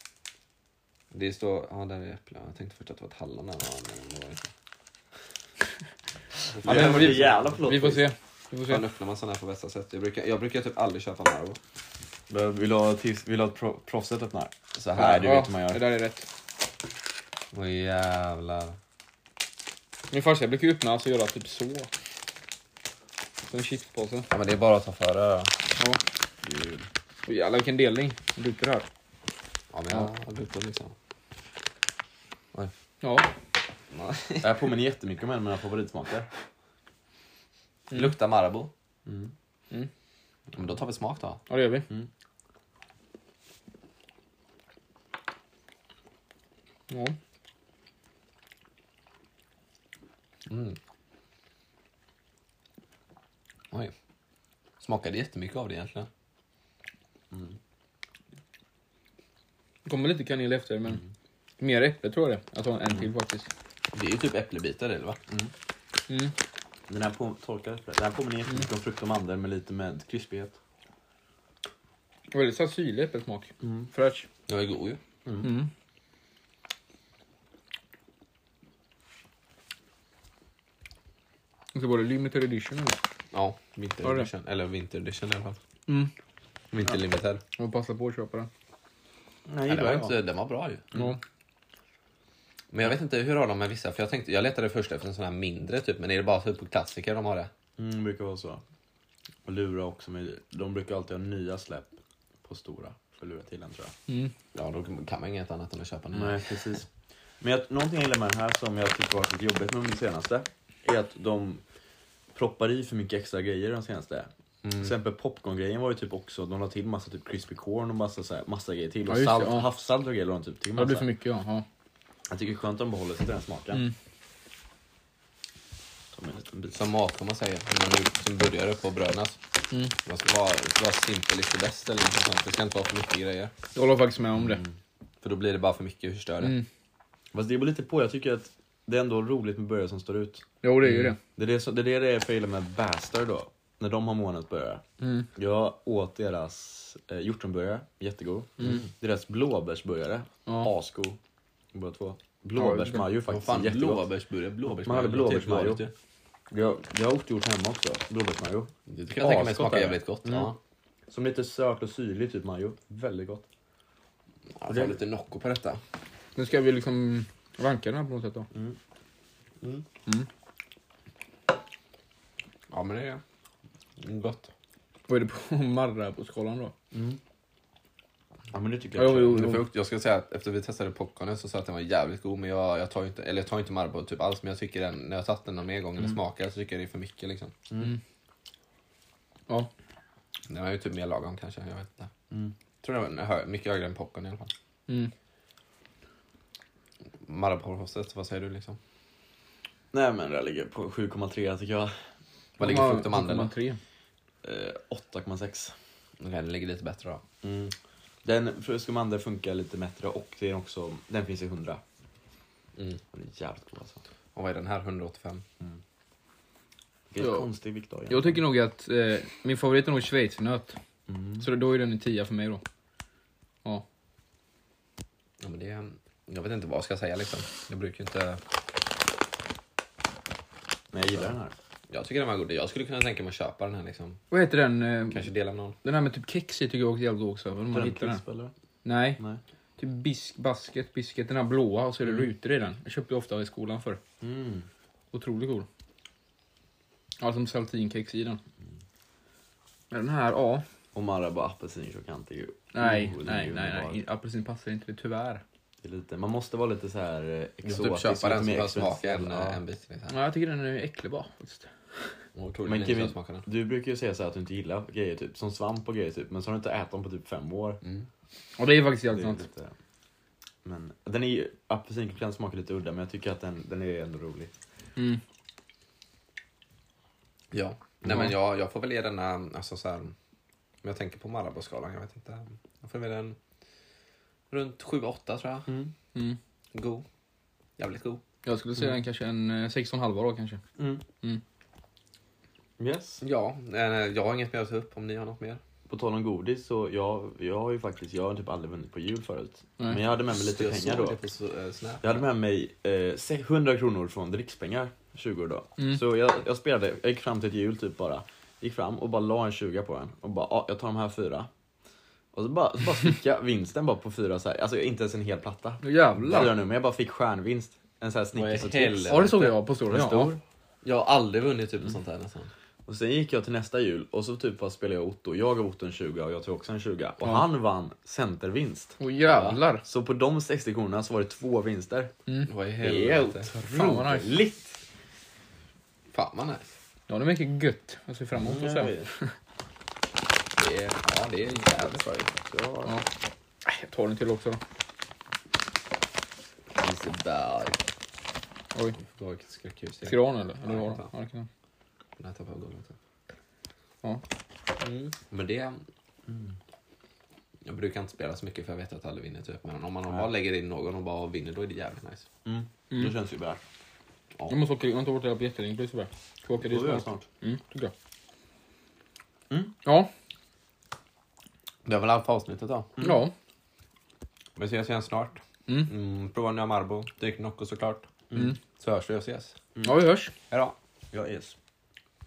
Speaker 1: Det står... Ja, där är äpplen. Jag tänkte först att det var ett hallon där. Ja, men det var det inte.
Speaker 3: Ja, det var ju jävla
Speaker 2: Vi får se. Vi får
Speaker 1: Fan
Speaker 2: se.
Speaker 1: öppnar man såna här på bästa sätt? Jag brukar, jag brukar typ aldrig köpa Marabou.
Speaker 3: Men Vill du ha, tips, vill du ha ett pro- proffset öppnar?
Speaker 1: Så
Speaker 3: Nej,
Speaker 1: här.
Speaker 3: du
Speaker 2: Ja,
Speaker 3: vet hur man gör.
Speaker 2: Det där är rätt.
Speaker 1: Åh jävlar.
Speaker 2: Min farsa brukar ju öppna alltså göra typ så. Som en chipspåse.
Speaker 1: Ja, men det är bara att ta för det då.
Speaker 2: Ja. Oj, Jävlar vilken delning. Duper här.
Speaker 1: Ja, men jag har brutit liksom. Oj.
Speaker 2: Ja.
Speaker 3: Det här påminner jättemycket om en av mina favoritsmaker.
Speaker 1: Luktar Marabou.
Speaker 3: Mm.
Speaker 2: Mm.
Speaker 1: Ja, Men då tar vi smak då.
Speaker 2: ja, det gör vi.
Speaker 3: Mm.
Speaker 2: Ja.
Speaker 1: Oj. Smakade jättemycket av det egentligen.
Speaker 2: Det kommer lite kanel efter, men mer äpple tror jag det Jag tar en till faktiskt.
Speaker 1: Det är ju typ äppelbitar i, eller va?
Speaker 2: Mm.
Speaker 3: Den här, på, torkade äpplen. den här påminner jättemycket om frukt och mandel men lite med krispighet.
Speaker 2: Väldigt så här syrlig äppelsmak. Fräsch.
Speaker 1: Jag är god ju.
Speaker 2: Mm. Och så var det limited edition eller?
Speaker 1: Ja,
Speaker 2: Har
Speaker 1: vinter
Speaker 2: du det?
Speaker 1: edition. Eller vinter edition i alla fall.
Speaker 2: Mm.
Speaker 1: Vinterlimiter.
Speaker 2: Jag passar på att köpa den.
Speaker 3: Nej,
Speaker 1: Ja, det var inte, den var bra ju.
Speaker 2: Ja.
Speaker 1: Men jag vet inte hur har de med vissa. För jag, tänkte, jag letade först efter en sån här mindre typ. Men är det bara typ på klassiker de har det?
Speaker 3: Mm, brukar vara så. Och lura också med, de brukar alltid ha nya släpp på stora för att lura till en tror jag.
Speaker 2: Mm.
Speaker 1: Ja, då kan man inget annat än att köpa den.
Speaker 3: Nej, precis. Men jag, någonting jag gillar med den här som jag tycker varit lite jobbigt med den senaste är att de proppar i för mycket extra grejer den senaste.
Speaker 2: Mm.
Speaker 3: Till exempel popcorngrejen var ju typ också, de la till massa typ crispy corn och massa, så här, massa grejer till.
Speaker 2: Ja,
Speaker 3: Och
Speaker 2: just det,
Speaker 3: salt,
Speaker 2: ja.
Speaker 3: havssalt och grejer la de typ till
Speaker 2: Ja, Det blir för
Speaker 3: massa.
Speaker 2: mycket ja. ja.
Speaker 3: Jag tycker det är skönt att de behåller sig till den smaken.
Speaker 2: Mm.
Speaker 3: Ta med en liten bit.
Speaker 1: Som mat man säger. När man som burgare på Brönas.
Speaker 2: Mm.
Speaker 1: Man ska vara, det ska vara simpel is the best eller något sånt. Det ska inte vara för mycket grejer.
Speaker 2: Jag håller faktiskt med om det.
Speaker 1: För då blir det bara för mycket och förstör det.
Speaker 2: Mm.
Speaker 3: Fast det beror lite på, jag tycker att det är ändå roligt med burgare som står ut.
Speaker 2: Jo, det är ju det.
Speaker 3: Det är det, som- det, är det det är för jag gillar med Bastard då. När de har månadsburgare.
Speaker 2: Mm.
Speaker 3: Jag åt deras eh, hjortronburgare, jättegod. Mm. Deras blåbärsburgare,
Speaker 2: Ja.
Speaker 3: asgod. Båda två. Blåbärsmajo
Speaker 1: Vad
Speaker 3: faktiskt,
Speaker 1: fan,
Speaker 3: jättegott.
Speaker 1: blåbärsburgare? typ Blåbärsmajo?
Speaker 3: Man hade
Speaker 1: det är helt
Speaker 3: blåbärsmajo.
Speaker 1: vanligt ju.
Speaker 3: Jag, jag har gjort gjort hemma också, blåbärsmajo.
Speaker 1: Det kan jag tänka mig
Speaker 3: Asgott
Speaker 1: smakar
Speaker 3: är det.
Speaker 1: jävligt gott. Ja.
Speaker 3: Som lite söt och syrlig typ majo. Väldigt gott.
Speaker 1: Jag tar lite Nocco på detta.
Speaker 2: Nu ska vi liksom ranka den här på något sätt då.
Speaker 1: Ja, men det är gott.
Speaker 2: Vad är det på Marabou-skalan då?
Speaker 3: Ja men det tycker
Speaker 2: Ja,
Speaker 3: jag.
Speaker 2: jo, jo,
Speaker 1: Men
Speaker 2: jo.
Speaker 1: frukt, jag ska säga att efter vi testade popcornen så sa jag att den var jävligt god men jag, jag tar ju inte, eller jag tar ju inte Marabou typ alls men jag tycker den, när jag har tagit den någon mer gång eller smakat så tycker jag det är för mycket liksom.
Speaker 2: Ja.
Speaker 1: Den är ju typ mer lagom kanske, jag vet inte. Tror den är hö- mycket högre än popcorn i alla fall.
Speaker 2: Mm.
Speaker 1: Marabou-frostet, vad säger du liksom?
Speaker 3: Nej men det ligger på 7,3 tycker jag.
Speaker 1: Vad ligger frukt och mandel då?
Speaker 2: 7,3.
Speaker 3: Eh, 8,6.
Speaker 1: Okej, den ligger lite bättre då.
Speaker 3: Mm. Den fruskomander funkar lite bättre och den, är också, den finns i 100.
Speaker 1: Mm.
Speaker 3: Den är jävligt god alltså.
Speaker 1: Och vad är den här? 185?
Speaker 3: Vilken
Speaker 2: Ja.
Speaker 3: konstig Victoria.
Speaker 2: Jag tycker nog att eh, min favorit är nog schweizernöt.
Speaker 3: Mm.
Speaker 2: Så då är den en tia för mig då. Ja.
Speaker 1: Ja, men det, jag vet inte vad jag ska säga liksom. Jag brukar inte...
Speaker 3: Men jag gillar den här.
Speaker 1: Jag tycker den var god. Jag skulle kunna tänka mig att köpa den här liksom.
Speaker 2: Vad heter den? eh,
Speaker 1: Kanske dela med någon.
Speaker 2: Den här med typ kex i tycker jag också är jävligt god också. Om Mm. man hittar den.
Speaker 3: Crisp, eller?
Speaker 2: Nej,
Speaker 3: Nej.
Speaker 2: typ bisk, basket, bisket. Den här blåa och så är det rutor i den. Jag köpte jag ofta i skolan för.
Speaker 3: Mm.
Speaker 2: Otroligt god. Ja, som saltinkex i den. Men den här, ja.
Speaker 3: Och Marabou apelsinchokant är ju...
Speaker 2: Nej,
Speaker 3: Oh, den är
Speaker 2: nej,
Speaker 3: ju
Speaker 2: nej,
Speaker 3: underbar.
Speaker 2: nej. Apelsin passar inte det, tyvärr.
Speaker 3: Det är lite, man måste vara lite så här eh,
Speaker 1: Du
Speaker 3: exotisk.
Speaker 1: får typ köpa
Speaker 3: lite
Speaker 1: den så
Speaker 3: mer
Speaker 1: får jag smaka
Speaker 3: expensive.
Speaker 1: en,
Speaker 3: Ja.
Speaker 1: en bit. Liksom.
Speaker 2: Ja, jag tycker den är äcklig bara. Faktiskt.
Speaker 1: Och otroligt
Speaker 3: Men
Speaker 1: men
Speaker 3: Kevin-
Speaker 1: smakerna.
Speaker 3: Du brukar ju säga så här att du inte gillar grejer typ, som svamp och grejer typ, men så har du inte ätit dem på typ fem år.
Speaker 1: Mm.
Speaker 2: Och det är faktiskt
Speaker 3: Det är
Speaker 2: jävligt
Speaker 3: ju
Speaker 2: sant.
Speaker 3: lite... Men den är ju, apelsinkulan smakar lite udda men jag tycker att den, den är ändå rolig.
Speaker 2: Mm.
Speaker 1: Ja. Nej,
Speaker 2: Ja.
Speaker 1: men jag, jag får väl ge denna, alltså så här, om jag tänker på Marabou-skalan, jag vet inte. Jag får väl ge den runt 7-8 tror jag.
Speaker 2: Mm.
Speaker 1: God. Jävligt god.
Speaker 2: Jag skulle säga en, kanske en eh, sex och en halva då kanske.
Speaker 3: Mm.
Speaker 2: Mm.
Speaker 3: Yes.
Speaker 1: Ja, eh, jag har inget mer att ta upp om ni har något mer.
Speaker 3: På tal om godis så jag, jag har ju faktiskt, jag har typ aldrig vunnit på jul förut.
Speaker 2: Nej.
Speaker 3: Men jag hade med mig lite
Speaker 1: jag
Speaker 3: pengar
Speaker 1: såg
Speaker 3: då.
Speaker 1: det på så- eh, Snap.
Speaker 3: Jag hade med mig eh, se- 100 kronor från drickspengar, 20 år då. Så jag, jag spelade, jag gick fram till ett hjul typ bara. Gick fram och bara la en 20 på den och bara, ah, jag tar de här fyra. Och så bara, så bara fick jag vinsten bara på fyra så här. alltså inte ens en hel platta.
Speaker 2: Nu
Speaker 3: Fyra
Speaker 2: Jävlar!
Speaker 3: nummer, jag bara fick stjärnvinst. En sån här Snickers och
Speaker 1: Vad i
Speaker 3: tips.
Speaker 1: helvete?
Speaker 2: Ja det såg jag på storyn.
Speaker 3: En
Speaker 2: Ja.
Speaker 3: stor.
Speaker 1: Jag har aldrig vunnit typ mm. sånt här nästan.
Speaker 3: Och sen gick jag till nästa jul och så typ bara spelade jag Otto. Jag gav Otto en 20 och jag tog också en 20. Och
Speaker 2: Ja.
Speaker 3: han vann centervinst.
Speaker 2: Åh jävlar!
Speaker 3: Så på de 60 kronorna så var det två vinster.
Speaker 1: Vad i
Speaker 3: Det är
Speaker 1: helvete.
Speaker 2: Fan vad nice.
Speaker 3: otroligt!
Speaker 1: Fan vad nice.
Speaker 2: Ja det är mycket gött. Jag ser fram emot att se.
Speaker 1: Det är, ja, det är jävligt bra gjort.
Speaker 3: Ja.
Speaker 2: Ja. Äh, Jag tar den till också då.
Speaker 1: Liseberg.
Speaker 2: Oj.
Speaker 1: Vi får ta ett skräckhus igen.
Speaker 2: Ska du ha den eller? Eller har
Speaker 1: Nej,
Speaker 2: du?
Speaker 1: fan.
Speaker 2: Ja, det kan jag.
Speaker 1: Nej, tappa av golvet.
Speaker 2: Ja.
Speaker 1: typ. Mm. Men det... mm. Jag brukar inte spela så mycket för jag vet att jag aldrig vinner typ. Men om man bara lägger in någon och bara vinner då är det jävligt nice.
Speaker 3: Mm.
Speaker 2: Mm.
Speaker 3: Det känns ju bra.
Speaker 2: Jag måste åka, jag har inte varit där på jättelänge. Det är Ska åka dit
Speaker 3: Då gör jag
Speaker 2: snart?
Speaker 3: snart.
Speaker 2: Mm, tycker jag.
Speaker 3: Mm.
Speaker 2: Ja,
Speaker 1: Det var väl allt för avsnittet då.
Speaker 2: ja.
Speaker 1: Vi ses igen snart.
Speaker 2: Mm.
Speaker 1: Mm, prova nya Marbo. Drick Nocco såklart.
Speaker 2: Mm.
Speaker 1: Så hörs vi och ses.
Speaker 2: Ja, vi hörs.
Speaker 1: Hejdå.
Speaker 3: Ja, yes.